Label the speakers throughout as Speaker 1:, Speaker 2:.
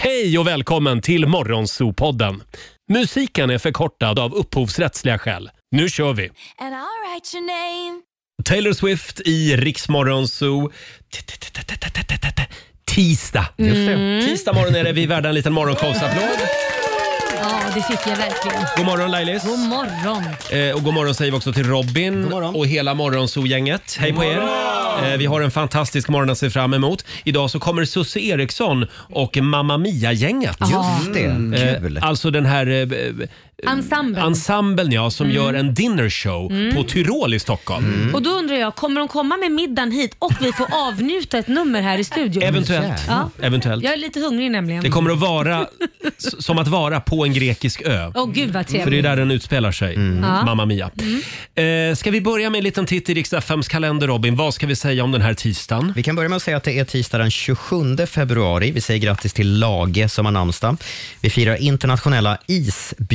Speaker 1: Hej och välkommen till Morgonzoo-podden. Musiken är förkortad av upphovsrättsliga skäl. Nu kör vi!
Speaker 2: And I'll write your name.
Speaker 1: Taylor Swift i Rix Morgonzoo. Tisdag.
Speaker 3: Mm.
Speaker 1: Tisdag morgon är det. Vi är värda en liten morgonshowsapplåd.
Speaker 4: Ja, det fick jag verkligen.
Speaker 1: God morgon Lailis.
Speaker 4: God morgon.
Speaker 1: Eh, och god morgon säger vi också till Robin
Speaker 3: morgon.
Speaker 1: och hela Morgonzoo-gänget. Hej på er! Eh, Vi har en fantastisk morgon att se fram emot. Idag så kommer Susie Eriksson och Mamma Mia-gänget.
Speaker 3: Just det, kul.
Speaker 1: Eh, Alltså den här eh, b-
Speaker 4: Ensemblen.
Speaker 1: ensemblen ja, som gör en dinnershow på Tyrol i Stockholm.
Speaker 4: Mm. och då undrar jag, kommer de komma med middagen hit och vi får avnjuta ett nummer här i studion?
Speaker 1: Eventuellt. Mm.
Speaker 4: Ja.
Speaker 1: Eventuellt.
Speaker 4: Jag är lite hungrig nämligen.
Speaker 1: Det kommer att vara s- som att vara på en grekisk ö.
Speaker 4: Åh gud vad
Speaker 1: Mm. För det är
Speaker 4: trevligt. Mm.
Speaker 1: där den utspelar sig,
Speaker 4: Ja.
Speaker 1: Mamma Mia. Eh, ska vi börja med en liten titt i riksdagsfems kalender, Robin? Vad ska vi säga om den här tisdagen?
Speaker 3: Vi kan börja med att säga att det är tisdag den 27 februari. Vi säger grattis till Lage som har namnsdag. Vi firar internationella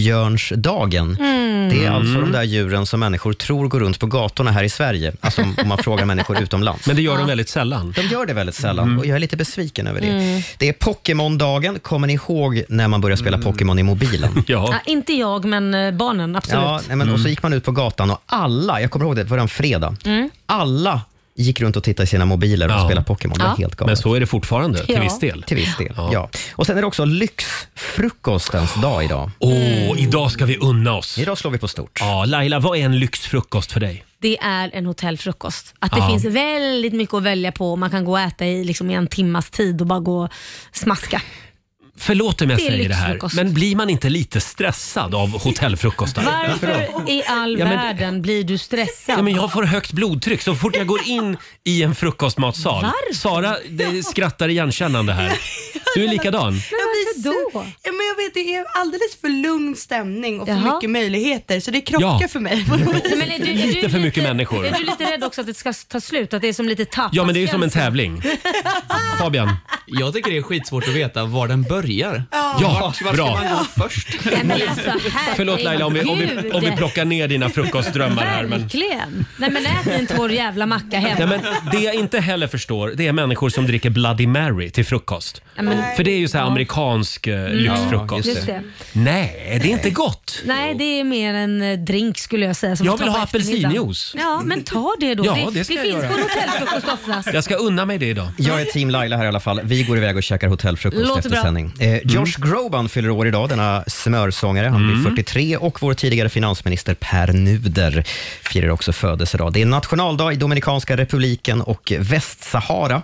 Speaker 3: isbjörnsdagen.
Speaker 4: Hmm.
Speaker 5: Mm.
Speaker 3: Det er är alltså
Speaker 1: Mm.
Speaker 3: de där djuren som människor tror går runt på gatorna här i Sverige. Alltså om om man frågar människor utomlands.
Speaker 1: Men det gör de väldigt sällan. Mm.
Speaker 3: De gör det väldigt sällan och jag är lite besviken över det. Det är Pokémon-dagen. Kommer ni ihåg när man började spela Pokémon i mobilen?
Speaker 1: Mm. Ja.
Speaker 4: Ja, inte jag men eh, barnen, absolut.
Speaker 3: Ja, nej, men,
Speaker 1: Mm.
Speaker 3: Och så gick man ut på gatan och alla, jag kommer ihåg det, det var en fredag.
Speaker 4: Mm.
Speaker 3: Alla gick runt och tittade i sina mobiler och
Speaker 1: Ja.
Speaker 3: spelade Pokémon. Det var
Speaker 4: Ja.
Speaker 3: helt galet.
Speaker 1: Men så är det fortfarande, till
Speaker 4: Ja.
Speaker 1: viss del.
Speaker 3: Till viss del, ja. Och sen är det också lyxfrukostens dag idag.
Speaker 1: Åh, idag ska vi unna oss.
Speaker 3: Idag slår vi på stort.
Speaker 1: Ja, Laila, vad är en lyxfrukost för dig?
Speaker 4: Det är en hotellfrukost. Att det
Speaker 1: Ja.
Speaker 4: finns väldigt mycket att välja på och man kan gå och äta i, liksom, i en timmas tid och bara gå och smaska.
Speaker 1: Förlåt om jag
Speaker 4: Det är
Speaker 1: säger det här,
Speaker 4: lyxfrukost.
Speaker 1: men blir man inte lite stressad av hotellfrukostar?
Speaker 4: Varför i all
Speaker 1: Ja, men-
Speaker 4: världen blir du stressad?
Speaker 1: Ja, men jag får högt blodtryck så fort jag går in i en frukostmatsal.
Speaker 4: Varför?
Speaker 1: Sara det skrattar igenkännande här. Du är likadan.
Speaker 6: Jag
Speaker 4: varför
Speaker 6: blir så-
Speaker 4: då?
Speaker 6: Ja, men jag vet, det är alldeles för lugn stämning och för
Speaker 4: Jaha.
Speaker 6: mycket möjligheter så det krockar
Speaker 1: Ja.
Speaker 6: för mig. på något vis.
Speaker 4: Men är du, är du
Speaker 1: Lite för mycket människor.
Speaker 4: Är du lite rädd också att det ska ta slut? Att det är som lite tapas?
Speaker 1: Ja, men det är ju som en tävling. Fabian.
Speaker 7: Jag tycker det är skitsvårt att veta var den börjar.
Speaker 1: Ja,
Speaker 7: Var ska
Speaker 1: bra.
Speaker 7: man gå först?
Speaker 4: Nej, men alltså, herregud.
Speaker 1: Förlåt Laila om vi, om vi, om vi plockar ner dina frukostdrömmar här. Men...
Speaker 4: Verkligen. Nej men ät inte vår jävla macka hemma.
Speaker 1: Nej, men det jag inte heller förstår det är människor som dricker Bloody Mary till frukost.
Speaker 4: Nej, men- Mm.
Speaker 1: För det är ju så här amerikansk eh, lyxfrukost.
Speaker 4: Just det.
Speaker 1: Nej, det är inte gott.
Speaker 4: Nej, det är mer en eh, drink skulle jag säga. Som
Speaker 1: Jag
Speaker 4: man
Speaker 1: vill
Speaker 4: tar på
Speaker 1: ha
Speaker 4: eftermiddagen.
Speaker 1: apelsinjuice.
Speaker 4: Ja, men ta det då.
Speaker 1: Ja,
Speaker 4: det
Speaker 1: det ska jag
Speaker 4: finns
Speaker 1: göra.
Speaker 4: på en hotellfrukost oftast.
Speaker 1: Jag ska unna mig det idag.
Speaker 3: Jag är team Laila här i alla fall. Vi går iväg och käkar hotellfrukost
Speaker 4: Låter
Speaker 3: efter
Speaker 4: bra.
Speaker 3: sändning.
Speaker 1: Mm.
Speaker 3: Eh, Josh Groban fyller år idag, denna smörsångare. Han
Speaker 1: Mm.
Speaker 3: blir 43 och vår tidigare finansminister Per Nuder firar också födelsedag. Det är nationaldag i Dominikanska republiken och Västsahara.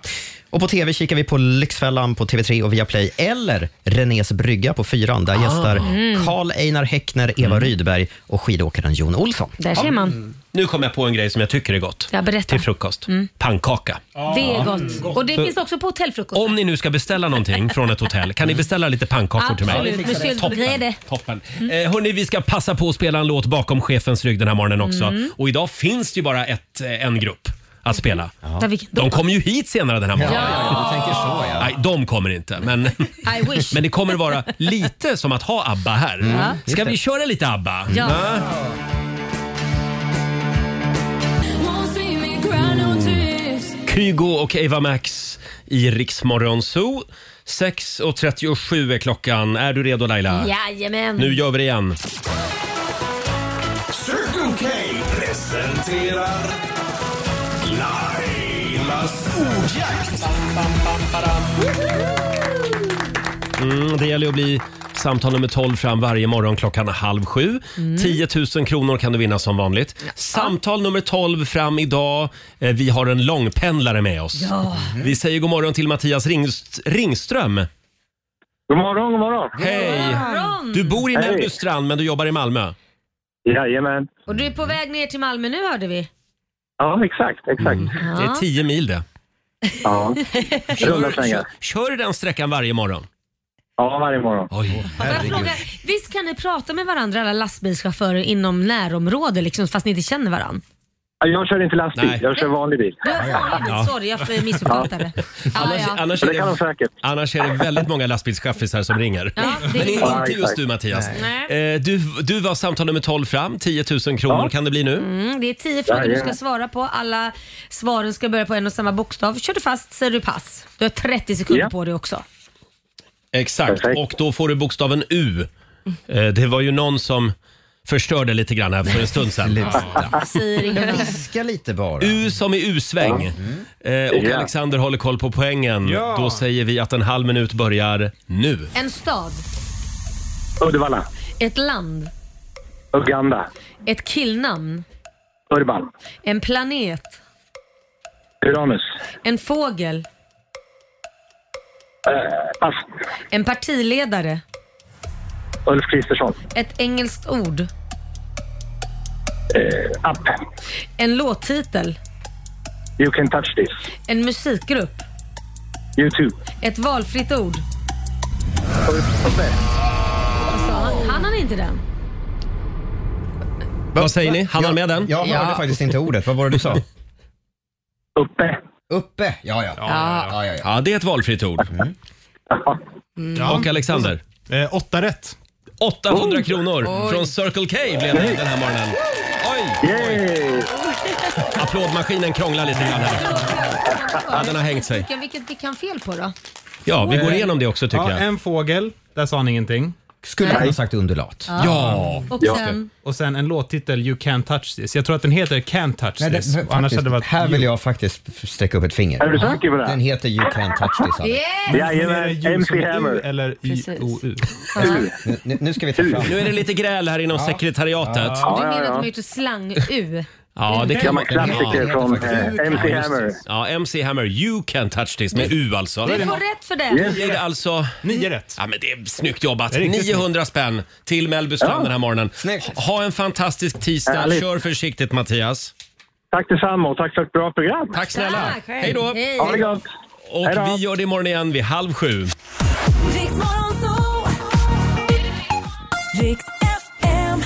Speaker 3: Och på TV kikar vi på Lyxfällan på TV3 och Viaplay eller Renés brygga på Fyran.
Speaker 1: Ah.
Speaker 3: Där gästar
Speaker 1: Mm.
Speaker 3: Karl Einar Häckner, Eva Rydberg och skidåkaren Jon Olsson.
Speaker 4: Där ser man.
Speaker 1: Nu kom jag på en grej som jag tycker är gott.
Speaker 4: Ja, berätta.
Speaker 1: Till frukost.
Speaker 4: Mm.
Speaker 1: Pannkaka.
Speaker 4: Det är gott. Och det finns också på hotellfrukost.
Speaker 1: Om ni nu ska beställa någonting från ett hotell,
Speaker 3: Mm.
Speaker 1: kan ni beställa lite pannkakor till mig?
Speaker 4: Absolut. Med syltgrädde.
Speaker 1: Toppen.
Speaker 3: Mm.
Speaker 1: Eh, hörni, vi ska passa på att spela en låt bakom chefens rygg den här morgonen också.
Speaker 3: Mm.
Speaker 1: Och idag finns det ju bara ett, eh, en grupp att spela.
Speaker 3: Mm.
Speaker 4: Ja, vilken
Speaker 1: De kommer ju hit senare den här morgonen.
Speaker 3: Du tänker så, ja.
Speaker 1: Nej, de kommer inte. Men,
Speaker 4: I wish.
Speaker 1: men det kommer att vara lite som att ha ABBA här.
Speaker 3: Mm,
Speaker 1: Ska vi köra lite ABBA?
Speaker 4: Ja.
Speaker 1: Kygo och Eva Max i Riksmorgon Zoo. 6.37 är klockan. Är du redo Laila?
Speaker 4: Jajamän.
Speaker 1: Nu gör vi det igen.
Speaker 5: Circle K presenterar Lailas ordjakt.
Speaker 1: Mm, det gäller att bli samtal nummer 12 fram varje morgon klockan halv sju. 10 000 kronor kan du vinna som vanligt. Samtal nummer 12 fram idag. Eh, Vi har en långpendlare med oss. Vi säger god morgon till Mattias Ringst- Ringström.
Speaker 8: God morgon, god morgon.
Speaker 1: Hej!
Speaker 4: Morgon.
Speaker 1: Du bor i
Speaker 8: Hej.
Speaker 1: Mellbystrand men du jobbar i Malmö.
Speaker 8: Jajamän.
Speaker 4: Och du är på väg ner till Malmö nu hörde vi.
Speaker 8: Ja, exakt, exakt.
Speaker 1: Mm. Det är 10 mil det.
Speaker 8: Ja. Runda
Speaker 1: Kör,
Speaker 8: slängar.
Speaker 1: kör den sträckan varje morgon.
Speaker 8: Ja, varje morgon.
Speaker 1: Oj.
Speaker 4: Får jag fråga, visst kan ni prata med varandra alla lastbilschaufförer inom närområde liksom, fast ni inte känner varandra?
Speaker 8: Ja, Jag kör inte lastbil,
Speaker 1: Nej.
Speaker 8: jag kör vanlig bil.
Speaker 4: Du, ja. Sorry, jag missuppfattade. Ja,
Speaker 1: Annars,
Speaker 4: ja.
Speaker 1: annars, är
Speaker 8: Men det kan de
Speaker 1: det,
Speaker 8: säkert.
Speaker 1: annars är det väldigt många lastbilschaffisar som ringer.
Speaker 4: Ja, det
Speaker 1: Men det
Speaker 4: är...
Speaker 1: är
Speaker 8: Ja,
Speaker 1: inte just
Speaker 8: exakt.
Speaker 1: du Mattias.
Speaker 4: Nej.
Speaker 1: Eh, Du, du var samtal nummer 12 fram, 10 000 kronor
Speaker 8: Ja.
Speaker 1: kan det bli nu.
Speaker 4: Mm, det är tio frågor du ska
Speaker 8: Jajamän.
Speaker 4: svara på. Alla svaren ska börja på en och samma bokstav. Kör du fast säger du pass. Du har 30 sekunder
Speaker 8: Ja.
Speaker 4: på dig också.
Speaker 1: Exakt,
Speaker 8: Perfekt.
Speaker 1: och då får du bokstaven U. Eh, Det var ju någon som förstörde lite grann här för en stund sedan. Ja.
Speaker 4: Säger
Speaker 3: Jag
Speaker 4: ingenting.
Speaker 3: viskar lite bara.
Speaker 1: U som i U-sväng. Eh, Och
Speaker 8: Ja.
Speaker 1: Alexander håller koll på poängen.
Speaker 3: Ja.
Speaker 1: Då säger vi att en halv minut börjar nu.
Speaker 4: En stad,
Speaker 8: Uddevalla.
Speaker 4: ett land,
Speaker 8: Uganda.
Speaker 4: ett killnamn,
Speaker 8: Urban.
Speaker 4: en planet,
Speaker 8: Uranus.
Speaker 4: en fågel,
Speaker 8: Eh, pass.
Speaker 4: en partiledare,
Speaker 8: Ulf Kristersson.
Speaker 4: ett engelskt ord,
Speaker 8: Eh, app.
Speaker 4: en låttitel,
Speaker 8: You can touch this.
Speaker 4: en musikgrupp,
Speaker 8: YouTube.
Speaker 4: ett valfritt ord.
Speaker 8: Ulf Sundberg.
Speaker 4: Sa han, han har inte den?
Speaker 1: Vad säger ni? Han har
Speaker 3: Ja,
Speaker 1: med den?
Speaker 3: Jag hörde faktiskt inte ordet. Vad var det du sa?
Speaker 8: Uppe.
Speaker 3: Uppe? Ja, ja. ja, ja, Mm. ja.
Speaker 1: Ja, det är ett valfritt ord. Och Alexander?
Speaker 9: Eh, åtta rätt.
Speaker 1: 800
Speaker 8: Oh.
Speaker 1: kronor från Circle K blev det den här morgonen. Oj!
Speaker 8: Yay!
Speaker 1: Applådmaskinen krånglar lite grann här. Ja, den har hängt sig.
Speaker 4: Vilken, vilket fick han fel på då?
Speaker 1: Ja, vi går igenom det också tycker
Speaker 9: Eh, Ja,
Speaker 1: jag.
Speaker 9: en fågel, där sa han ingenting.
Speaker 3: Skulle han ha sagt undulat?
Speaker 1: Ja!
Speaker 4: Och sen,
Speaker 9: Och sen en låttitel, You Can't Touch This. Jag tror att den heter Can't Touch
Speaker 3: Nej, det,
Speaker 9: This.
Speaker 3: faktiskt,
Speaker 9: Och annars hade det varit
Speaker 3: här vill jag faktiskt sträcka upp ett finger.
Speaker 8: Är du säker på det?
Speaker 3: Den heter You Can't Touch This. Alex.
Speaker 4: yes!
Speaker 9: Är det
Speaker 8: Jajamän,
Speaker 9: U som
Speaker 8: MC
Speaker 9: är U
Speaker 8: Hammer.
Speaker 9: eller Y-O-U?
Speaker 3: Nu- Nu, nu ska vi ta fram...
Speaker 1: Nu är det lite gräl här inom sekretariatet.
Speaker 4: Du
Speaker 8: Ja,
Speaker 4: menar
Speaker 8: ja,
Speaker 4: att de har
Speaker 8: ja.
Speaker 4: gjort ett slang-U?
Speaker 1: Ja, det kan man
Speaker 8: Gammal klassiker
Speaker 3: Ja.
Speaker 8: från
Speaker 3: Ja, just
Speaker 8: eh, MC Hammer.
Speaker 1: Ja, MC Hammer, you can touch this med U alltså.
Speaker 4: Du får rätt för det.
Speaker 1: Det är alltså...
Speaker 9: Nio rätt.
Speaker 1: Ja, men det är snyggt jobbat.
Speaker 9: är riktigt
Speaker 1: 900 spänn till Mellby strand den här morgonen.
Speaker 3: Snyggt.
Speaker 1: Ha en fantastisk tisdag.
Speaker 8: Härligt.
Speaker 1: Kör försiktigt Mattias.
Speaker 8: Tack detsamma och tack för ett bra program.
Speaker 1: Tack snälla.
Speaker 4: Tack,
Speaker 1: Hej då.
Speaker 8: Ha det gott!
Speaker 1: Och
Speaker 8: Hej då.
Speaker 1: vi gör det imorgon igen vid halv sju.
Speaker 2: Riks Morgonzoo. Riks FM.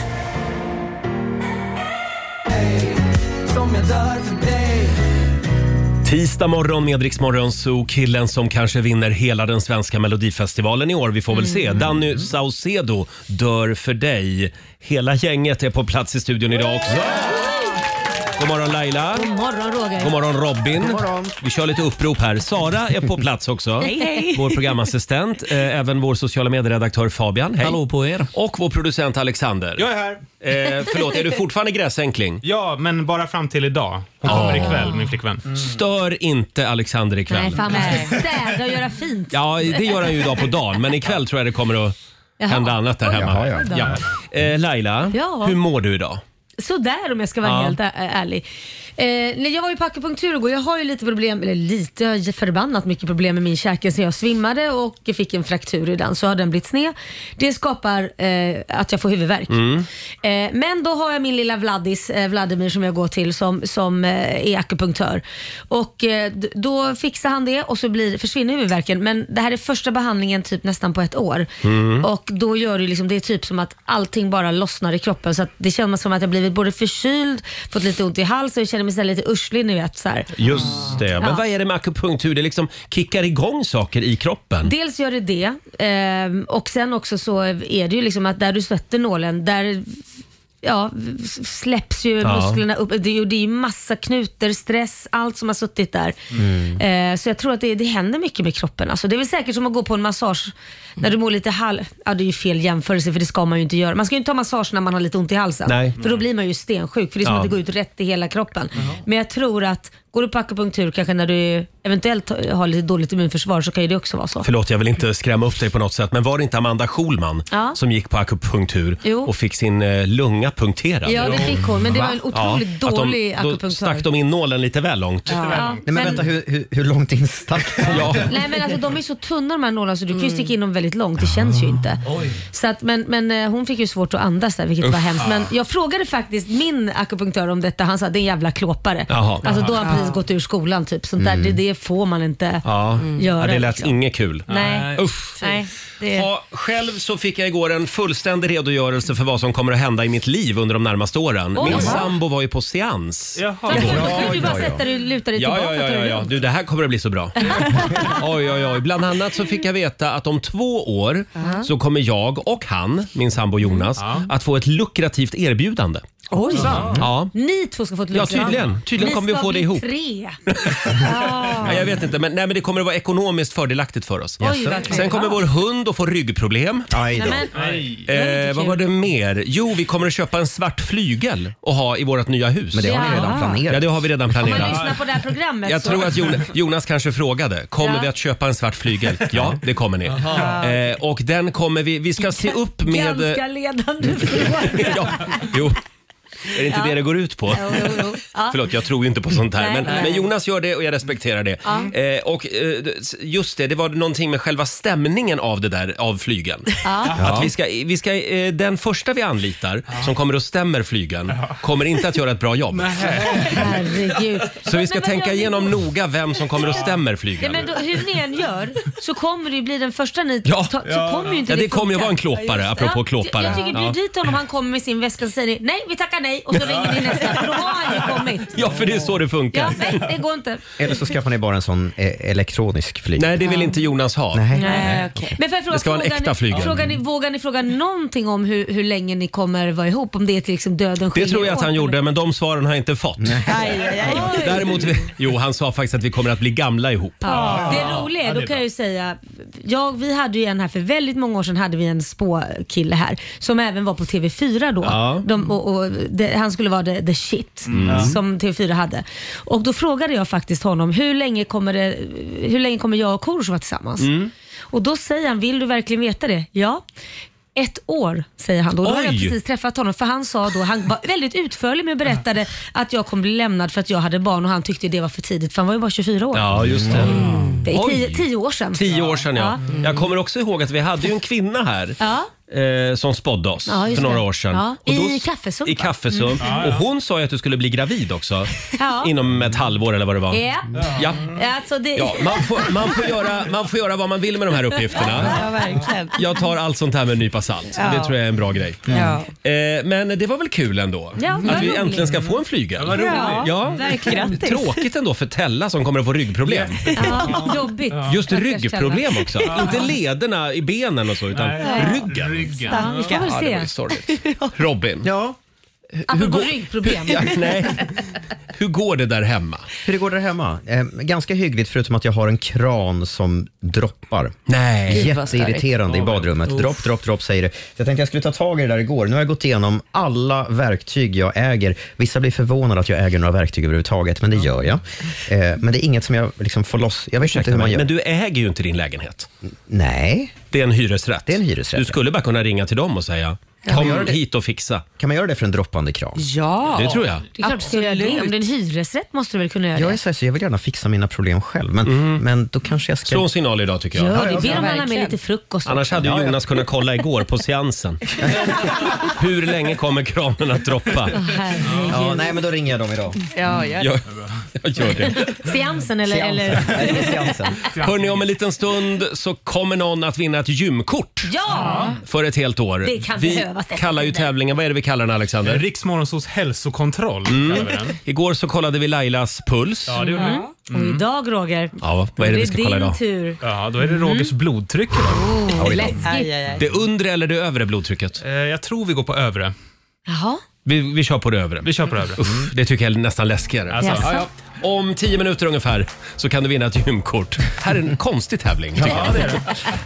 Speaker 5: Som jag dör för dig
Speaker 1: Tisdag morgon med Rix Morgon Zoo, killen som kanske vinner hela den svenska melodifestivalen i år. Vi får väl se. Danny Saucedo dör för dig. Hela gänget är på plats i studion idag också. God morgon Laila.
Speaker 4: God morgon Roger.
Speaker 1: God morgon Robin. Vi kör lite upprop här. Sara är på plats också. Vår programassistent. Eh, Även vår sociala medieredaktör Fabian. Hej.
Speaker 7: Hallå på er.
Speaker 1: Och vår producent Alexander.
Speaker 9: Jag är här.
Speaker 1: Eh, förlåt, är du fortfarande gräsänkling?
Speaker 9: Ja, men bara fram till idag. Hon kommer ikväll, min flickvän.
Speaker 1: Stör inte Alexander ikväll.
Speaker 4: Nej, fan man ska städa och göra fint.
Speaker 1: Ja, det gör han ju idag på dagen, men ikväll tror jag det kommer att hända annat där hemma.
Speaker 3: Jaha,
Speaker 1: ja. Eh, Laila,
Speaker 4: Ja.
Speaker 1: hur mår du idag?
Speaker 4: Sådär om jag ska vara
Speaker 1: Ja.
Speaker 4: helt ä- ärlig. Eh, nej, jag var ju på akupunktur igår. Jag har ju lite problem, eller lite, jag har ju förbannat mycket problem med min käke så jag svimmade och fick en fraktur i den. Så har den blivit sned. Det skapar eh, att jag får huvudvärk.
Speaker 1: Mm.
Speaker 4: Eh, men då har jag min lilla Vladis, eh, Vladimir som jag går till som, som eh, är akupunktör. Och eh, d- då fixar han det och så blir, försvinner huvudvärken. Men det här är första behandlingen typ nästan på ett år.
Speaker 5: Mm.
Speaker 4: Och då gör det liksom, det är typ som att allting bara lossnar i kroppen. Så att det känns som att jag blivit både förkyld, fått lite ont i halsen och jag känner mig så här lite urslig ni vet. Så här.
Speaker 1: Just det. Men
Speaker 4: Ja.
Speaker 1: vad är det med akupunktur? Det liksom kickar igång saker i kroppen.
Speaker 4: Dels gör det det ehm, och sen också så är det ju liksom att där du sätter nålen, där Ja, s- släpps ju
Speaker 1: Ja.
Speaker 4: musklerna upp. Det är ju, det är ju massa knuter, stress, allt som har suttit där.
Speaker 1: Mm.
Speaker 4: Eh, så jag tror att det, det händer mycket med kroppen. Alltså, det är väl säkert som att gå på en massage när du mår lite halv... Ja, det är ju fel jämförelse för det ska man ju inte göra. Man ska ju inte ta massage när man har lite ont i halsen.
Speaker 1: Nej.
Speaker 4: För då blir man ju stensjuk för det är som
Speaker 1: Ja.
Speaker 4: att det går ut rätt i hela kroppen. Men jag tror att går du på akupunktur kanske när du eventuellt har lite dåligt immunförsvar så kan ju det också vara så.
Speaker 1: Förlåt, jag vill inte skrämma upp dig på något sätt, men var det inte Amanda Schulman
Speaker 4: Ja.
Speaker 1: som gick på akupunktur
Speaker 4: Jo.
Speaker 1: och fick sin eh, lunga punkterad?
Speaker 4: Ja, det fick hon, men det var en
Speaker 1: Ja,
Speaker 4: otroligt
Speaker 1: att
Speaker 4: dålig
Speaker 1: de, Då
Speaker 4: akupunktör.
Speaker 1: stack de in nålen lite väl långt.
Speaker 4: Ja.
Speaker 3: Nej, men vänta, hur, hur, hur långt in stack
Speaker 1: Ja.
Speaker 4: Nej men alltså de är så tunna de här nålarna så du kan ju sticka in dem väldigt långt, det känns
Speaker 1: Ah,
Speaker 4: ju inte. Så att, men, men eh, hon fick ju svårt att andas där vilket var hemskt.
Speaker 1: Ah.
Speaker 4: Men jag frågade faktiskt min akupunktör om detta, han sa det är en jävla klåpare.
Speaker 1: Jaha. Ah. Mm.
Speaker 4: Alltså då har han precis gått ur skolan typ, sånt där, det, det får man inte
Speaker 1: Ja.
Speaker 4: göra.
Speaker 1: ja, det lät
Speaker 4: liksom.
Speaker 1: inget kul.
Speaker 4: Nej.
Speaker 1: Uff.
Speaker 4: Nej, Det-
Speaker 1: Ja, själv så fick jag igår en fullständig redogörelse för vad som kommer att hända i mitt liv under de närmaste åren.
Speaker 4: Oj.
Speaker 1: Min sambo var ju på seans.
Speaker 4: Vadå,
Speaker 1: Igår.
Speaker 4: Då kan du bara sätta dig och luta dig
Speaker 1: Ja, ja,
Speaker 4: tillbaka.
Speaker 1: ja,
Speaker 4: ta
Speaker 1: ja,
Speaker 4: det
Speaker 1: ja.
Speaker 4: lugnt.
Speaker 1: Du, det här kommer att bli så bra. Oj, oj, oj. Bland annat så fick jag veta att om två år
Speaker 4: Ja.
Speaker 1: så kommer jag och han, min sambo Jonas, att få ett lukrativt erbjudande.
Speaker 4: Oj.
Speaker 1: Ja.
Speaker 4: Ni två ska få ett
Speaker 1: Ja,
Speaker 4: lunch,
Speaker 1: tydligen. Tydligen
Speaker 4: Ni
Speaker 1: kommer vi
Speaker 4: ska
Speaker 1: få det
Speaker 4: bli
Speaker 1: ihop.
Speaker 4: tre.
Speaker 1: Nej, jag vet inte, men, nej, men det kommer att vara ekonomiskt fördelaktigt för oss.
Speaker 4: Oj, vad trevligt.
Speaker 1: Sen kommer vår hund att få ryggproblem.
Speaker 4: då. Nej, men-
Speaker 1: Eh, vad var det mer? Jo, vi kommer att köpa en svart flygel och ha i vårt nya hus.
Speaker 4: Men det har ni redan Ja. planerat.
Speaker 1: Ja, det har vi redan
Speaker 4: Om man
Speaker 1: planerat.
Speaker 4: lyssnar på det här programmet
Speaker 1: Jag
Speaker 4: så...
Speaker 1: tror att Jonas, Jonas kanske frågade, kommer
Speaker 4: Ja.
Speaker 1: vi att köpa en svart flygel? Ja, det kommer ni.
Speaker 4: Aha.
Speaker 1: Eh, och den kommer vi, vi ska se upp med...
Speaker 4: Ganska ledande fråga.
Speaker 1: Jo, är det inte
Speaker 4: Ja.
Speaker 1: det det går ut på?
Speaker 4: Jo, jo, jo. Ja.
Speaker 1: Förlåt, jag tror ju inte på sånt här.
Speaker 4: Nej,
Speaker 1: Men,
Speaker 4: nej.
Speaker 1: men Jonas gör det och jag respekterar det.
Speaker 4: Ja.
Speaker 1: Eh, och eh, just det, det var någonting med själva stämningen av det där, av flygen.
Speaker 4: Ja.
Speaker 1: Att vi ska, vi ska, eh, den första vi anlitar som kommer och stämmer flygen kommer inte att göra ett bra jobb.
Speaker 4: Herregud.
Speaker 1: Så vi ska
Speaker 4: Men vad
Speaker 1: tänka
Speaker 4: gör ni
Speaker 1: igenom noga vem som kommer och stämmer
Speaker 4: Nej,
Speaker 1: flygen.
Speaker 4: men då, hur ni än gör så kommer det ju bli den första ni
Speaker 1: Ja.
Speaker 4: ta, så
Speaker 1: Ja.
Speaker 4: kommer ju inte
Speaker 1: Ja, det
Speaker 4: funka.
Speaker 1: kommer ju vara en klåpare,
Speaker 4: Ja, just det.
Speaker 1: apropå
Speaker 4: Ja,
Speaker 1: klåpare.
Speaker 4: Jag, jag tycker, bjud
Speaker 1: Ja.
Speaker 4: dit honom, han kommer med sin väska och säger ni, nej vi tackar nej och så ringer ni nästa för då har han ju kommit.
Speaker 1: Ja, för det är så det funkar.
Speaker 4: Ja, nej det går inte.
Speaker 3: Eller så skaffar ni bara en sån eh, elektronisk flyg.
Speaker 1: Nej, det vill inte Jonas ha.
Speaker 4: Nej, okej. Men får jag fråga,
Speaker 3: Det ska vara en
Speaker 4: frågar
Speaker 3: äkta
Speaker 4: ni,
Speaker 3: flygel.
Speaker 4: Frågar ni, vågar ni fråga någonting om hur, hur länge ni kommer vara ihop? Om det är till liksom döden
Speaker 1: Det
Speaker 4: skiljer
Speaker 1: tror jag att
Speaker 4: åt
Speaker 1: han
Speaker 4: eller-
Speaker 1: gjorde, men de svaren har jag inte fått. Däremot, vi, jo, han sa faktiskt att vi kommer att bli gamla ihop.
Speaker 4: Ja. Det roliga är, då kan jag ju säga, ja, vi hade ju en här för väldigt många år sedan hade vi en spåkille här som även var på TV4 då.
Speaker 1: Ja.
Speaker 4: De, och, och, det, han skulle vara the, the shit
Speaker 10: Mm.
Speaker 4: som TV4 hade. Och då frågade jag faktiskt honom, hur länge kommer, det, hur länge kommer jag och Korosh vara tillsammans?
Speaker 10: Mm.
Speaker 4: Och då säger han, vill du verkligen veta det? Ja. Ett år säger han då. Då har jag
Speaker 10: Oj.
Speaker 4: precis träffat honom för han sa då, han var väldigt utförlig med att berättade att jag kommer bli lämnad för att jag hade barn och han tyckte det var för tidigt för han var ju bara 24 år.
Speaker 1: Ja, just det.
Speaker 4: Mm. Det är
Speaker 1: Oj.
Speaker 4: tio, tio år sedan.
Speaker 1: Tio år sedan ja.
Speaker 4: Ja. Mm.
Speaker 1: Jag kommer också ihåg att vi hade ju en kvinna här
Speaker 4: Ja.
Speaker 1: eh, som spådde oss
Speaker 4: Ja, just
Speaker 1: för några
Speaker 4: det.
Speaker 1: år sedan.
Speaker 4: Ja.
Speaker 1: Och då-
Speaker 4: I kaffesump.
Speaker 1: I
Speaker 4: va?
Speaker 1: kaffesump.
Speaker 4: Mm.
Speaker 1: Och hon sa ju att du skulle bli gravid också.
Speaker 4: Ja.
Speaker 1: Inom ett halvår eller vad det var.
Speaker 4: Ja.
Speaker 1: Ja.
Speaker 4: Alltså det...
Speaker 1: Ja, man, får, man, får göra, man får göra vad man vill med de här uppgifterna.
Speaker 4: Ja, verkligen.
Speaker 1: Jag tar allt sånt här med en nypa salt.
Speaker 4: Ja.
Speaker 1: Det tror jag är en bra grej.
Speaker 4: Mm. Ja.
Speaker 1: Eh, men det var väl kul ändå?
Speaker 4: Ja, vad
Speaker 1: att vi
Speaker 4: roligt.
Speaker 1: äntligen ska få en flygel.
Speaker 4: Ja, vad roligt. Ja, verkligen. Grattis.
Speaker 1: Tråkigt ändå för Tella som kommer att få ryggproblem.
Speaker 4: Ja, jobbigt.
Speaker 1: Just
Speaker 4: Stackars
Speaker 1: ryggproblem
Speaker 4: Tella.
Speaker 1: också. Inte lederna i benen och så, utan
Speaker 4: Nej.
Speaker 1: ryggen.
Speaker 4: Stackarn. Vi får väl
Speaker 1: Ja, det
Speaker 4: se.
Speaker 1: var ju sorgligt. Robin. Ja.
Speaker 4: Apropå ryggproblem.
Speaker 1: Hur, ja, nej. hur går det där hemma?
Speaker 3: Hur det går där hemma? Eh, ganska hyggligt förutom att jag har en kran som droppar.
Speaker 1: Nej. Gud, vad starkt.
Speaker 3: Jätteirriterande i badrummet.
Speaker 1: Uff.
Speaker 3: Dropp, dropp, dropp säger det. Jag tänkte jag skulle ta tag i det där igår. Nu har jag gått igenom alla verktyg jag äger. Vissa blir förvånade att jag äger några verktyg överhuvudtaget, men det gör jag. Eh, men det är inget som jag liksom får loss. Jag vet inte hur
Speaker 1: Ursäkta
Speaker 3: man
Speaker 1: mig,
Speaker 3: gör.
Speaker 1: men du äger ju inte din lägenhet.
Speaker 3: Nej.
Speaker 1: Det är en hyresrätt. Det är en
Speaker 3: hyresrätt.
Speaker 1: Du skulle bara kunna ringa till dem och säga
Speaker 3: Kan man göra
Speaker 1: Kom
Speaker 3: det?
Speaker 1: hit och fixa.
Speaker 3: Kan man göra det för en droppande kran?
Speaker 11: Ja.
Speaker 1: Det tror jag.
Speaker 4: Det är klart du ska göra det. Om det är en hyresrätt måste du väl kunna göra
Speaker 3: Jag är
Speaker 4: det?
Speaker 3: så, här, så jag vill gärna fixa mina problem själv, men, men då kanske jag ska...
Speaker 1: Mm. Slå en signal idag tycker jag.
Speaker 4: Ja, det ber om alla med lite frukost.
Speaker 1: Annars hade ju Jonas kunnat kolla igår på seansen. Hur länge kommer kranen att droppa?
Speaker 4: Åh, herregud.
Speaker 3: Ja, nej, men då ringer jag dem idag.
Speaker 4: Ja,
Speaker 1: gör
Speaker 4: gör
Speaker 1: det.
Speaker 4: det.
Speaker 1: Jag, jag gör det.
Speaker 4: Seansen eller... eller...
Speaker 1: Hörni, om en liten stund så kommer någon att vinna ett gymkort
Speaker 4: Ja!
Speaker 1: för ett helt år.
Speaker 4: Det kan
Speaker 1: vi
Speaker 4: behövas dessa
Speaker 1: kallar ju
Speaker 4: tider.
Speaker 1: tävlingen, vad är det vi kallar den Alexander? Mm.
Speaker 9: Riksmorgonsols Eh, hälsokontroll kallar vi den.
Speaker 1: Igår så kollade vi Lailas puls.
Speaker 9: Ja, det gjorde vi.
Speaker 4: Mm. Och idag Roger,
Speaker 1: Ja, vad är det,
Speaker 4: det
Speaker 1: vi
Speaker 4: är
Speaker 1: ska kolla
Speaker 4: din
Speaker 1: idag?
Speaker 4: tur. Mm.
Speaker 9: Ja, då är det Rogers blodtryck
Speaker 4: Oh,
Speaker 9: idag. Eh,
Speaker 4: Oj då. läskigt. Aj, aj, aj.
Speaker 1: Det undre eller det övre blodtrycket?
Speaker 9: Jag tror vi går på övre.
Speaker 4: Jaha.
Speaker 1: Vi, vi kör på det övre.
Speaker 9: Vi kör på det övre.
Speaker 1: Uff, det tycker jag är nästan läskigare.
Speaker 9: Alltså.
Speaker 1: Ja, ja. Om tio minuter ungefär så kan du vinna ett gymkort. Här är en konstig tävling. tycker jag.
Speaker 9: Ja, det är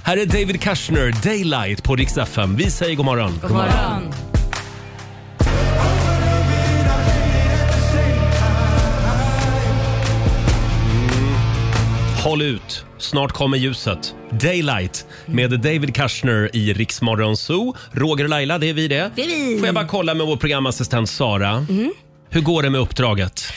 Speaker 1: Här är David Kushner, Daylight på Rix FM. Vi säger god morgon. God
Speaker 4: morgon.
Speaker 1: Håll ut, snart kommer ljuset. Daylight med David Kushner i Rix Morgon Zoo. Roger och Laila, det är vi Mm. det.
Speaker 4: Det är vi.
Speaker 1: Får jag bara kolla med vår programassistent Sara. Hur går det med uppdraget?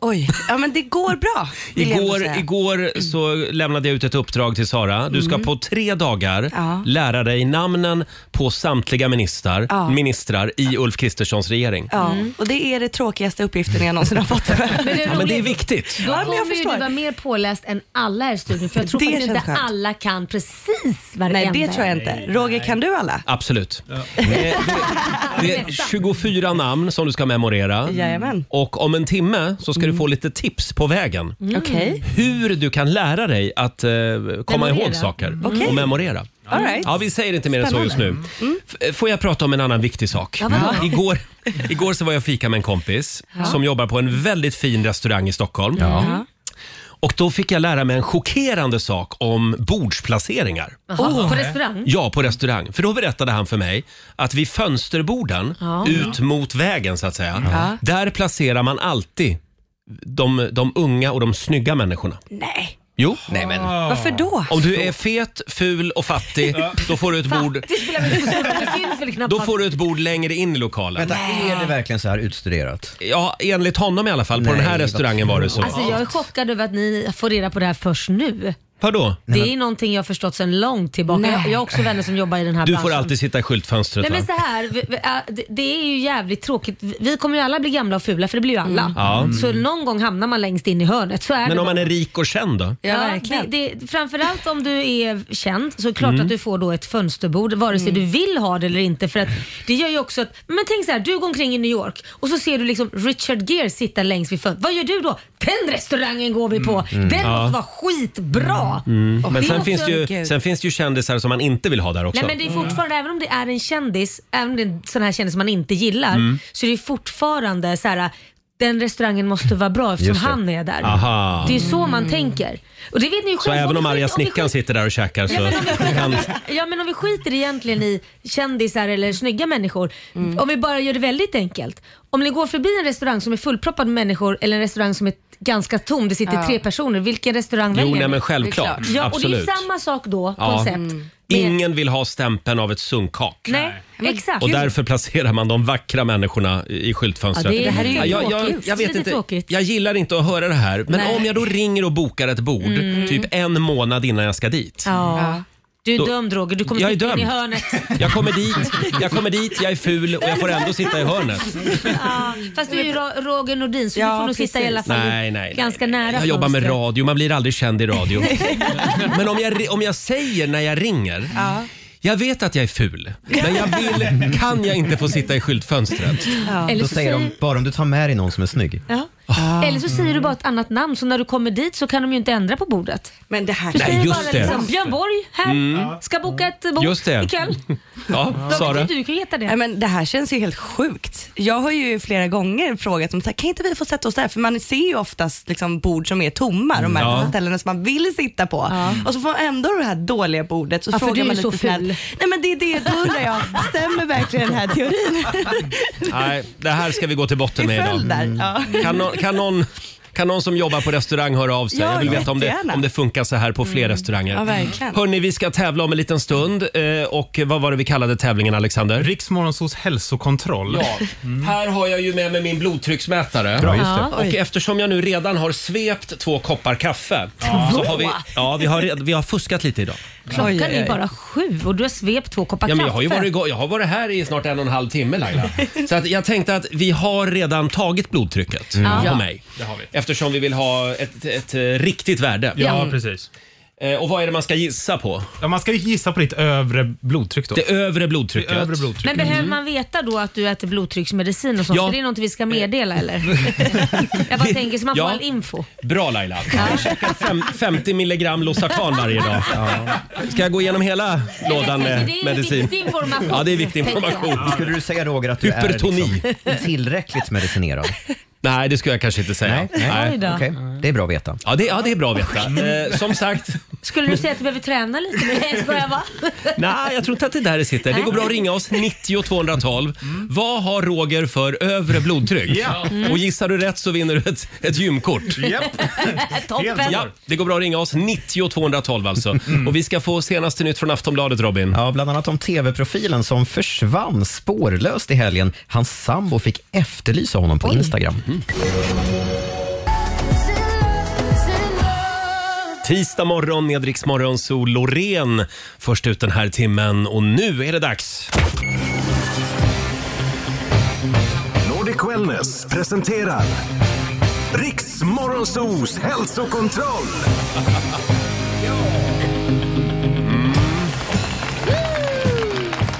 Speaker 6: Oj, ja men det går bra. vill jag ändå
Speaker 1: Igår,
Speaker 6: säga.
Speaker 1: igår så lämnade jag ut ett uppdrag till Sara. Du ska
Speaker 6: Mm.
Speaker 1: på tre dagar
Speaker 6: Ja.
Speaker 1: lära dig namnen på samtliga ministrar,
Speaker 6: Ja.
Speaker 1: ministrar i Ulf Kristerssons regering.
Speaker 6: Ja, och det är det tråkigaste uppgiften jag någonsin har fått.
Speaker 4: Mm. Men
Speaker 1: Ja, men det är viktigt.
Speaker 4: Då
Speaker 6: Ja, men jag
Speaker 4: kommer ju du
Speaker 6: förstår.
Speaker 4: vara mer påläst än alla här i studion för jag tror
Speaker 6: Det
Speaker 4: faktiskt
Speaker 6: känns
Speaker 4: inte
Speaker 6: skönt.
Speaker 4: alla kan precis
Speaker 6: Nej,
Speaker 4: varenda.
Speaker 6: det tror jag inte. Roger, kan du alla?
Speaker 1: Absolut. Eh, Det, det är 24 namn som du ska memorera.
Speaker 6: Jajamän.
Speaker 1: Och om en timme så ska du få lite tips på vägen.
Speaker 6: Mm. Okej.
Speaker 1: Hur du kan lära dig att eh, komma
Speaker 6: Memorera. Mm.
Speaker 1: ihåg saker
Speaker 6: Okej.
Speaker 1: och memorera.
Speaker 6: All right. Mm.
Speaker 1: Ja, vi säger inte mer än så just nu. F- Får jag prata om en annan viktig sak?
Speaker 6: Ja, vadå?
Speaker 1: Mm. Igår, igår så var jag och fika med en kompis
Speaker 6: Ja.
Speaker 1: som jobbar på en väldigt fin restaurang i Stockholm.
Speaker 6: Ja.
Speaker 1: Och då fick jag lära mig en chockerande sak om bordsplaceringar. Oh.
Speaker 4: Jaha, på restaurang?
Speaker 1: Ja, på restaurang. För då berättade han för mig att vid fönsterborden,
Speaker 4: Ja.
Speaker 1: ut mot vägen så att säga,
Speaker 6: Ja.
Speaker 1: där placerar man alltid de, de unga och de snygga människorna.
Speaker 6: Nej,
Speaker 1: Jo. Nej, men.
Speaker 6: varför då?
Speaker 1: Om du är fet, ful och fattig, då får du ett bord
Speaker 4: Det spelar väl inte så stor roll, det finns väl knappt
Speaker 1: då får du ett bord längre in i lokalen.
Speaker 3: Vänta, är det verkligen så här utstuderat?
Speaker 1: Ja, enligt honom i alla fall. På
Speaker 3: Nej,
Speaker 1: den här
Speaker 3: vad
Speaker 1: restaurangen var det så.
Speaker 4: Alltså jag är chockad över att ni får reda på det här först nu.
Speaker 1: Vadå?
Speaker 4: Det är någonting jag har förstått sedan långt tillbaka.
Speaker 6: Nej.
Speaker 4: Jag, jag har också vänner som jobbar i den här
Speaker 1: Du
Speaker 4: branschen.
Speaker 1: får alltid sitta i skyltfönstret
Speaker 4: Nej men
Speaker 1: va?
Speaker 4: så här, vi- vi- äh, det- det är ju jävligt tråkigt. Vi- Vi kommer ju alla bli gamla och fula för det blir ju alla.
Speaker 1: Mm. Ja.
Speaker 4: Så någon gång hamnar man längst in i hörnet. Så är
Speaker 1: Men
Speaker 4: det
Speaker 1: om
Speaker 4: bara.
Speaker 1: man är rik och känd då?
Speaker 6: Ja, verkligen.
Speaker 4: Det, det, framförallt om du är känd så är det
Speaker 1: Mm.
Speaker 4: klart att du får då ett fönsterbord vare sig du vill ha det eller inte. För att det gör ju också att, men tänk så här, du går omkring i New York och så ser du liksom Richard Gere sitta längst vid fönstret. Vad gör du då? Den restaurangen går vi
Speaker 1: Mm.
Speaker 4: på. Den måste vara skitbra. Och
Speaker 1: Men
Speaker 4: det är
Speaker 1: sen
Speaker 4: också-
Speaker 1: finns, det ju,
Speaker 6: gud.
Speaker 1: sen finns det ju kändisar som man inte vill ha där också. Mm.
Speaker 4: Nej men det är fortfarande, även om det är en kändis, även om det är en sån här kändis man inte gillar,
Speaker 1: Mm.
Speaker 4: så är det fortfarande så här. Den restaurangen måste vara bra eftersom
Speaker 3: Just det.
Speaker 4: han är där.
Speaker 1: Aha.
Speaker 4: Det är ju så man tänker. Och det vet ni ju
Speaker 1: Så
Speaker 4: själva.
Speaker 1: även
Speaker 4: vi
Speaker 1: om
Speaker 4: skiter-
Speaker 1: arga
Speaker 4: vi
Speaker 1: snickaren
Speaker 4: skiter-
Speaker 1: sitter där och käkar
Speaker 4: Ja
Speaker 1: så
Speaker 4: men, om vi
Speaker 1: kan...
Speaker 4: skiter, ja men om vi skiter egentligen i kändisar eller snygga människor. Om vi bara gör det väldigt enkelt. Om ni går förbi en restaurang som är fullproppad med människor eller en restaurang som är ganska tom, det sitter tre personer. Vilken restaurang
Speaker 1: Jo,
Speaker 4: väljer
Speaker 1: nej
Speaker 4: ni?
Speaker 1: men självklart.
Speaker 4: Ja, och det är ju
Speaker 1: Absolut.
Speaker 4: samma sak då,
Speaker 1: Ja.
Speaker 4: koncept. med-
Speaker 1: Ingen vill ha stämpeln av ett sunkak.
Speaker 4: Nej, exakt.
Speaker 1: Och därför placerar man de vackra människorna i i skyltfönstret.
Speaker 4: Ja, det är- det här är ju
Speaker 1: Ja, jag, jag,
Speaker 4: tråkigt.
Speaker 1: jag,
Speaker 4: Lite
Speaker 1: vet inte,
Speaker 4: tråkigt.
Speaker 1: jag gillar inte att höra det här, men
Speaker 6: Nej.
Speaker 1: om jag då ringer och bokar ett bord
Speaker 4: Mm.
Speaker 1: typ en månad innan jag ska dit.
Speaker 4: Ja. Du är
Speaker 1: Då-
Speaker 4: dömd Roger, du kommer
Speaker 1: Jag är
Speaker 4: sitta in i
Speaker 1: dömd.
Speaker 4: hörnet.
Speaker 1: Jag kommer dit, jag kommer dit, jag är ful och jag får ändå sitta i hörnet.
Speaker 4: Ja. Fast du är ju Ro- Roger Nordin så du
Speaker 6: Ja,
Speaker 4: får nog sitta i
Speaker 6: precis.
Speaker 4: alla fall
Speaker 1: Nej, nej, nej.
Speaker 4: ganska nära
Speaker 1: Jag jobbar med
Speaker 4: fönstret.
Speaker 1: radio, man blir aldrig känd i radio. Men om jag, om jag säger när jag ringer jag vet att jag är ful, men jag vill, kan jag inte få sitta i skyltfönstret?
Speaker 4: Eller
Speaker 3: Då
Speaker 4: så,
Speaker 3: säger de
Speaker 4: säger,
Speaker 3: bara om du tar med dig någon som är snygg.
Speaker 4: ja.
Speaker 6: Ah.
Speaker 4: Eller så säger du bara ett annat namn så när du kommer dit så kan de ju inte ändra på bordet.
Speaker 6: Men det här
Speaker 4: Du
Speaker 1: Nej,
Speaker 4: säger
Speaker 1: just
Speaker 4: bara
Speaker 1: det. Mm.
Speaker 4: liksom Björn Borg här, ska boka ett bord
Speaker 1: Just det.
Speaker 4: ikväll.
Speaker 1: Ja,
Speaker 4: Då
Speaker 1: Sara?
Speaker 4: vet ju Du kan ju heta
Speaker 6: Nej,
Speaker 4: det.
Speaker 6: men det här känns ju helt sjukt. Jag har ju flera gånger frågat om så här, kan inte vi få sätta oss där? För man ser ju oftast liksom bord som är tomma, de här
Speaker 1: Mm. Ja.
Speaker 6: ställena som man vill sitta på. Och så får man ändå det här dåliga bordet. Så
Speaker 4: Ja, för
Speaker 6: frågar
Speaker 4: du är
Speaker 6: man
Speaker 4: ju
Speaker 6: lite
Speaker 4: så
Speaker 6: snällt.
Speaker 4: ful.
Speaker 6: Nej men det är det, då undrar jag, stämmer verkligen den här teorin?
Speaker 1: Nej, det här ska vi gå till botten
Speaker 6: I
Speaker 1: med idag.
Speaker 6: följd där. Ja.
Speaker 1: Kan, nå- kan, någon, kan någon som jobbar på restaurang höra av sig?
Speaker 6: Ja,
Speaker 1: jag vill veta om det,
Speaker 6: jättegärna. Mm.
Speaker 1: om det funkar så här på fler restauranger.
Speaker 6: Ja, verkligen.
Speaker 1: Hörni, vi ska tävla om en liten stund. Eh, Och vad var det vi kallade tävlingen, Alexander?
Speaker 9: Riksmorgonsos hälsokontroll.
Speaker 1: Ja,
Speaker 9: Mm.
Speaker 1: här har jag ju med mig min blodtrycksmätare.
Speaker 4: Ja.
Speaker 1: Och eftersom jag nu redan har svept två koppar kaffe. Så har vi, ja, vi har, red- vi har fuskat lite idag.
Speaker 6: Oj,
Speaker 4: Klockan
Speaker 6: oj,
Speaker 4: är
Speaker 6: oj.
Speaker 4: bara sju och du har svept två koppar
Speaker 1: Ja, men jag,
Speaker 4: kaffe.
Speaker 1: har ju varit, igång- jag har varit här i snart en och en halv timme Laila. Så att jag tänkte att vi har redan tagit blodtrycket på
Speaker 9: Mm.
Speaker 4: Ja.
Speaker 1: mig.
Speaker 9: Det har vi.
Speaker 1: Eftersom vi vill ha ett, ett eh, riktigt värde.
Speaker 9: Ja, precis.
Speaker 1: Eh, Och vad är det man ska gissa på?
Speaker 9: Ja, man ska ju gissa på ditt övre blodtryck då.
Speaker 1: Det övre
Speaker 9: Det
Speaker 1: blodtrycket.
Speaker 9: övre Mm. blodtryck.
Speaker 4: Men behöver man veta då att du äter blodtrycksmedicin och sånt?
Speaker 1: Ja.
Speaker 4: Är det något vi ska meddela eller? jag bara tänker så man får
Speaker 1: Ja.
Speaker 4: all info.
Speaker 1: Bra Laila. Jag käkar fem, 50 milligram Losartan varje dag. Ska jag gå igenom hela lådan med
Speaker 4: alltså, det är
Speaker 1: medicin?
Speaker 4: viktig information.
Speaker 1: Ja, det är viktig
Speaker 4: tänker jag.
Speaker 1: information.
Speaker 3: Skulle du säga Roger att du
Speaker 1: Hypertoni.
Speaker 3: är liksom tillräckligt medicinerad?
Speaker 1: Nej, det skulle jag kanske inte säga.
Speaker 4: Oj då.
Speaker 3: Okej, det är bra att veta. Mm.
Speaker 1: Ja, det, ja, det är bra att veta. Eh, som sagt,
Speaker 4: Skulle du säga att du behöver träna lite? Nej, skojar jag va?
Speaker 1: nej, jag tror inte att det är där det sitter. Det går bra att ringa oss, 90 212. Vad har Roger för övre blodtryck?
Speaker 9: Ja.
Speaker 3: Mm.
Speaker 1: Och gissar du rätt så vinner du ett, ett gymkort.
Speaker 9: Japp.
Speaker 4: Toppen.
Speaker 9: Helt
Speaker 1: Ja, det går bra att ringa oss, 90 212 alltså.
Speaker 3: Mm.
Speaker 1: Och vi ska få senaste nytt från Aftonbladet, Robin.
Speaker 3: Ja, bland annat om tv-profilen som försvann
Speaker 1: Mm.
Speaker 3: spårlöst i helgen. Hans sambo fick efterlysa honom på Instagram.
Speaker 1: Tisdag morgon med Rix Morgon, Sol Loreen först ut den här timmen och nu är det dags.
Speaker 10: Nordic Wellness presenterar Riks Morgonzoos hälsokontroll.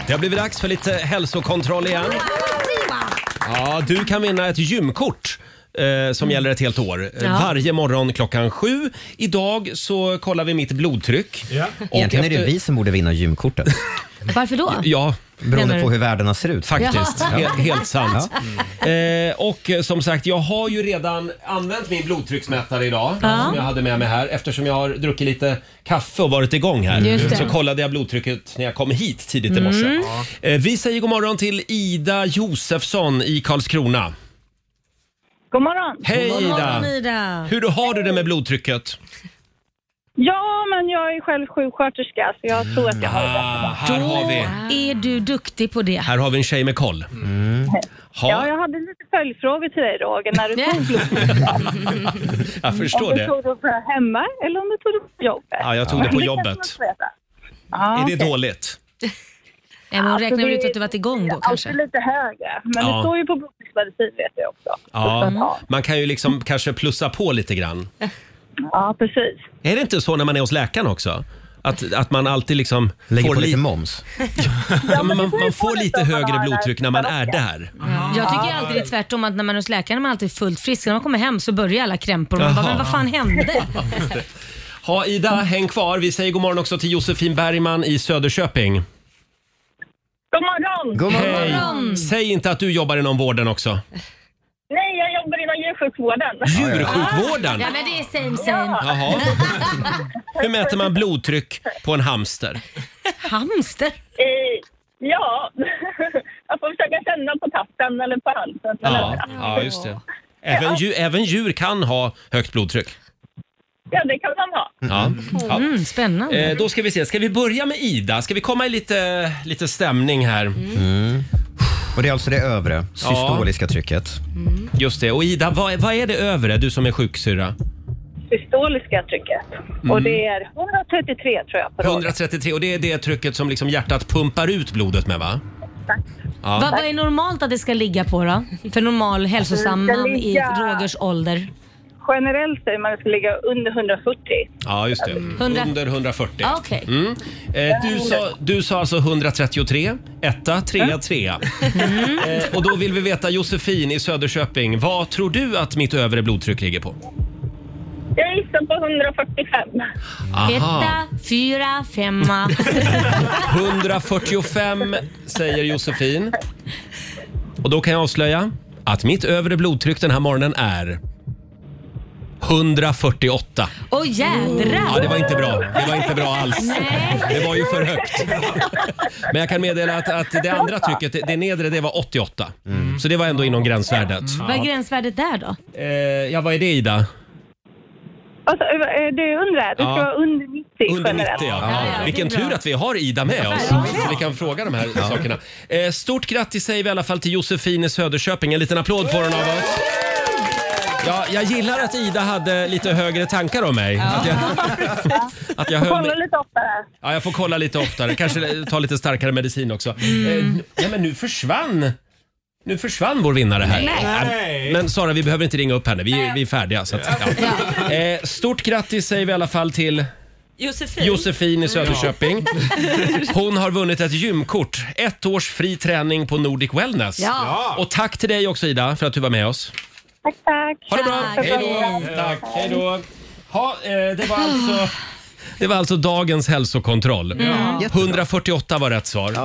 Speaker 1: Det har blivit dags för lite hälsokontroll igen. Ja, du kan vinna ett gymkort. eh, Som gäller ett helt år.
Speaker 4: Ja.
Speaker 1: Varje morgon klockan sju. Idag så kollar vi mitt blodtryck.
Speaker 9: Ja.
Speaker 1: Och
Speaker 3: Egentligen är det
Speaker 1: efter-
Speaker 3: vi som borde vinna gymkortet.
Speaker 4: Varför då?
Speaker 1: Ja,
Speaker 3: Beroende
Speaker 4: Menar
Speaker 3: på
Speaker 4: du?
Speaker 3: hur världarna ser ut.
Speaker 1: faktiskt.
Speaker 4: Ja.
Speaker 1: He- helt sant. Eh, och eh, som sagt, jag har ju redan använt min blodtrycksmätare idag
Speaker 4: Ja.
Speaker 1: som jag hade med mig här. Eftersom jag har druckit lite kaffe och varit igång
Speaker 4: Just
Speaker 1: här
Speaker 4: det. Mm.
Speaker 1: så kollade jag blodtrycket när jag kom hit tidigt i morse. Eh, vi säger god morgon till Ida Josefsson i Karlskrona.
Speaker 11: God morgon.
Speaker 1: Hej
Speaker 4: God morgon,
Speaker 1: Ida!
Speaker 4: Ida.
Speaker 1: Hur har du det med blodtrycket?
Speaker 11: Ja, men jag är själv sjuksköterska så jag tror att jag har det.
Speaker 1: Ah, här har vi
Speaker 4: Är du duktig på det?
Speaker 1: här har vi en tjej med koll.
Speaker 11: Mm. Ja,
Speaker 1: Ha,
Speaker 11: jag hade lite följdfrågor till dig Roger när du tog blodprov.
Speaker 1: jag förstår
Speaker 11: Om du
Speaker 1: det.
Speaker 11: tog det hemma eller om du tog det på jobbet.
Speaker 1: Ja, jag tog det på
Speaker 11: kan
Speaker 1: jobbet.
Speaker 11: man inte veta. Ja,
Speaker 1: Är
Speaker 11: okej.
Speaker 1: det dåligt?
Speaker 4: Nej, men hon
Speaker 11: Alltså,
Speaker 4: räknar
Speaker 11: det-
Speaker 4: ut att du varit igång då
Speaker 11: Alltid
Speaker 4: kanske?
Speaker 11: lite högre, men
Speaker 1: Ja.
Speaker 11: det står ju på blodprovsmedicin vet jag också.
Speaker 1: Ja,
Speaker 4: Mm.
Speaker 1: man kan ju liksom kanske plussa på lite grann.
Speaker 11: Ja, precis.
Speaker 1: Är det inte så när man är hos läkaren också? Att, att man alltid liksom
Speaker 3: Lägger
Speaker 1: får,
Speaker 3: på lite
Speaker 1: li-
Speaker 3: moms.
Speaker 1: ja, men
Speaker 11: det
Speaker 1: man,
Speaker 11: beror ju
Speaker 1: man
Speaker 11: på
Speaker 1: får
Speaker 11: lite
Speaker 1: lite
Speaker 11: om man
Speaker 1: högre
Speaker 11: har
Speaker 1: blodtryck när man är
Speaker 11: läkare.
Speaker 1: där.
Speaker 4: Jag tycker ju alltid det är tvärtom att när man är hos läkaren är man alltid fullt frisk. När man kommer hem så börjar alla krämpor och man bara,
Speaker 1: Jaha.
Speaker 4: men vad fan hände?
Speaker 1: Ha Ida, häng kvar. Vi säger god morgon också till Josefin Bergman i Söderköping.
Speaker 11: God morgon!
Speaker 3: God morgon.
Speaker 1: Hej! Säg inte att du jobbar inom vården också.
Speaker 11: Nej, jag jobbar inom djursjukvården.
Speaker 1: Djursjukvården?
Speaker 4: Ja men det är same same.
Speaker 1: Jaha. Hur mäter man blodtryck på en hamster?
Speaker 4: Hamster?
Speaker 11: Eh, Ja, jag får försöka känna på tassen eller på halsen.
Speaker 1: Ja, ja just det. Även, djur, även djur kan ha högt blodtryck.
Speaker 11: ja, det kan man ha.
Speaker 1: Ja. Ja.
Speaker 4: Mm, spännande.
Speaker 1: Eh, då ska vi se. Ska vi börja med Ida? Ska vi komma i lite, lite stämning här?
Speaker 3: Mm. Och det är alltså det övre, systoliska trycket.
Speaker 1: Just det. Och Ida, vad, vad är det övre? Du som är sjuksyrra.
Speaker 11: systoliska trycket. Och
Speaker 1: Mm.
Speaker 11: det är 133 tror jag på dagen.
Speaker 1: 133 och det är det trycket som liksom hjärtat pumpar ut blodet med va?
Speaker 4: Vad, vad är normalt att det ska ligga på då? För normal hälsosam
Speaker 11: Alltså, Det ska
Speaker 4: man i
Speaker 11: ligga-
Speaker 4: Rogers ålder.
Speaker 11: Mm, Generellt säger man att det ska ligga under 140.
Speaker 1: Ja, just det. Mm.
Speaker 4: Hundra-
Speaker 1: Under 140.
Speaker 4: Ah, Okej.
Speaker 1: Mm. Eh, du, sa, du sa alltså 133, etta, trea, trea.
Speaker 4: Mm.
Speaker 1: Eh, och då vill vi veta Josefin i Söderköping, vad tror du att mitt övre blodtryck ligger på?
Speaker 11: Jag gissar på 145.
Speaker 1: Aha,
Speaker 4: Etta, fyra, femma.
Speaker 1: 145 säger Josefin. Och då kan jag avslöja att mitt övre blodtryck den här morgonen är 148.
Speaker 4: Åh
Speaker 1: Ja, det
Speaker 4: jädrar!
Speaker 1: var inte bra. Det var inte bra alls. Det var ju för högt. Men jag kan meddela att, att det andra trycket, det, det nedre, det var 88. Så det var ändå inom gränsvärdet.
Speaker 4: Vad är gränsvärdet där då?
Speaker 1: Eh, ja, vad är det Ida?
Speaker 11: Alltså, eh, det undrar jag. Det ska
Speaker 1: Ja.
Speaker 11: vara under 90
Speaker 1: Under 90
Speaker 11: generellt.
Speaker 1: ja.
Speaker 4: ja, det är
Speaker 1: Vilken
Speaker 4: bra.
Speaker 1: tur att vi har Ida med oss. Så vi kan fråga de här sakerna. Eh, stort grattis säger vi i alla fall till Josefin i Söderköping. En liten applåd får hon av oss. Ja, jag gillar att Ida hade lite högre tankar om mig. Att jag, att jag höll,
Speaker 11: Kolla lite oftare.
Speaker 1: Ja, jag får kolla lite oftare.
Speaker 4: Mm.
Speaker 1: Kanske ta lite starkare medicin också. Eh, ja, men nu försvann... Nu försvann vår vinnare här.
Speaker 9: Nej.
Speaker 1: Men Sara, vi behöver inte ringa upp henne. Vi, är- vi är färdiga. Så att, ja. eh, stort grattis säger vi i alla fall till
Speaker 6: Josefin.
Speaker 1: Josefin i Söderköping. Hon har vunnit ett gymkort. Ett års fri träning på Nordic Wellness.
Speaker 4: Ja.
Speaker 1: Och tack till dig också Ida för att du var med oss.
Speaker 11: Tack, tack.
Speaker 1: Ha det bra!
Speaker 4: Tack.
Speaker 1: Hej då! Tack, hej då! Ha, eh, det var alltså... Det var alltså dagens hälsokontroll. 148 var rätt svar.
Speaker 4: Ja.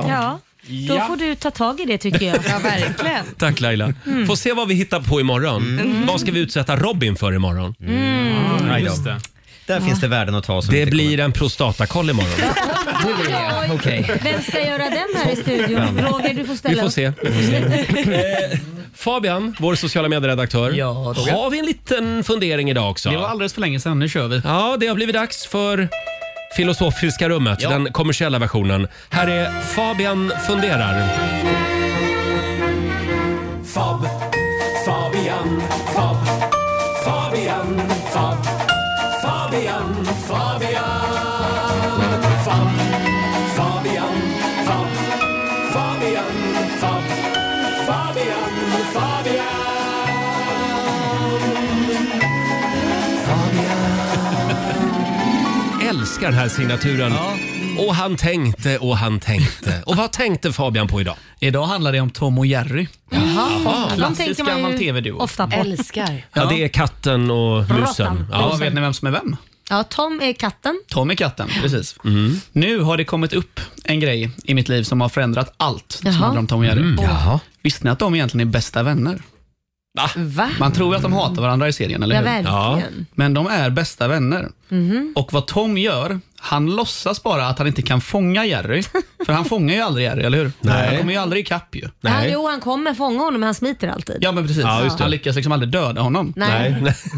Speaker 4: Då
Speaker 1: Ja.
Speaker 4: får du ta tag i det tycker jag.
Speaker 6: Ja, verkligen.
Speaker 1: Tack Laila.
Speaker 9: Mm.
Speaker 1: Får se vad vi hittar på imorgon. Vad ska vi utsätta Robin för imorgon?
Speaker 9: Mm, just det.
Speaker 3: Där finns det värden att ta. Som
Speaker 1: Det
Speaker 3: inte
Speaker 1: blir en prostatakoll imorgon.
Speaker 4: Oj, Vem ska göra den här i studion? Roger, du får
Speaker 1: Vi
Speaker 4: ställa
Speaker 1: får
Speaker 4: upp.
Speaker 1: se. Vi får se. Eh, Fabian, vår sociala medieredaktör.
Speaker 7: Ja, Roger.
Speaker 1: har vi en liten fundering idag också?
Speaker 7: Det var alldeles för länge sedan, nu kör vi.
Speaker 1: Ja, det har blivit dags för Filosofiska rummet,
Speaker 7: Ja.
Speaker 1: den kommersiella versionen. Här är Fabian funderar.
Speaker 5: Fab, Fabian, Fab, Fabian, Fab, Fabian, Fab. Fabian, Fab, Fabian, Fab, Fabian, Fabian.
Speaker 1: Älskar den här signaturen. Och han tänkte och han tänkte. Och vad tänkte Fabian på idag?
Speaker 7: Idag handlar det om Tom och Jerry.
Speaker 4: Jaha, Mm. de
Speaker 7: Klassisk
Speaker 4: tänker man
Speaker 7: gammal
Speaker 4: ju
Speaker 7: TV-duo.
Speaker 4: ofta på. Älskar.
Speaker 1: Ja, det är katten och musen.
Speaker 4: Råttan.
Speaker 7: Ja, vet ni vem som är vem?
Speaker 4: Ja, Tom är katten.
Speaker 7: Tom är katten, precis.
Speaker 1: Mhm.
Speaker 7: Nu har det kommit upp en grej i mitt liv som har förändrat allt
Speaker 4: Jaha.
Speaker 7: som handlar om Tom och Jerry.
Speaker 4: Mm. Jaha.
Speaker 7: Visste ni att de egentligen är bästa vänner?
Speaker 4: Va?
Speaker 7: Man tror ju att de hatar varandra i serien, eller
Speaker 4: Ja,
Speaker 7: hur?
Speaker 4: verkligen. Ja.
Speaker 7: Men de är bästa vänner.
Speaker 4: Mhm.
Speaker 7: Och vad Tom gör, han låtsas bara att han inte kan fånga Jerry. För han fångar ju aldrig Jerry, eller hur?
Speaker 1: Nej.
Speaker 7: Han kommer ju aldrig ikapp ju.
Speaker 4: Ja, jo, han kommer fånga honom men han smiter alltid.
Speaker 7: Ja men precis,
Speaker 4: Ja, just det.
Speaker 7: han lyckas liksom aldrig döda honom.
Speaker 4: Nej.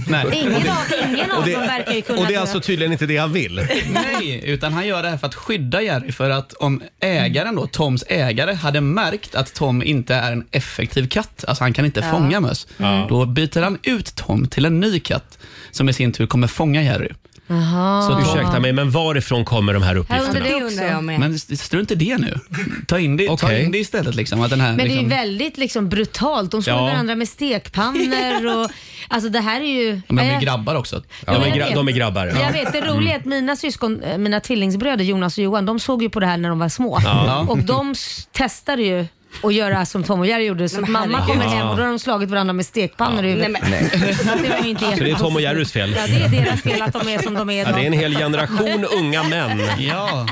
Speaker 1: Nej.
Speaker 4: Ingen av, ingen av dem verkar ju kunna dö.
Speaker 1: tydligen inte det han vill?
Speaker 7: Nej, utan han gör det här för att skydda Jerry. För att om ägaren då, Toms ägare, hade märkt att Tom inte är en effektiv katt, alltså han kan inte
Speaker 12: Ja.
Speaker 7: fånga möss,
Speaker 12: Mm.
Speaker 7: då byter han ut Tom till en ny katt som i sin tur kommer fånga Jerry.
Speaker 4: Jaha.
Speaker 7: Så
Speaker 1: Ursäkta mig, men varifrån kommer de här uppgifterna?
Speaker 4: Ja, det undrar jag med.
Speaker 7: Men st- strunt i det nu. Ta in det, ta in det istället. Liksom, att den här,
Speaker 4: Men det är ju
Speaker 7: liksom,
Speaker 4: väldigt liksom, brutalt. De slår
Speaker 7: Ja.
Speaker 4: varandra med stekpannor och... Alltså det här är ju...
Speaker 7: Ja, men de
Speaker 4: Ja,
Speaker 7: är
Speaker 4: jag-
Speaker 7: grabbar också.
Speaker 4: Ja, De är jag gra- vet. de är
Speaker 1: grabbar. Mm.
Speaker 4: Jag vet, det roliga är att mina syskon, eh, mina tvillingbröder Jonas och Johan, de såg ju på det här när de var små.
Speaker 7: Ja.
Speaker 4: Och de s- testade ju att göra som Tom och Jerry gjorde. Så
Speaker 6: Nej,
Speaker 4: att
Speaker 6: men
Speaker 4: mamma
Speaker 1: herregud.
Speaker 4: kommer hem och då har de slagit varandra med stekpannor i huvudet.
Speaker 1: Nej, men-
Speaker 4: Så att det var ju inte
Speaker 1: Så det är Tom och Jerrys fel?
Speaker 4: Ja, det är deras fel att de är som de är
Speaker 1: Ja,
Speaker 4: idag.
Speaker 1: det är en hel generation unga män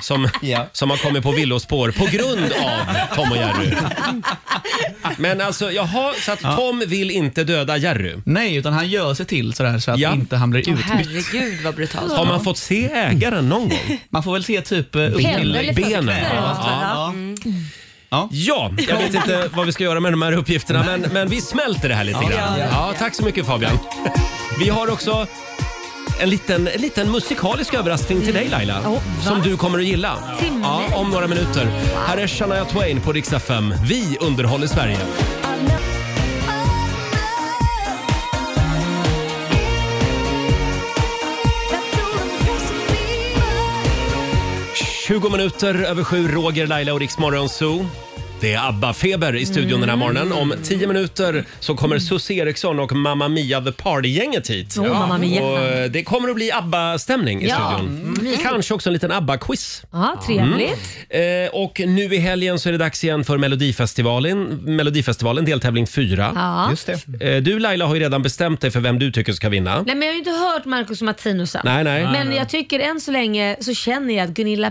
Speaker 1: som, som har kommit på villospår på grund av Tom och Jerry. Men alltså, jaha, så att Tom vill inte döda Jerry?
Speaker 7: Nej, utan han gör sig till sådär så att inte han blir utbytt.
Speaker 6: Herregud vad
Speaker 4: alltså.
Speaker 6: brutalt.
Speaker 1: Mm. Har man fått se ägaren någon gång?
Speaker 7: Man får väl se typ eh, upp till-
Speaker 1: Benen. Ja, ja.
Speaker 7: Ja.
Speaker 2: Mm.
Speaker 1: Ja, jag vet inte vad vi ska göra med de här uppgifterna men, men vi smälter det här lite
Speaker 7: Ja.
Speaker 1: grann.
Speaker 7: Ja.
Speaker 1: Ja, tack så mycket Fabian. Vi har också en liten, en liten musikalisk överraskning till dig Laila. som du kommer att gilla.
Speaker 5: Till mig?
Speaker 1: Ja, om några minuter. Här är Shania Twain på Rix FM. Vi underhåller Sverige. ...20 minuter över sju, Roger, Laila och Rix Morgon Zoo. Det är ABBA-feber i studion
Speaker 4: Mm.
Speaker 1: den här morgonen. Om 10 minuter så kommer Susie Eriksson och Mamma Mia The Party-gänget hit.
Speaker 4: Åh, Mamma Mia.
Speaker 1: Och eh, det kommer att bli ABBA-stämning i
Speaker 4: Ja.
Speaker 1: studion.
Speaker 4: Mm.
Speaker 1: Kanske också en liten ABBA-quiz.
Speaker 4: Ja, trevligt.
Speaker 1: Mm. Eh, och nu i helgen så är det dags igen för Melodifestivalen, Melodifestivalen deltävling 4.
Speaker 4: Ja. Just
Speaker 1: det. Eh, du Laila har ju redan bestämt dig för vem du tycker ska vinna.
Speaker 4: Nej, men jag har ju inte hört Marcus och Martinus än.
Speaker 1: Nej, nej.
Speaker 4: Men
Speaker 1: Nej.
Speaker 4: jag tycker än så länge så känner jag att Gunilla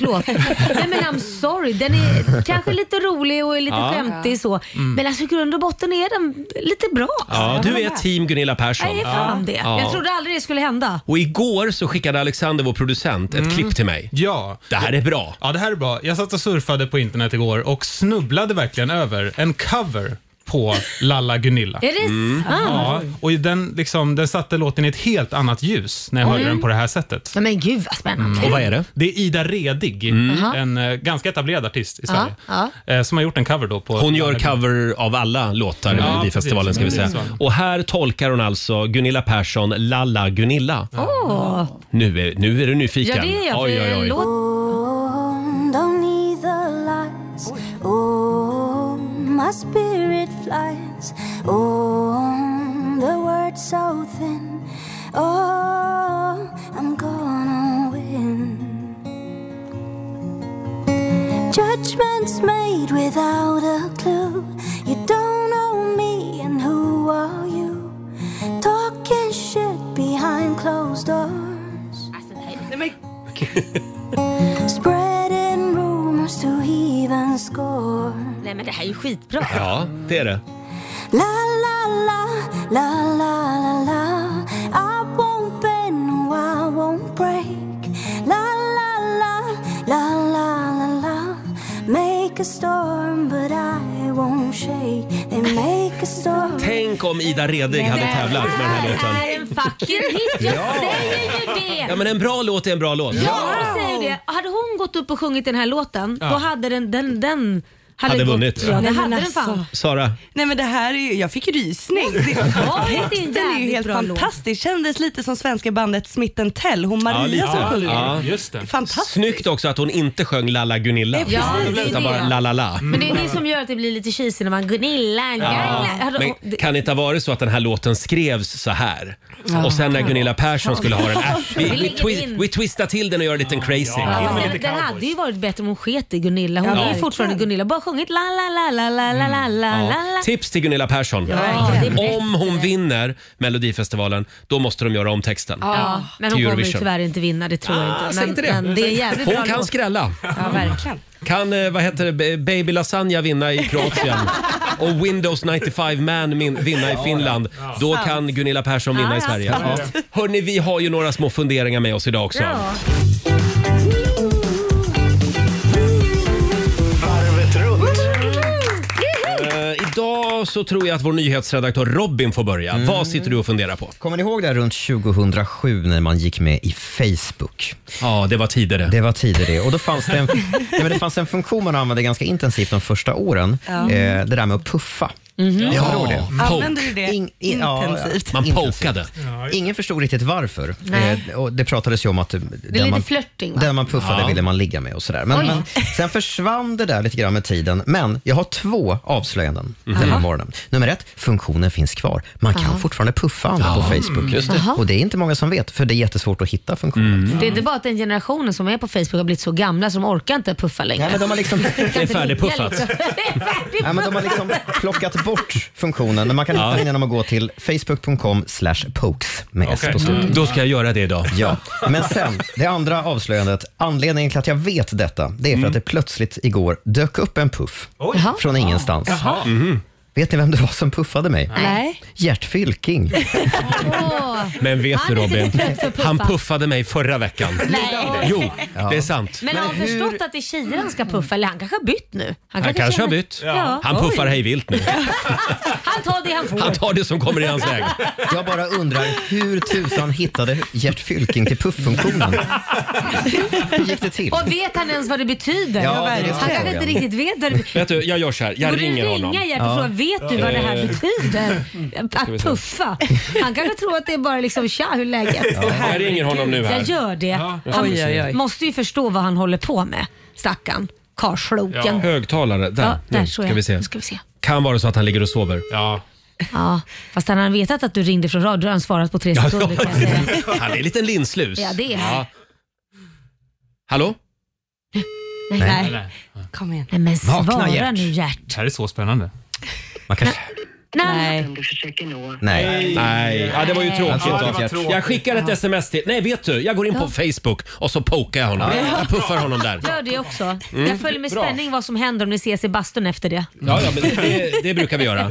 Speaker 4: låt, nej men I'm sorry, den är kanske lite rolig och är lite
Speaker 1: Ja.
Speaker 4: skämtig så.
Speaker 1: Mm.
Speaker 4: Men alltså i grund och botten är den lite bra.
Speaker 1: Ja, du är team Gunilla Persson.
Speaker 4: Jag är fan det.
Speaker 1: Ja.
Speaker 4: Jag trodde aldrig det skulle hända.
Speaker 1: Och igår så skickade Alexander, vår producent,
Speaker 9: Mm.
Speaker 1: ett klipp till mig.
Speaker 9: Ja.
Speaker 1: Det här är bra.
Speaker 9: Ja, det här är bra. Jag satt och surfade på internet igår och snubblade verkligen över en cover på Lalla Gunilla.
Speaker 5: Är det
Speaker 1: Mm.
Speaker 5: sant?
Speaker 9: Ja, och den, liksom, den satte låten i ett helt annat ljus när jag hörde
Speaker 4: Mm.
Speaker 9: den på det här sättet.
Speaker 4: Ja, men gud vad
Speaker 1: Mm,
Speaker 4: spännande.
Speaker 9: Och vad är det? Det är Ida Redig,
Speaker 4: Jaha.
Speaker 9: en eh, ganska etablerad artist i
Speaker 4: Ja,
Speaker 9: Sverige,
Speaker 4: ja.
Speaker 9: eh, som har gjort en cover då på...
Speaker 1: Hon gör cover av alla låtar i
Speaker 9: Ja,
Speaker 1: Melodifestivalen ska vi
Speaker 9: precis.
Speaker 1: säga. Och här tolkar hon alltså Gunilla Persson, Lalla Gunilla. Nu, är, nu är du nyfiken.
Speaker 2: Ja, det är jag, för
Speaker 1: Oj, oj, oj.
Speaker 2: låt- Oh, don't need the lights. Oh, my spirit flies. Oh, the words so thin. Oh, I'm gonna win. Judgments made without a clue. You don't know me, and who are you? Talking shit behind closed doors. Spreading rumors to even score.
Speaker 4: Nej men det här är ju skitbra.
Speaker 1: Ja, det är det.
Speaker 2: La la la, la la la la. I won't bend, no I won't break. La la la, la la la la. Make a storm but I won't shake. They make a storm.
Speaker 1: Tänk om Ida Redig hade tävlat med den här låten.
Speaker 4: Det är en fucking hit, jag
Speaker 1: Ja.
Speaker 4: säger ju det!
Speaker 1: Ja, men en bra låt är en bra låt.
Speaker 4: Ja, jag säger det. Hade hon gått upp och sjungit den här låten,
Speaker 1: Ja.
Speaker 4: då hade den, den, den
Speaker 1: hade,
Speaker 6: gått-
Speaker 1: vunnit.
Speaker 6: Ja, det hade
Speaker 4: men
Speaker 6: den fan.
Speaker 1: Sara,
Speaker 6: Nej men det här är ju, jag fick ju rysning. Det,
Speaker 4: Ja, det är en
Speaker 6: texten är ju
Speaker 4: jävligt
Speaker 6: helt
Speaker 4: bra låt.
Speaker 6: fantastisk. Kändes lite som svenska bandet Smith Tell, hon Maria
Speaker 1: lite.
Speaker 6: som sjunger.
Speaker 1: Ja,
Speaker 9: just det.
Speaker 6: Fantastiskt.
Speaker 1: Snyggt också att hon inte sjöng Lalla Gunilla.
Speaker 4: Ja, precis, det är
Speaker 1: utan bara
Speaker 4: det.
Speaker 1: La La La.
Speaker 4: Men det är det som gör att det blir lite cheesy när man Gunilla,
Speaker 1: Mm. Ja,
Speaker 4: Gunilla. Hade-
Speaker 1: men kan det inte ha varit så att den här låten skrevs så här?
Speaker 4: Ja.
Speaker 1: Och sen när Gunilla Persson skulle ha den, äh, vi,
Speaker 4: Vi
Speaker 1: vi,
Speaker 4: lägger
Speaker 1: twi-
Speaker 4: in.
Speaker 1: vi twistar till den och gör en liten crazy.
Speaker 4: Ja, fast den, den hade ju varit bättre om hon sket i Gunilla. Hon
Speaker 1: Ja,
Speaker 4: är ju
Speaker 1: verkligen. Mm.
Speaker 4: fortfarande Gunilla. Bara sjungit la la la la la la la la
Speaker 1: Ja.
Speaker 4: la.
Speaker 1: Tips till Gunilla Persson.
Speaker 4: Ja, det är bättre.
Speaker 1: Om hon vinner Melodifestivalen, då måste de göra om texten.
Speaker 4: Ja, men hon
Speaker 1: till
Speaker 4: kommer ju
Speaker 1: Eurovision.
Speaker 4: tyvärr inte vinna, det tror jag
Speaker 1: Ah,
Speaker 4: inte.
Speaker 1: säg
Speaker 4: Men,
Speaker 1: inte det.
Speaker 4: men det är en jävligt
Speaker 1: Hon
Speaker 4: bra
Speaker 1: kan
Speaker 4: låt.
Speaker 1: skrälla.
Speaker 4: Ja, verkligen.
Speaker 1: Kan, eh, vad heter det, Ba- Baby Lasagna vinna i Kroatien och Windows 95 Man min, vinna i Finland, då
Speaker 5: Sant.
Speaker 1: kan Gunilla Persson vinna i
Speaker 5: Ja,
Speaker 1: Sverige. Ja.
Speaker 5: sant.
Speaker 1: Hörni, vi har ju några små funderingar med oss idag också.
Speaker 5: Varvet runt.
Speaker 1: Eh, idag så tror jag att vår nyhetsredaktör Robin får börja. Vad sitter du och funderar på?
Speaker 3: Kommer ni ihåg det här runt 2007 när man gick med i Facebook?
Speaker 1: Ja, det var tider det.
Speaker 3: Det var tider det. Och då fanns det en, ja, men det fanns en funktion man använde ganska intensivt de första åren.
Speaker 6: Ja.
Speaker 3: Eh, det där med att puffa.
Speaker 6: Mhm.
Speaker 3: Jag tror det.
Speaker 6: Använder du det intensivt?
Speaker 1: pokade.
Speaker 3: Ingen förstod riktigt varför.
Speaker 6: Nej.
Speaker 3: Eh, och det pratades ju om att eh,
Speaker 4: Det
Speaker 3: den
Speaker 4: är lite
Speaker 3: man,
Speaker 4: flörting va?
Speaker 3: den man puffade
Speaker 1: Ja.
Speaker 3: ville man ligga med och sådär. Men,
Speaker 4: Oj.
Speaker 3: men sen försvann det där lite grann med tiden. Men jag har två avslöjanden
Speaker 4: Mhm.
Speaker 3: den här morgonen. Nummer ett, funktionen finns kvar. Man kan
Speaker 4: Aha.
Speaker 3: fortfarande puffa andra på
Speaker 1: Ja,
Speaker 3: Facebook.
Speaker 1: just det. Mm.
Speaker 3: Och det är inte många som vet, för det är jättesvårt att hitta funktionen.
Speaker 4: Mm. Det är inte bara att den generationen som är på Facebook har blivit så gamla så de orkar inte puffa längre.
Speaker 3: Nej, men de har liksom-
Speaker 4: Kan
Speaker 3: Det är
Speaker 4: inte ligga
Speaker 3: färdigpuffat.
Speaker 4: liksom. Det är färdigpuffat.
Speaker 3: Ja, men de har liksom plockat bort funktionen, men man kan hitta den genom att gå till facebook.com slash pokes med S
Speaker 1: Okej.
Speaker 3: på slutet.
Speaker 1: Mm. Då ska jag göra det idag.
Speaker 3: Ja, men sen det andra avslöjandet. Anledningen till att jag vet detta, det är för
Speaker 1: Mm.
Speaker 3: att det plötsligt igår dök upp en puff från ingenstans.
Speaker 5: Jaha.
Speaker 1: Mm-hmm.
Speaker 3: Vet ni vem det var som puffade mig?
Speaker 5: Nej.
Speaker 3: Gert Fylking.
Speaker 1: Men vet du
Speaker 5: Han är lite
Speaker 1: Robin,
Speaker 5: trött för att puffa.
Speaker 1: han puffade mig förra veckan.
Speaker 4: Nej.
Speaker 1: Jo, det är sant.
Speaker 4: Men har han förstått att det är tjejer han ska puffa? Eller han kanske har bytt nu?
Speaker 1: Han, kanske har
Speaker 4: känner-
Speaker 1: bytt.
Speaker 4: Ja.
Speaker 1: Han puffar
Speaker 4: Oj.
Speaker 1: hej vilt nu.
Speaker 4: Han tar det han får.
Speaker 1: Han tar det som kommer i hans väg.
Speaker 3: Jag bara undrar hur tusan hittade Gert Fylking till pufffunktionen? Hur gick det till?
Speaker 4: Och vet han ens vad det betyder?
Speaker 3: Ja, det är det
Speaker 4: han kanske
Speaker 3: frågan.
Speaker 4: inte riktigt vet vad det betyder.
Speaker 1: Vet du, jag gör så här. Jag
Speaker 4: Borde
Speaker 1: ringer
Speaker 4: du
Speaker 1: honom.
Speaker 4: ringa Gert och fråga, vet du vad det här
Speaker 1: Eh, Mm.
Speaker 4: betyder?
Speaker 1: ska vi
Speaker 4: Att
Speaker 1: se.
Speaker 4: puffa. Han kanske tror att det är bara liksom, tja hur är läget?
Speaker 1: Ja, jag ringer honom nu här.
Speaker 4: Jag gör det.
Speaker 1: Ja,
Speaker 4: Han
Speaker 1: oj, oj, oj.
Speaker 4: måste ju förstå vad han håller på med, stackarn. Karlsloken.
Speaker 1: Högtalare, där.
Speaker 4: Ja, där
Speaker 1: nu,
Speaker 4: såg
Speaker 1: ska
Speaker 4: jag.
Speaker 1: vi se.
Speaker 4: Nu ska vi se.
Speaker 1: Kan vara så att han ligger och sover. Ja.
Speaker 4: Ja, fast han har vetat att du ringde från radio, då har han svarat på tre sekunder kan jag säga.
Speaker 1: Han är en liten linslus.
Speaker 4: Ja, det är han.
Speaker 1: Hallå?
Speaker 4: Nej.
Speaker 1: Nej.
Speaker 4: Nej.
Speaker 6: Kom igen.
Speaker 4: Nej, men svara
Speaker 9: Vakna, Gert.
Speaker 4: nu Gert.
Speaker 9: Det här är så spännande.
Speaker 4: Nej.
Speaker 1: Nej. Nej. Ja, det var ju
Speaker 9: Nej.
Speaker 1: tråkigt.
Speaker 9: Ja, det
Speaker 1: då.
Speaker 9: var tråkigt.
Speaker 1: Jag skickar ett sms till... Nej, vet du? Jag går in på Facebook och så pokar jag honom.
Speaker 4: Ja.
Speaker 1: Jag puffar honom där.
Speaker 4: Gör det också.
Speaker 1: Mm.
Speaker 4: Jag följer med
Speaker 1: Bra.
Speaker 4: spänning vad som händer om ni ses i bastun efter det.
Speaker 1: Ja, ja men det, det brukar vi göra.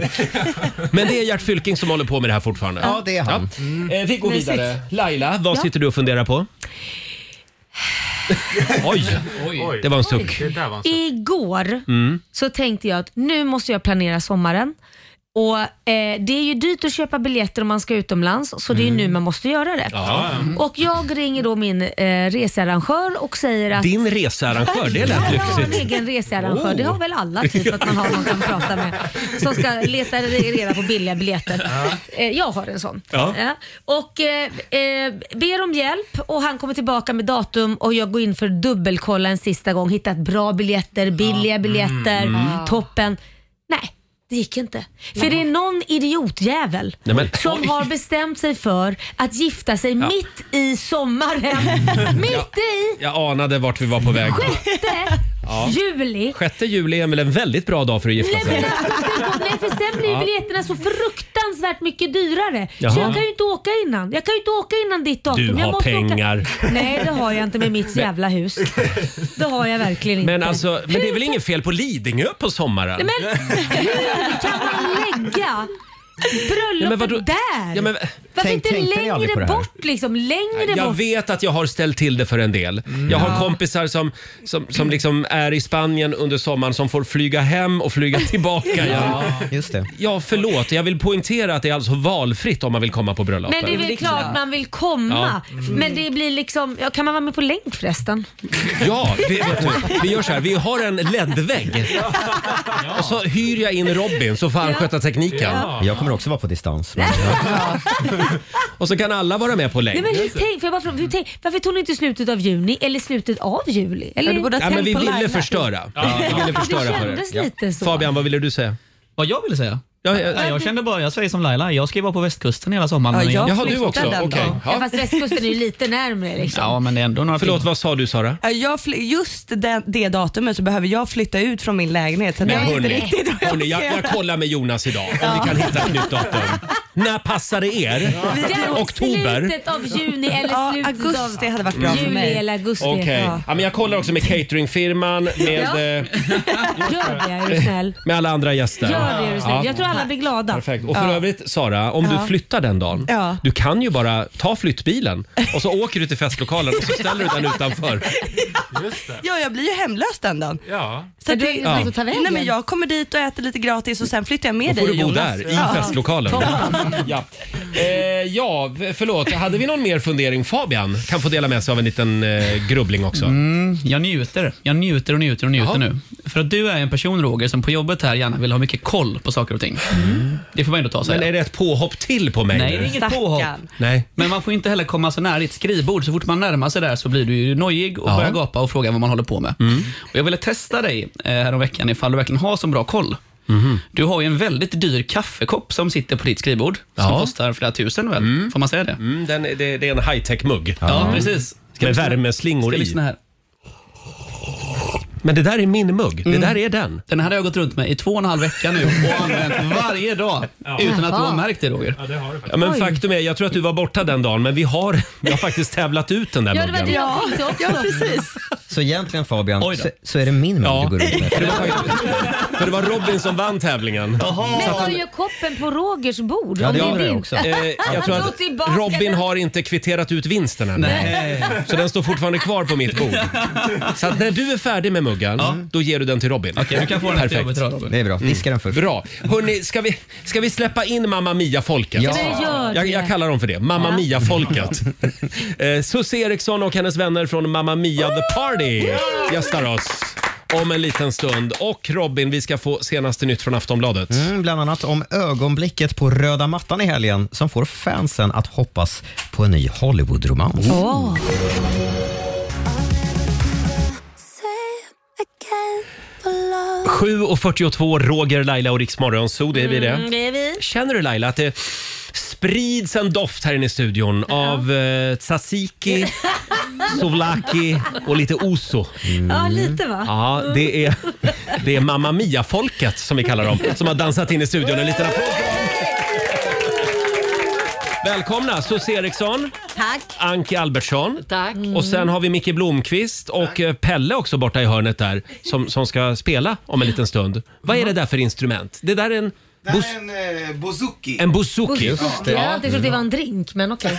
Speaker 1: Men det är Gert Fylking som håller på med det här fortfarande.
Speaker 3: Ja, det är han. Mm.
Speaker 1: Ja. Eh, vi går
Speaker 3: Mysigt.
Speaker 1: vidare. Laila, vad
Speaker 4: Ja.
Speaker 1: sitter du och funderar på? Oj!
Speaker 9: Oj.
Speaker 1: Det var en suck.
Speaker 9: Det där var en suck.
Speaker 4: Igår
Speaker 1: Mm.
Speaker 4: så tänkte jag att nu måste jag planera sommaren. Och eh, Det är ju dyrt att köpa biljetter om man ska utomlands, så det är ju nu man måste göra det.
Speaker 1: Mm. Ja.
Speaker 4: Och Jag ringer då min eh, researrangör och säger att...
Speaker 1: Din researrangör, det Oh. lät
Speaker 4: Jag har en
Speaker 1: lyxigt.
Speaker 4: egen researrangör. Det har väl alla typ
Speaker 1: Ja.
Speaker 4: att man har någon man kan prata med som ska leta reda på billiga biljetter. Eh, Jag har en sån.
Speaker 5: Ja.
Speaker 4: Ja. Och eh, eh, ber om hjälp och han kommer tillbaka med datum och jag går in för att dubbelkolla en sista gång. Hittat bra biljetter, billiga biljetter,
Speaker 5: Mm.
Speaker 4: toppen. Nej. Det gick inte. För det är någon idiotjävel
Speaker 5: Nej, men-
Speaker 4: som
Speaker 5: Oj.
Speaker 4: har bestämt sig för att gifta sig
Speaker 1: Ja.
Speaker 4: mitt i sommaren. mitt i!
Speaker 1: Jag anade vart vi var på väg.
Speaker 4: Sjätte
Speaker 1: Ja.
Speaker 4: juli.
Speaker 1: 6 juli är väl en väldigt bra dag för att gifta
Speaker 4: Nej, men
Speaker 1: sig?
Speaker 4: alltså, nej för sen blir
Speaker 1: Ja.
Speaker 4: biljetterna så fruktansvärt mycket dyrare.
Speaker 1: Jaha.
Speaker 4: Så jag kan ju inte åka innan. Jag kan ju inte åka innan ditt datum.
Speaker 1: Du
Speaker 4: jag
Speaker 1: har
Speaker 4: måste
Speaker 1: pengar.
Speaker 4: Åka. Nej det har jag inte med mitt
Speaker 1: Men-
Speaker 4: jävla hus. Det har jag verkligen inte.
Speaker 1: Men, alltså, men det är väl inget fel på Lidingö på sommaren?
Speaker 4: Nej, men hur kan man lägga bröllopet
Speaker 1: vadå?
Speaker 4: där?
Speaker 1: Ja, men
Speaker 4: Varför
Speaker 3: Tänk-
Speaker 4: inte
Speaker 3: tänkte ni aldrig på
Speaker 4: längre
Speaker 3: det här?
Speaker 4: bort liksom? Längre
Speaker 1: Jag
Speaker 4: bort?
Speaker 1: vet att jag har ställt till det för en del.
Speaker 3: Mm.
Speaker 1: Jag har
Speaker 4: Ja.
Speaker 1: kompisar som, som, som liksom är i Spanien under sommaren som får flyga hem och flyga tillbaka igen.
Speaker 3: Just det.
Speaker 1: Ja, förlåt. Jag vill poängtera att det är alltså valfritt om man vill komma på bröllopet.
Speaker 4: Men det är väl klart man vill komma. Mm.
Speaker 1: Ja.
Speaker 4: Men det blir liksom, ja, kan man vara med på länk förresten?
Speaker 1: Ja, vi, vet du, vi gör så här. Vi har en LED-vägg. Och så hyr jag in Robin så får han
Speaker 4: Ja.
Speaker 1: sköta tekniken.
Speaker 4: Ja.
Speaker 3: Jag kommer också vara på distans.
Speaker 1: Och så kan alla vara med på länk.
Speaker 4: Nej, men hur tänk, för jag bara, fråga, hur tänk, varför tog ni inte slutet av juni eller slutet av juli? Eller?
Speaker 1: ja, men vi ville förstöra. Vi ville förstöra
Speaker 4: det
Speaker 1: för er.
Speaker 4: kändes lite så.
Speaker 1: Fabian, vad ville du säga?
Speaker 7: Vad jag ville säga?
Speaker 1: Ja,
Speaker 7: Nej, jag kände bara, jag säger som Laila, jag ska ju vara på västkusten hela sommaren.
Speaker 4: Ja,
Speaker 7: Men
Speaker 1: jag Jaha, du flyttade också, den okej. dagen.
Speaker 4: Ja, fast västkusten är ju lite närmare liksom.
Speaker 7: Ja, men det är ändå några
Speaker 1: Förlåt, vad sa du Sara?
Speaker 6: Ja, Jag fly- just det, det datumet så behöver jag flytta ut från min lägenhet. Så det
Speaker 1: Men
Speaker 6: är inte
Speaker 1: hörni,
Speaker 6: riktigt vad
Speaker 1: hörni jag,
Speaker 6: ska
Speaker 1: jag
Speaker 6: göra.
Speaker 1: kollar med Jonas idag om vi kan hitta ett nytt datum. När passar det er?
Speaker 4: Ja.
Speaker 1: Oktober?
Speaker 4: Slutet av juni eller
Speaker 6: Ja,
Speaker 4: slutet
Speaker 6: augusti
Speaker 4: av
Speaker 6: hade varit bra för
Speaker 4: juli
Speaker 6: mig.
Speaker 4: eller augusti.
Speaker 1: Okej.
Speaker 4: Ja.
Speaker 1: Ja, men jag kollar också med cateringfirman, med,
Speaker 4: Ja.
Speaker 1: eh,
Speaker 4: Gör det är du snäll.
Speaker 1: med alla andra gäster.
Speaker 4: Gör det är du snäll.
Speaker 1: Ja.
Speaker 4: Jag tror alla blir glada.
Speaker 1: Perfekt. Och för övrigt Sara, om
Speaker 4: Ja.
Speaker 1: du flyttar den dagen,
Speaker 4: Ja.
Speaker 1: du kan ju bara ta flyttbilen och så åker du till festlokalen och så ställer du den utanför.
Speaker 6: Ja, jag blir ju hemlös den dagen.
Speaker 1: Ja.
Speaker 6: Så det,
Speaker 1: Ja. alltså
Speaker 4: ta vägen?
Speaker 6: nej, men jag kommer dit och äter lite gratis och sen flyttar jag med
Speaker 1: Då får
Speaker 6: dig
Speaker 1: du bo
Speaker 6: Jonas.
Speaker 1: där, i
Speaker 6: Ja.
Speaker 1: festlokalen. Ja. Eh, ja, v- förlåt. Hade vi någon mer fundering? Fabian kan få dela med sig av en liten eh, grubbling också.
Speaker 5: Mm, jag njuter. Jag njuter och njuter och njuter
Speaker 1: Jaha.
Speaker 5: nu. För att du är en person, Roger, som på jobbet här gärna vill ha mycket koll på saker och ting. Det får man ändå ta sig.
Speaker 1: Mm. Men är det ett påhopp till på mig
Speaker 5: Nej, det
Speaker 1: nu?
Speaker 5: är inget påhopp.
Speaker 1: Nej.
Speaker 5: Men man får inte heller komma så nära ditt skrivbord. Så fort man närmar sig där så blir du ju nojig och
Speaker 1: Ja. Mm.
Speaker 5: börjar gapa och fråga vad man håller på med. Och jag ville testa dig eh, häromveckan ifall du verkligen har så bra koll.
Speaker 7: Mhm.
Speaker 5: Du har ju en väldigt dyr kaffekopp som sitter på ditt skrivbord. Som
Speaker 1: Ja.
Speaker 5: kostar flera tusen väl? Får man säga det?
Speaker 1: Mm, den, är- det, det är en high-tech-mugg.
Speaker 5: Ja, precis. Ska
Speaker 1: Med
Speaker 5: vi-
Speaker 1: värmeslingor
Speaker 5: Ska vi
Speaker 1: i.
Speaker 5: lyssna här.
Speaker 1: Men det där är min mugg. Det där är den.
Speaker 5: Mm. Den här har jag gått runt med i två och en halv vecka nu och använt varje dag utan att du har
Speaker 1: Jaha.
Speaker 5: märkt det Roger.
Speaker 1: Ja, men
Speaker 5: Oj.
Speaker 1: faktum är, jag tror att du var borta den dagen, men vi har, vi har faktiskt tävlat ut den där
Speaker 4: Ja, det var
Speaker 1: muggen.
Speaker 4: det jag tänkte också. Ja, precis.
Speaker 3: Så egentligen Fabian, så, så är det min mun du går ut med.
Speaker 1: För det var Robin som vann tävlingen.
Speaker 4: Men har ju koppen på Rogers bord?
Speaker 1: Ja,
Speaker 4: om
Speaker 1: det
Speaker 4: det
Speaker 1: har
Speaker 4: är
Speaker 1: jag
Speaker 4: din.
Speaker 1: också. Eh, jag tror
Speaker 4: Han drog
Speaker 1: att
Speaker 4: tillbaka
Speaker 1: Robin
Speaker 4: den.
Speaker 1: har inte kvitterat ut vinsten än.
Speaker 5: Nej.
Speaker 1: Så den står fortfarande kvar på mitt bord. Så att när du är färdig med muggen, då ger du den till Robin.
Speaker 5: Okej, du kan få den till jobbet idag, Robin.
Speaker 3: Det är bra. Diska den först.
Speaker 1: Bra. Hörrni, ska vi, ska vi släppa in Mamma Mia-folket?
Speaker 4: Ja. Men gör det.
Speaker 1: Jag, jag kallar dem för det. Mamma
Speaker 4: Ja.
Speaker 1: Mia-folket. eh, Susie Eriksson och hennes vänner från Mamma Mia The Party gästar oss om en liten stund. Och Robin, vi ska få senaste nytt från Aftonbladet.
Speaker 3: Mm, bland annat om ögonblicket på röda mattan i helgen som får fansen att hoppas på en ny Hollywoodromans.
Speaker 2: Below.
Speaker 1: 7.42, Roger, Laila och Riksmorgon, så det är vi det.
Speaker 4: Mm, det är vi.
Speaker 1: Känner du Laila att det sprids en doft här inne i studion av eh, tzatziki, souvlaki och lite ouzo?
Speaker 4: Ja, lite va?
Speaker 1: Ja, det är, det är Mamma Mia-folket som vi kallar dem som har dansat in i studion. En liten applåd för dem. Välkomna Susie Eriksson,
Speaker 12: Tack.
Speaker 1: Anki Albertsson Mm.
Speaker 12: Tack.
Speaker 1: och sen har vi Micke Blomqvist och eh, Pelle också borta i hörnet där som, som ska spela om en liten stund. Vad är det där för instrument? Det där är en,
Speaker 13: Det här är en eh, bouzouki.
Speaker 1: en bouzouki.
Speaker 4: Jag har
Speaker 1: Ja.
Speaker 4: alltid trott det var en drink, men okej.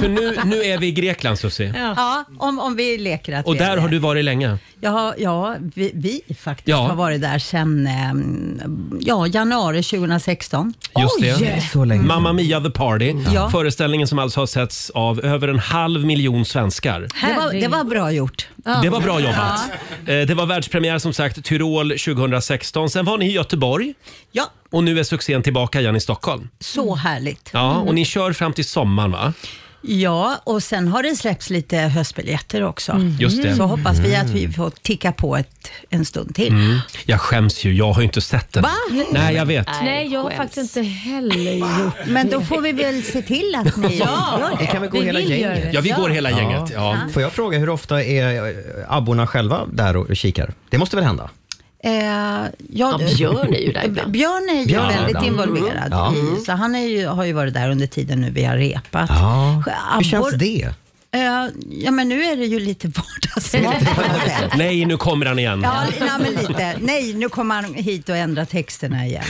Speaker 1: För nu, nu är vi i Grekland Susie.
Speaker 12: Ja, om, om vi leker att
Speaker 1: Och
Speaker 12: vi är
Speaker 1: där
Speaker 12: det.
Speaker 1: har du varit länge.
Speaker 12: Jag har, ja, vi, vi faktiskt
Speaker 1: Ja.
Speaker 12: har varit där sedan ehm, ja, januari 2016.
Speaker 1: Just det.
Speaker 3: Så länge.
Speaker 1: Mamma Mia the Party.
Speaker 12: Ja.
Speaker 1: Föreställningen som alltså har setts av över en halv miljon svenskar.
Speaker 12: Det var, det var bra gjort.
Speaker 1: Det var bra jobbat. Eh, Det var världspremiär som sagt Tyrol 2016. Sen var ni i Göteborg.
Speaker 12: Ja.
Speaker 1: Och nu är succén tillbaka igen i Stockholm.
Speaker 12: Så härligt.
Speaker 1: Ja, och ni kör fram till sommaren va?
Speaker 12: Ja, och sen har det släppts lite höstbiljetter också.
Speaker 1: Just det.
Speaker 12: Så hoppas vi att vi får ticka på ett, en stund till.
Speaker 1: Mm. Jag skäms ju, jag har ju inte sett den.
Speaker 12: Va?
Speaker 1: Nej, jag vet.
Speaker 12: Nej,
Speaker 4: Jag har faktiskt inte heller gjort
Speaker 12: Men då får vi väl se till att ni gör det.
Speaker 3: Det kan vi gå hela gänget?
Speaker 1: Ja, vi går hela gänget. Ja.
Speaker 3: Får jag fråga, hur ofta är eh, abborna själva där och kikar? Det måste väl hända?
Speaker 12: Eh,
Speaker 3: Ja, Björn är ju där ibland.
Speaker 12: Björn är ju
Speaker 3: Björn är
Speaker 12: väldigt
Speaker 3: ibland.
Speaker 12: involverad.
Speaker 3: Ja.
Speaker 12: i- Så han är ju, har ju varit där under tiden nu vi har repat.
Speaker 3: Ja.
Speaker 12: Abbor-
Speaker 3: Hur känns det?
Speaker 12: Eh, ja, men nu är det ju lite vardagsmat.
Speaker 1: Nej, nu kommer han igen.
Speaker 12: Ja, nej, men lite. Nej, nu kommer han hit och ändrar texterna igen.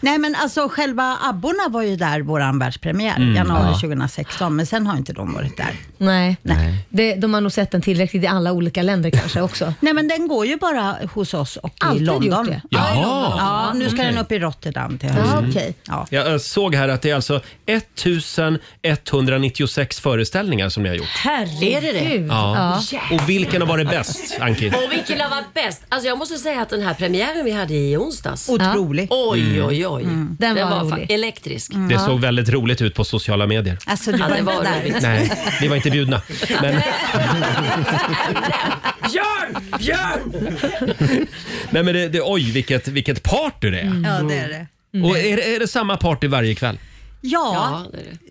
Speaker 12: nej, men alltså själva Abborna var ju där, våran världspremiär,
Speaker 4: Mm,
Speaker 12: januari
Speaker 4: ja.
Speaker 12: 2016, men sen har inte de varit där.
Speaker 4: Nej. Nej. Det, de har nog sett den tillräckligt i alla olika länder kanske också.
Speaker 12: Nej, men den går ju bara hos oss och
Speaker 4: Alltid
Speaker 12: i London.
Speaker 4: gjort det.
Speaker 12: Ja, i
Speaker 1: Jaha.
Speaker 12: London. ja, nu ska
Speaker 1: Okej.
Speaker 12: den upp i Rotterdam till
Speaker 1: Mm.
Speaker 12: hösten.
Speaker 1: Jag eh, såg här att det är alltså 1196 föreställningar som ni har gjort.
Speaker 14: Herregud. Är det det?
Speaker 1: Ja. Och vilken har varit bäst, Anki?
Speaker 14: Och vilken har varit bäst? Alltså jag måste säga att den här premiären vi hade i onsdags.
Speaker 12: Otrolig.
Speaker 14: Oj,
Speaker 1: Mm.
Speaker 14: oj, oj.
Speaker 1: Mm.
Speaker 14: Den,
Speaker 4: var
Speaker 14: var, fan
Speaker 4: rolig.
Speaker 14: elektrisk.
Speaker 1: Det såg väldigt roligt ut på sociala medier.
Speaker 12: Alltså, du
Speaker 14: Ja,
Speaker 12: var
Speaker 14: det
Speaker 12: inte
Speaker 14: var
Speaker 12: där.
Speaker 14: roligt.
Speaker 1: Nej, vi var inte bjudna. Men,
Speaker 14: Björn! Björn!
Speaker 1: nej men det, det, oj, vilket, vilket party det är.
Speaker 12: Mm. Ja, det är det.
Speaker 1: Och är, det- är det samma party varje kväll?
Speaker 12: Ja,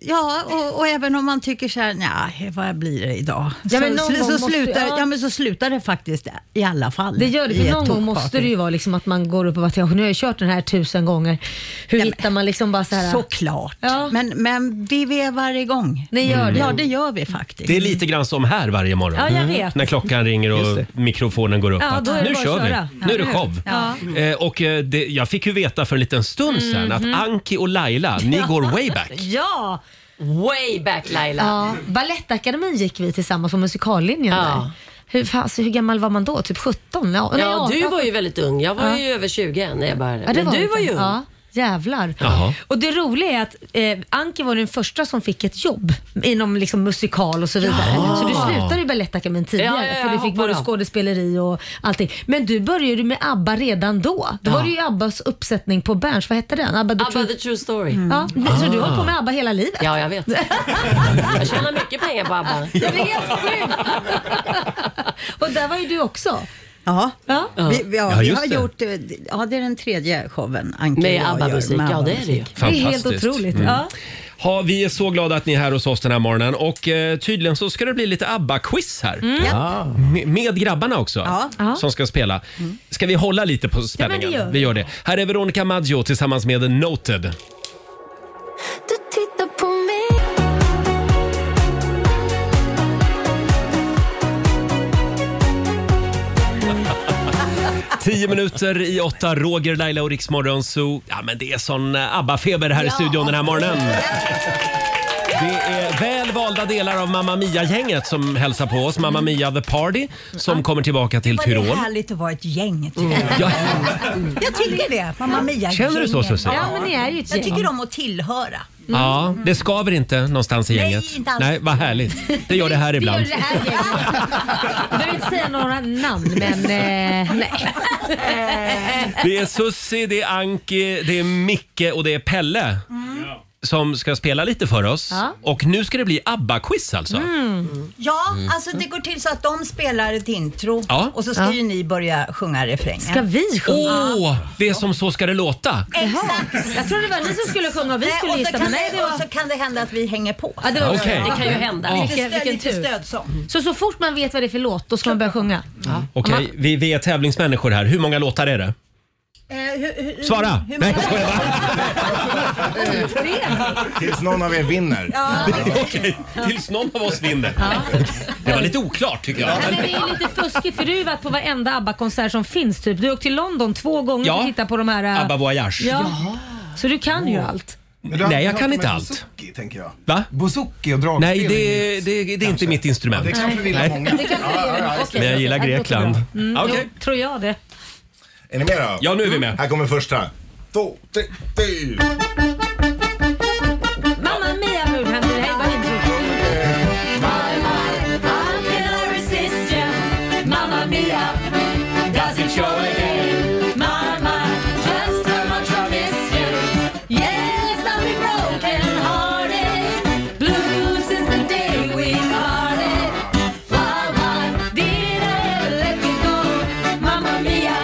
Speaker 12: ja, och, och även om man tycker så här, nej, vad blir det idag?
Speaker 4: Ja, men
Speaker 12: så,
Speaker 4: någon
Speaker 12: så,
Speaker 4: gång
Speaker 12: så,
Speaker 4: måste-
Speaker 12: slutar,
Speaker 4: ja.
Speaker 12: ja. men så slutar det faktiskt i alla fall.
Speaker 4: Det gör det,
Speaker 12: I
Speaker 4: för
Speaker 12: ett
Speaker 4: någon gång
Speaker 12: tokparty.
Speaker 4: måste det ju vara liksom att man går upp och bara, "Ja, nu har jag kört den här tusen gånger. Hur hittar man liksom bara så här?
Speaker 12: Såklart. Men, men vi vevar igång. Mm.
Speaker 4: Ni gör det.
Speaker 12: Ja, det gör vi faktiskt.
Speaker 1: Det är lite grann som här varje morgon.
Speaker 12: Ja, jag vet.
Speaker 1: När klockan ringer och mikrofonen går upp.
Speaker 12: Ja,
Speaker 1: att,
Speaker 12: då är det
Speaker 1: nu
Speaker 12: bara
Speaker 1: kör
Speaker 12: att köra."
Speaker 1: vi. Nu är det
Speaker 12: Ja.
Speaker 1: show.
Speaker 12: Ja.
Speaker 1: Eh, och eh, det, jag fick ju veta för en liten stund sedan
Speaker 4: Mhm.
Speaker 1: att Anki och Laila, ni går way back.
Speaker 4: Ja!
Speaker 14: Way back Laila.
Speaker 4: Ja, Balettakademin gick vi tillsammans på musikallinjen där. Hur, fa- alltså, hur gammal var man då? Typ 17? Ja, nej,
Speaker 14: Ja, du
Speaker 4: 18.
Speaker 14: var ju väldigt ung. Jag var
Speaker 4: Ja.
Speaker 14: ju över 20 än. Jag bara,
Speaker 4: Ja, det
Speaker 14: men du
Speaker 4: inte.
Speaker 14: var ju ung.
Speaker 4: Ja, jävlar.
Speaker 14: Jaha.
Speaker 4: Och det roliga är att eh, Anki var den första som fick ett jobb inom liksom, musikal och så vidare.
Speaker 14: Ja.
Speaker 4: Så du slutade i Balettakademin tidigare
Speaker 14: Ja, ja, ja,
Speaker 4: för du
Speaker 14: jag
Speaker 4: fick både
Speaker 14: hoppar av.
Speaker 4: skådespeleri och allting. Men du började ju med ABBA redan då. Då var det ju ABBAs uppsättning på Berns. Vad hette den? ABBA The,
Speaker 14: ABBA The True Story.
Speaker 4: Mm. Ja, Så du
Speaker 1: Ah.
Speaker 4: har hållit på med ABBA hela livet?
Speaker 14: Ja, jag vet. Jag tjänar mycket pengar på ABBA.
Speaker 4: Ja, det är helt sjukt. Och där var ju du också.
Speaker 12: Ja,
Speaker 4: ja.
Speaker 12: Vi, vi, ja,
Speaker 4: Ja,
Speaker 12: vi
Speaker 4: just
Speaker 12: har
Speaker 4: det.
Speaker 12: gjort, eh, ja det är den tredje showen Anki
Speaker 14: Med
Speaker 12: och jag
Speaker 14: ABBA-musik,
Speaker 12: gör, med
Speaker 14: ja, det är det ju.
Speaker 12: ABBA-musik.
Speaker 1: Fantastiskt. Mm. Ha, vi är så glada att ni är här hos oss den här morgonen och eh, tydligen så ska det bli lite ABBA-quiz här.
Speaker 4: Mm. Ja.
Speaker 1: Med- Med grabbarna också
Speaker 4: Ja. Ja.
Speaker 1: som ska spela.
Speaker 14: Mm.
Speaker 1: Ska vi hålla lite på spänningen?
Speaker 4: gör vi.
Speaker 1: vi gör det. Här är Veronica Maggio tillsammans med Noted.
Speaker 2: Titta på mig.
Speaker 1: Tio minuter i åtta, Roger, Laila och Riksmorgon Zoo. Ja, men det är sån eh, ABBA-feber här i studion den här morgonen. Det är väl valda delar av Mamma Mia-gänget som hälsar på oss. Mamma Mia The Party som kommer tillbaka till
Speaker 12: Vad det är
Speaker 1: Tyrol.
Speaker 12: härligt att vara ett gäng. tycker jag.
Speaker 1: Mm. Ja.
Speaker 12: Jag tycker det. Mamma Mia
Speaker 1: Känner du så, Susie? Ja,
Speaker 4: men ni är ju ett
Speaker 12: Jag
Speaker 4: gäng.
Speaker 12: tycker om att tillhöra.
Speaker 1: Ja, det skaver inte någonstans i
Speaker 12: Nej,
Speaker 1: gänget.
Speaker 12: inte alls.
Speaker 1: Nej, vad härligt. Det gör det här ibland.
Speaker 4: Det gör det här gänget. Jag behöver inte säga några namn, men eh, nej.
Speaker 1: Det är Sussi, det är Anki, det är Micke och det är Pelle. Som ska spela lite för oss.
Speaker 12: Ja.
Speaker 1: Och nu ska det bli ABBA-quiz alltså.
Speaker 12: Ja,
Speaker 1: Mm.
Speaker 12: alltså det går till så att de spelar ett intro
Speaker 1: Ja.
Speaker 12: och så ska
Speaker 1: Ja.
Speaker 12: ju ni börja sjunga refrängen.
Speaker 1: Ska
Speaker 4: vi
Speaker 1: Åh, det är som Så ska det låta.
Speaker 12: Exakt!
Speaker 4: Jag trodde det var ni som skulle sjunga och vi skulle
Speaker 12: och så
Speaker 4: gissa,
Speaker 12: kan
Speaker 4: men nej,
Speaker 12: det-
Speaker 4: det var-
Speaker 12: Och så kan det hända att vi hänger på.
Speaker 4: Ja, det, var
Speaker 1: Okej.
Speaker 4: bra.
Speaker 1: Det kan ju hända.
Speaker 4: Vilken,
Speaker 12: Lite stöd-
Speaker 4: vilken
Speaker 12: lite
Speaker 4: tur.
Speaker 12: stödsång.
Speaker 4: Så, så fort man vet vad det är för låt, då ska man börja sjunga.
Speaker 1: Okej, vi, vi är tävlingsmänniskor här. Hur många låtar är det?
Speaker 13: Eh,
Speaker 1: Svara! Nej, jag skojar
Speaker 13: Tills någon av er vinner.
Speaker 1: bara. Okej, tills någon av oss vinner. Det var lite oklart tycker jag.
Speaker 4: Nej, men det är lite fuskigt för du har ju varit på varenda ABBA-konsert som finns. Typ. Du har åkt till London två gånger
Speaker 1: Ja.
Speaker 4: för att titta på de här... eh,
Speaker 1: ABBA Voyage.
Speaker 4: Ja. Så du kan ju allt.
Speaker 1: Nej, jag kan inte allt.
Speaker 13: Bouzouki, tänker jag.
Speaker 1: Va?
Speaker 13: Bouzouki och dragspel.
Speaker 1: Nej, det, det, det är inte mitt instrument.
Speaker 13: Ja, det kan förvilla
Speaker 1: Nej.
Speaker 13: många.
Speaker 4: Det kan
Speaker 13: Ja, ja, ja,
Speaker 4: Okej.
Speaker 1: Men jag gillar
Speaker 4: Ja, det låter
Speaker 1: Grekland.
Speaker 4: bra. Mm,
Speaker 1: Ja, okej.
Speaker 4: jo, tror jag det.
Speaker 13: Är ni med då?
Speaker 1: Ja, nu är vi med.
Speaker 13: Här kommer första. Två, tre, fyra.
Speaker 4: Mamma Mia Moodhander, hej vad himla My, my, how can I resist you? Mamma Mia, does it show again? My, my, just how much I miss you Yes, I'll be broken hearted Blue since the day we parted Why, why did I ever let you go? Mamma Mia,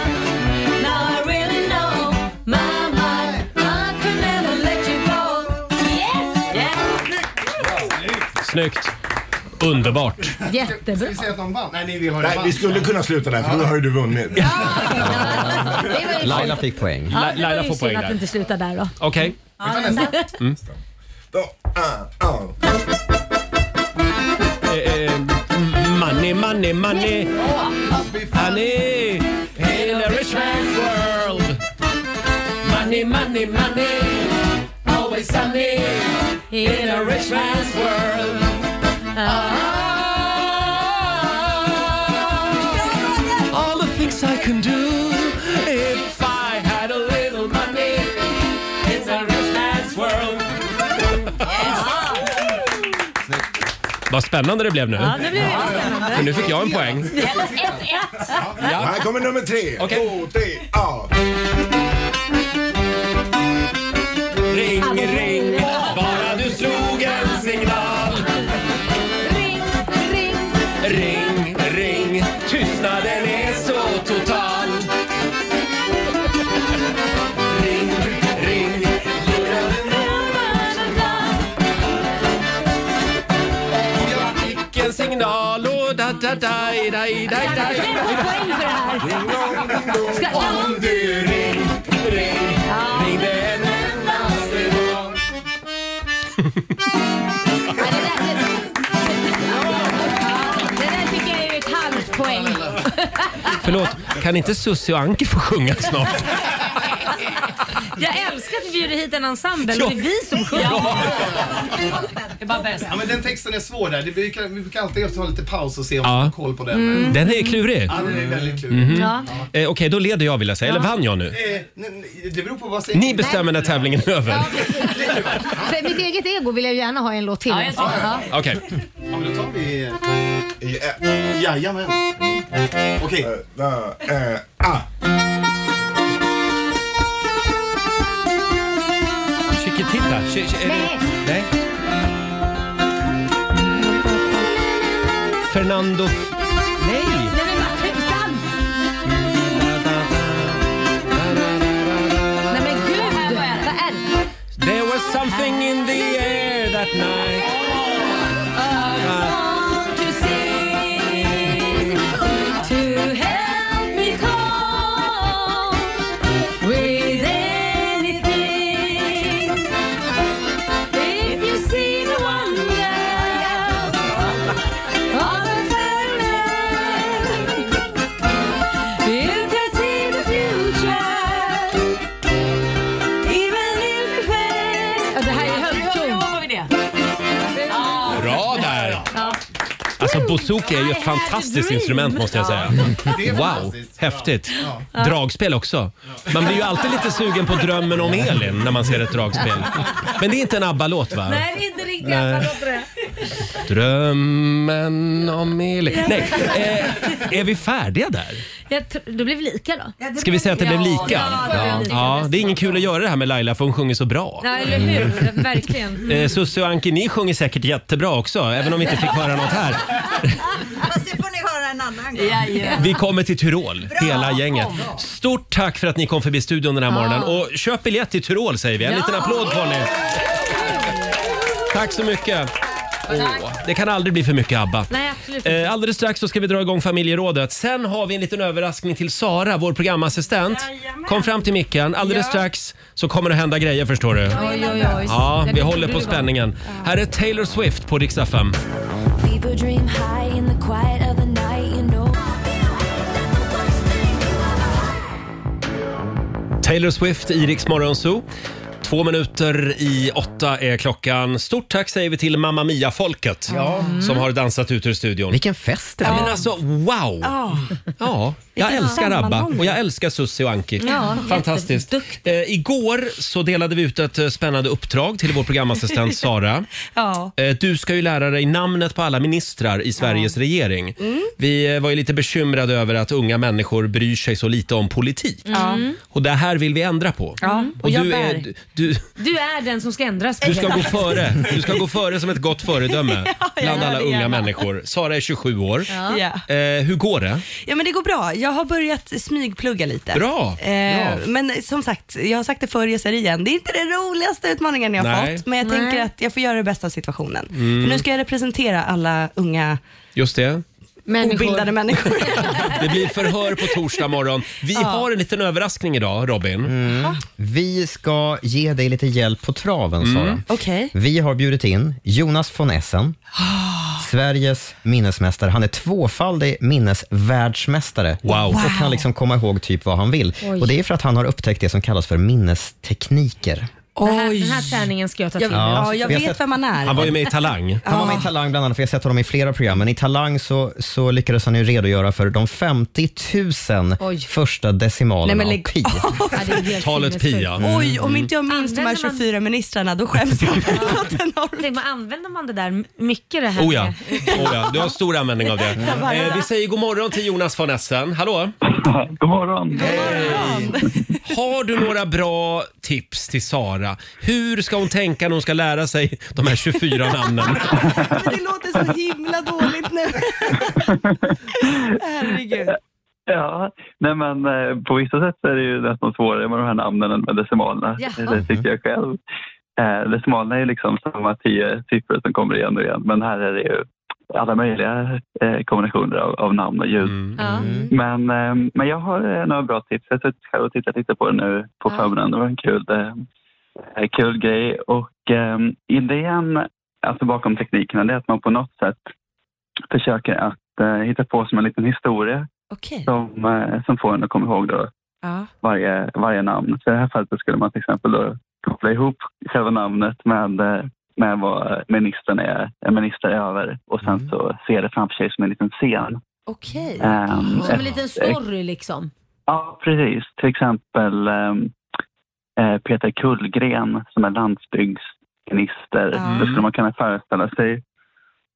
Speaker 4: now I really know My, my, I could never let you go Yes, yes
Speaker 1: Snyggt. Underbart.
Speaker 4: Jättebra. Ska
Speaker 13: vi säga att de vann? Nej, ni vill ha
Speaker 1: det
Speaker 13: Nej,
Speaker 1: vann.
Speaker 13: vi skulle kunna sluta där för nu har ju du vunnit.
Speaker 3: Laila fick poäng.
Speaker 4: Ja, det var
Speaker 1: Laila
Speaker 4: ju
Speaker 1: får
Speaker 4: synd
Speaker 1: poäng
Speaker 4: att
Speaker 1: där.
Speaker 4: det inte slutar där då.
Speaker 1: Okej.
Speaker 4: Ja, nästa.
Speaker 1: Mm. eh, eh, money, money, money. Honey, in a rich man's world. Money, money, money. Always sunny in a rich man's world. Ah, all the things I can do if I had a little money. It's a rich man's world. Vad spännande det blev nu.
Speaker 4: Ja, det blir väldigt
Speaker 1: För nu
Speaker 4: spännande.
Speaker 1: fick jag en poäng.
Speaker 13: Här kommer nummer tre. Två, tre, ja.
Speaker 1: Ring, ring, bara du slog en signal. Ring, ring, tystnaden är så total. Ring, ring, jag fick en signal och da da da da da da da Om du ring, ring, ring det en endaste gång
Speaker 4: Det där fick jag ju ett halvt poäng.
Speaker 1: Förlåt, kan inte Susie och Anki få sjunga snart?
Speaker 4: Jag älskar att vi bjuder hit en ensemble, men
Speaker 1: Ja.
Speaker 4: det är vi som sjunger.
Speaker 1: Ja.
Speaker 4: Det är bara bäst.
Speaker 15: Ja, men den texten är svår där. Det brukar, vi brukar alltid ta lite paus och se om
Speaker 1: Ja.
Speaker 15: vi har koll på den.
Speaker 1: Mm. Den är klurig.
Speaker 15: Ja, den är väldigt klurig.
Speaker 1: Mhm. Eh, Okej, då leder jag vill jag säga. Eller vann jag nu?
Speaker 15: Eh, n- n- det beror på vad säger
Speaker 1: Ni bestämmer när tävlingen är över.
Speaker 4: För mitt eget ego vill jag ju gärna ha en låt till.
Speaker 15: Ja, jag tror det.
Speaker 4: Ja.
Speaker 1: Okej.
Speaker 15: Ja, men då tar vi... eh, i- eh, Jajamän. Okej.
Speaker 1: Eh, Chiquitita? Chi- chi- är det- Nej. Fernando... Nej!
Speaker 4: Nej, men vad tusan! Nej, men gud! Vad är det?
Speaker 1: There was something in the air that night Oh,
Speaker 4: Det här är högton.
Speaker 1: Bra där!
Speaker 4: Ja.
Speaker 1: Alltså bouzouki är ju ett fantastiskt instrument måste jag säga.
Speaker 4: Det är
Speaker 1: Wow,
Speaker 4: fantastiskt.
Speaker 1: häftigt.
Speaker 4: Ja.
Speaker 1: Dragspel också. Man blir ju alltid lite sugen på drömmen om Elin när man ser ett dragspel. Men det är inte en ABBA-låt va?
Speaker 4: Nej, det är inte riktigt
Speaker 1: Nej.
Speaker 4: alla låter det.
Speaker 1: Drömmen om Elin. Nej, eh, är vi färdiga där?
Speaker 4: Jag tr- det blev lika då.
Speaker 1: Ska vi säga att det blev lika?
Speaker 4: Ja, det blev lika.
Speaker 1: Ja, det är ingen kul att göra det här med Laila för hon sjunger så bra.
Speaker 4: Ja, eller hur? Verkligen.
Speaker 1: Eh, Susse och Anki, ni sjunger säkert jättebra också, även om vi inte fick höra något här.
Speaker 12: Fast det får ni höra en annan gång.
Speaker 1: Vi kommer till Tyrol, hela gänget. Stort tack för att ni kom förbi studion den här
Speaker 12: Ja.
Speaker 1: morgonen. Och köp biljett till Tyrol säger vi. En
Speaker 12: Ja.
Speaker 1: liten applåd får ni. Tack så mycket. Åh, det kan aldrig bli för mycket ABBA.
Speaker 4: Nej, absolut inte.
Speaker 1: Eh, alldeles strax så ska vi dra igång familjerådet. Sen har vi en liten överraskning till Sara, vår programassistent. Kom fram till micken. Alldeles strax så kommer det hända grejer förstår du.
Speaker 4: Oj, oj, oj.
Speaker 1: Ja,
Speaker 4: Det
Speaker 1: vi
Speaker 4: blir
Speaker 1: håller på
Speaker 4: bra.
Speaker 1: spänningen. Här är Taylor Swift på Rix FM.
Speaker 2: People dream high in the quiet of the night, you know.
Speaker 1: Taylor Swift i Rix Morgon Zoo. Två minuter i åtta är klockan. Stort tack säger vi till Mamma Mia-folket som har dansat ut ur studion. Mm. Vilken fest det ja, men alltså, Wow!
Speaker 4: Ah.
Speaker 2: Ja.
Speaker 1: Ja, jag
Speaker 2: Vilken
Speaker 1: älskar ABBA
Speaker 2: sammanhållning.
Speaker 1: och jag älskar Susie och Anki.
Speaker 2: Ja,
Speaker 1: Fantastiskt. Eh, igår så delade vi ut ett eh, spännande uppdrag till vår programassistent Sara.
Speaker 6: Ja.
Speaker 1: Eh, Du ska ju lära dig namnet på alla ministrar i Sveriges regering. Vi eh, var ju lite bekymrade över att unga människor bryr sig så lite om politik.
Speaker 4: Mm.
Speaker 1: Och det här vill vi ändra på.
Speaker 4: Ja, och
Speaker 1: Och
Speaker 4: jag
Speaker 1: du,
Speaker 4: bär.
Speaker 1: är, du,
Speaker 4: Du är den som ska ändras.
Speaker 1: du ska gå före. Du ska gå före som ett gott föredöme bland alla unga människor. Sara är 27 år.
Speaker 6: Ja. Ja.
Speaker 1: Eh, hur går det?
Speaker 6: Ja men det går bra. Jag har börjat smygplugga lite.
Speaker 1: Bra,
Speaker 6: Eh,
Speaker 1: bra.
Speaker 6: Men som sagt, jag har sagt det förr, jag säger det igen. Det är inte den roligaste utmaningen jag har
Speaker 1: Nej.
Speaker 6: fått. Men jag
Speaker 1: Nej.
Speaker 6: tänker att jag får göra det bästa av situationen.
Speaker 1: Mm.
Speaker 6: För nu ska jag representera alla unga
Speaker 1: Just det.
Speaker 6: obildade människor.
Speaker 1: Det blir förhör på torsdag morgon. Vi
Speaker 6: Ja.
Speaker 1: har en liten överraskning idag, Robin.
Speaker 3: Mm. Vi ska ge dig
Speaker 1: Mm.
Speaker 5: Mm.
Speaker 3: lite hjälp på traven, Sara.
Speaker 6: Okej.
Speaker 3: Vi har bjudit in Jonas von Essen, Sveriges minnesmästare. Han är tvåfaldig minnesvärldsmästare
Speaker 1: wow.
Speaker 3: och kan liksom komma ihåg typ vad han vill.
Speaker 4: Oj.
Speaker 3: Och Det är för att han har upptäckt det som kallas för minnestekniker.
Speaker 4: Den här, den här träningen ska jag ta till mig.
Speaker 3: Ja, jag vet vem
Speaker 6: man är.
Speaker 3: Han var med i Talang bland annat, för jag har sett honom i flera program. Men i Talang så, så lyckades han ju redogöra för de 50 000
Speaker 6: Oj.
Speaker 3: första decimalerna av pi. Talet pi, ja. Mm.
Speaker 6: Oj, om inte jag minns de här
Speaker 4: Använder man-
Speaker 6: 24 ministrarna då skäms jag.
Speaker 4: Tänk, man använder man det där mycket det här?
Speaker 1: Oh ja.
Speaker 4: med-
Speaker 1: Oh ja, du har stor användning av det.
Speaker 4: Ja.
Speaker 1: Eh, vi säger god morgon till Jonas von Essen. Hallå! God morgon! Har du några bra tips till Sara? Hur ska hon tänka när hon ska lära sig de här 24 namnen?
Speaker 6: Det låter så himla dåligt nu. Herregud.
Speaker 16: Eh, Ja, nej men eh, på vissa sätt så är det ju nästan svårare med de här namnen än med decimalerna.
Speaker 6: Jaha.
Speaker 16: Det tycker jag själv. Eh, decimalerna är ju liksom samma tio siffror som kommer igen och igen. Men här är det ju alla möjliga eh, kombinationer av, av namn och ljud. Men, eh, men jag har eh, några bra tips. Jag har suttit själv och tittat lite på det nu på förmiddagen. Det var en kul, eh, kul grej. Och eh, idén alltså bakom teknikerna det är att man på något sätt försöker att eh, hitta på som en liten historia som, eh, som får en att komma ihåg då
Speaker 6: Ja.
Speaker 16: varje, varje namn. Så i det här fallet skulle man till exempel då koppla ihop själva namnet med, eh, med vad ministern är, en minister är över och sen så ser det framför sig som en liten scen.
Speaker 4: Okej.
Speaker 16: Ehm,
Speaker 4: Som en
Speaker 16: eh,
Speaker 4: liten story liksom.
Speaker 16: Ja, precis. Till exempel ehm, eh, Peter Kullgren som är landsbygdsminister.
Speaker 4: Mm.
Speaker 6: Ja.
Speaker 16: Då skulle man kunna föreställa sig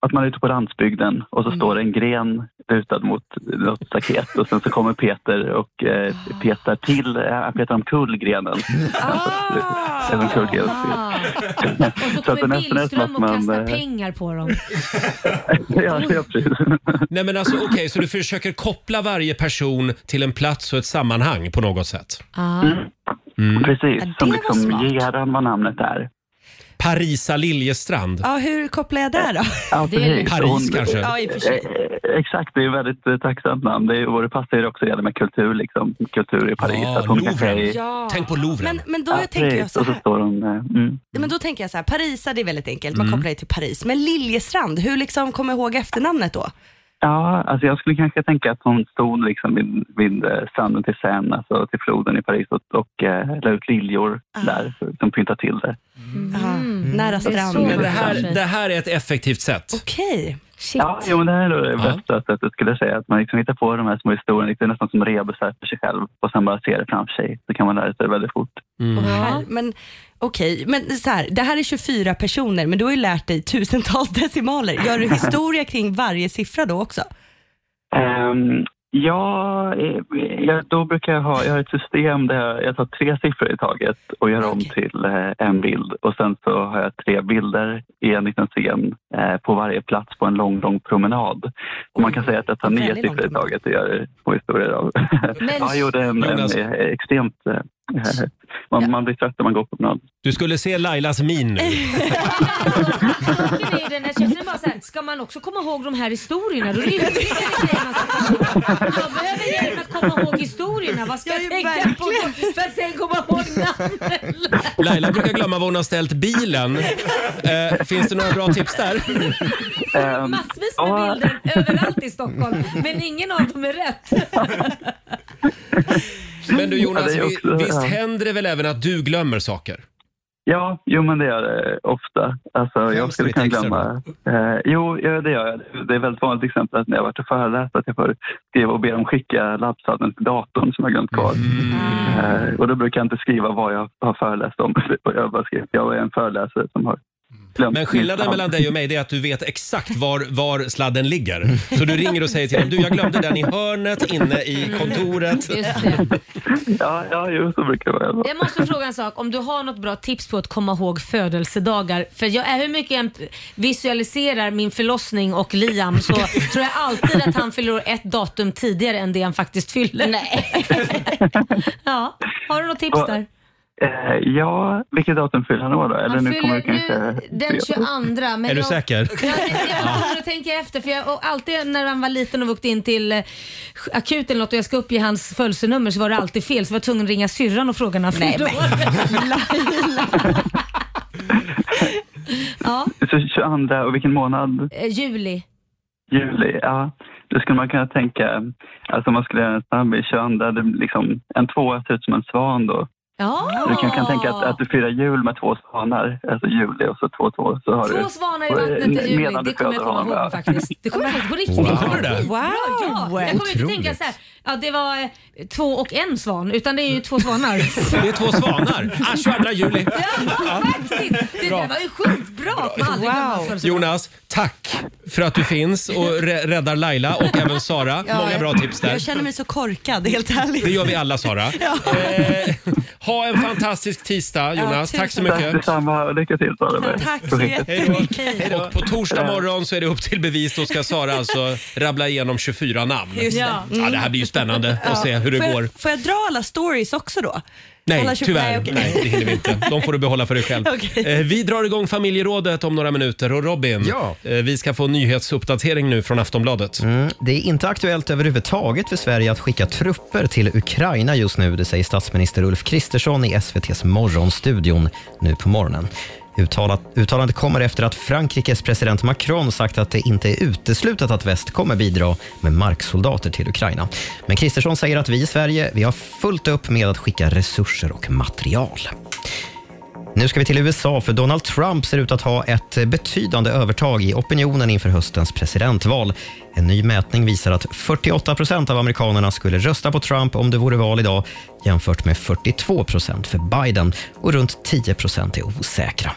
Speaker 16: att man är ute på landsbygden och
Speaker 4: Mm.
Speaker 16: så står det en gren lutad mot något staket och sen så kommer Peter och eh, petar till, eh, han petar om kullgrenen. Ah. Även kullgrenen.
Speaker 4: Och så
Speaker 16: Så att det
Speaker 4: kommer
Speaker 16: nästan är som
Speaker 4: Billström
Speaker 16: att
Speaker 4: och
Speaker 16: man...
Speaker 4: kastar
Speaker 16: eh,
Speaker 4: pengar på dem.
Speaker 16: ja, ja, precis.
Speaker 1: Nej men alltså okej, så du försöker koppla varje person till en plats och ett sammanhang på något sätt? Mm.
Speaker 4: Ah.
Speaker 16: Precis, som
Speaker 6: var
Speaker 16: liksom
Speaker 6: smart.
Speaker 16: ger han vad namnet är.
Speaker 1: Parisa Liljestrand.
Speaker 6: Ja, hur kopplar jag där då?
Speaker 16: Ja, precis.
Speaker 1: Paris
Speaker 16: Hon-
Speaker 1: kanske?
Speaker 6: Ja, i och för sig.
Speaker 16: Eh, Exakt, det är ett väldigt eh, tacksamt namn. Det, är, och det passar ju också det med kultur, liksom. kultur i Paris.
Speaker 1: Ja, Louvren.
Speaker 6: Ja.
Speaker 1: Tänk på Louvren.
Speaker 6: Men, men då tänker jag så
Speaker 16: Och så
Speaker 6: här.
Speaker 16: står hon... eh, Mm.
Speaker 6: Men då tänker jag så här, Parisa det är väldigt enkelt, man
Speaker 16: Mm.
Speaker 6: kopplar det till Paris. Men Liljestrand, hur liksom kommer jag ihåg efternamnet då?
Speaker 16: Ja, alltså jag skulle kanske tänka att hon stod liksom vid, vid eh, stranden till Seine, alltså till floden i Paris och, och eh, la ut liljor
Speaker 6: Ah.
Speaker 16: där som pyntar till det.
Speaker 6: Nära
Speaker 16: Mm. Det är så
Speaker 6: stranden.
Speaker 1: Men det här, det här är ett effektivt sätt.
Speaker 6: Okej. Shit.
Speaker 16: Ja, jo, men det här är då det bästa sättet skulle jag säga. Att man liksom hittar på de här små historierna, det är nästan som rebusar för sig själv och sen bara ser det framför sig. Så kan man lära sig det väldigt fort.
Speaker 6: Och här, men okej, men så här, det här är 24 personer, men du har ju lärt dig tusentals decimaler. Gör du historia kring varje siffra då också?
Speaker 16: Ehm, ja, eh, jag, då brukar jag ha, jag har ett system där jag, jag tar tre siffror i taget och gör om till eh, en bild. Och sen så har jag tre bilder i en liten scen eh, på varje plats på en lång, lång promenad. Så man kan säga att jag tar
Speaker 6: Väldigt
Speaker 16: nio
Speaker 6: lång
Speaker 16: siffror i taget och gör små historier av.
Speaker 6: Men-
Speaker 16: ja, jag gjorde en, en
Speaker 1: Jonas.
Speaker 16: eh, extremt... Eh, man, man blir trött när man går på promenad.
Speaker 1: Du skulle se Lailas min nu.
Speaker 4: Saken är ju den här känslan bara såhär, ska man också komma ihåg de här historierna? Då är det ju inte grejer man ska komma ihåg. Jag behöver hjälp att komma ihåg historierna. Vad ska jag tänka på då? för att sen komma ihåg namnen?
Speaker 1: Laila brukar glömma var hon har ställt bilen. Eh, finns det några bra tips där?
Speaker 16: Ehm,
Speaker 4: Massvis med bilder överallt i Stockholm, men ingen av dem är rätt.
Speaker 1: Men du Jonas,
Speaker 16: Ja, det är
Speaker 1: vi-
Speaker 16: också-
Speaker 1: visst
Speaker 16: ja.
Speaker 1: händer det väl även att du glömmer saker?
Speaker 16: Ja, jo men det gör det ofta. Alltså, jag skulle kunna
Speaker 1: lite extra
Speaker 16: glömma. Eh, jo, ja, det gör jag. Det är väldigt vanligt till exempel att när jag varit och föreläst att jag får skriva och be dem skicka labbsatsen till datorn som jag glömt kvar.
Speaker 1: Mm.
Speaker 16: Eh, och då brukar jag inte skriva vad jag har föreläst om. Jag bara skriver jag är en föreläsare som har glömt.
Speaker 1: Men skillnaden
Speaker 16: mitt namn."
Speaker 1: mellan dig och mig det är att du vet exakt var, var sladden ligger. Så du ringer och säger till dem, du jag glömde den i hörnet inne i kontoret.
Speaker 4: Just det.
Speaker 16: Ja, ja, jo, så brukar det vara.
Speaker 4: Jag måste fråga en sak. Om du har något bra tips på att komma ihåg födelsedagar. För jag, är- hur mycket jag än visualiserar min förlossning och Liam så tror jag alltid att han fyller år ett datum tidigare än det han faktiskt fyller. Nej. ja. Har du något tips där?
Speaker 16: Eh, ja, vilket datum fyller han år då? Eller
Speaker 4: Han
Speaker 16: nu kommer
Speaker 4: fyller
Speaker 16: jag kanske...
Speaker 4: Den 22. Men
Speaker 16: Är du
Speaker 4: jag,
Speaker 16: säker?
Speaker 4: Jag, jag var tvungen att tänka efter. För jag, och alltid när han var liten och åkte in till eh, akuten eller något och jag ska uppge hans födelsenummer så var det alltid fel. Så var jag tvungen att ringa syrran och fråga när han fyllde år. Ja.
Speaker 16: så 22 och vilken månad?
Speaker 4: Eh, juli.
Speaker 16: Juli, ja. Då skulle man kunna tänka, alltså om man skulle göra en snabbis, 22, det är liksom, en tvåa ser ut som en svan då.
Speaker 4: Ja.
Speaker 16: Du kan, kan tänka att, att du firar jul med två svanar, alltså juli och så två två. Så har du,
Speaker 4: Två svanar i vattnet i juli.
Speaker 16: medan du
Speaker 4: Det kommer jag
Speaker 16: föder
Speaker 4: komma
Speaker 16: honom,
Speaker 4: ihåg
Speaker 16: ja.
Speaker 4: faktiskt. Det kommer jag faktiskt på riktigt
Speaker 16: Wow.
Speaker 4: ihåg.
Speaker 16: Kommer du det?
Speaker 4: Bra, Ja. Jag kommer inte
Speaker 16: Otroligt.
Speaker 4: tänka så här, ja, det var eh, två och en svan, utan det är ju två svanar.
Speaker 1: Det är två svanar. Ah, 22 juli.
Speaker 4: Ja, faktiskt. Det
Speaker 1: Bra.
Speaker 4: där var ju skitbra. att man aldrig glömmer födelsedag.
Speaker 1: Jonas, tack för att du finns och rä- räddar Laila och även Sara.
Speaker 6: Ja,
Speaker 1: Många bra tips där.
Speaker 6: Jag känner mig så korkad, helt ärligt.
Speaker 1: Det gör vi alla Sara. Eh, ha en fantastisk tisdag
Speaker 6: Ja,
Speaker 1: Jonas.
Speaker 6: tusen
Speaker 1: Tack så
Speaker 6: tack.
Speaker 1: mycket.
Speaker 6: Tack
Speaker 16: detsamma och lycka till Sara med
Speaker 6: Tack så
Speaker 1: Hej då.
Speaker 6: jättemycket.
Speaker 1: Hej då. Och på torsdag morgon så är det upp till bevis. Då ska Sara alltså rabbla igenom 24 namn.
Speaker 6: Just det.
Speaker 1: Ja.
Speaker 6: Mm.
Speaker 1: det här blir ju spännande
Speaker 6: Ja.
Speaker 1: att se hur det
Speaker 6: får
Speaker 1: går.
Speaker 6: Jag, får jag dra alla stories också då? Alla
Speaker 1: Nej,
Speaker 6: tjugo-
Speaker 1: tyvärr.
Speaker 6: Nej, okej.
Speaker 1: Nej, det hinner vi inte. De får du behålla för dig själv.
Speaker 6: Okej.
Speaker 1: Eh, Vi drar igång familjerådet om några minuter och Robin, eh, vi ska få en nyhetsuppdatering nu från Aftonbladet.
Speaker 3: Mm. Det är inte aktuellt överhuvudtaget för Sverige att skicka trupper till Ukraina just nu, det säger statsminister Ulf Kristersson i SVTs Morgonstudion nu på morgonen. Uttalat, uttalandet kommer efter att Frankrikes president Macron sagt att det inte är uteslutet att väst kommer bidra med marksoldater till Ukraina. Men Kristersson säger att vi i Sverige, vi har fullt upp med att skicka resurser och material. Nu ska vi till USA, för Donald Trump ser ut att ha ett betydande övertag i opinionen inför höstens presidentval. En ny mätning visar att 48 procent av amerikanerna skulle rösta på Trump om det vore val idag, jämfört med 42 procent för Biden och runt 10 procent är osäkra.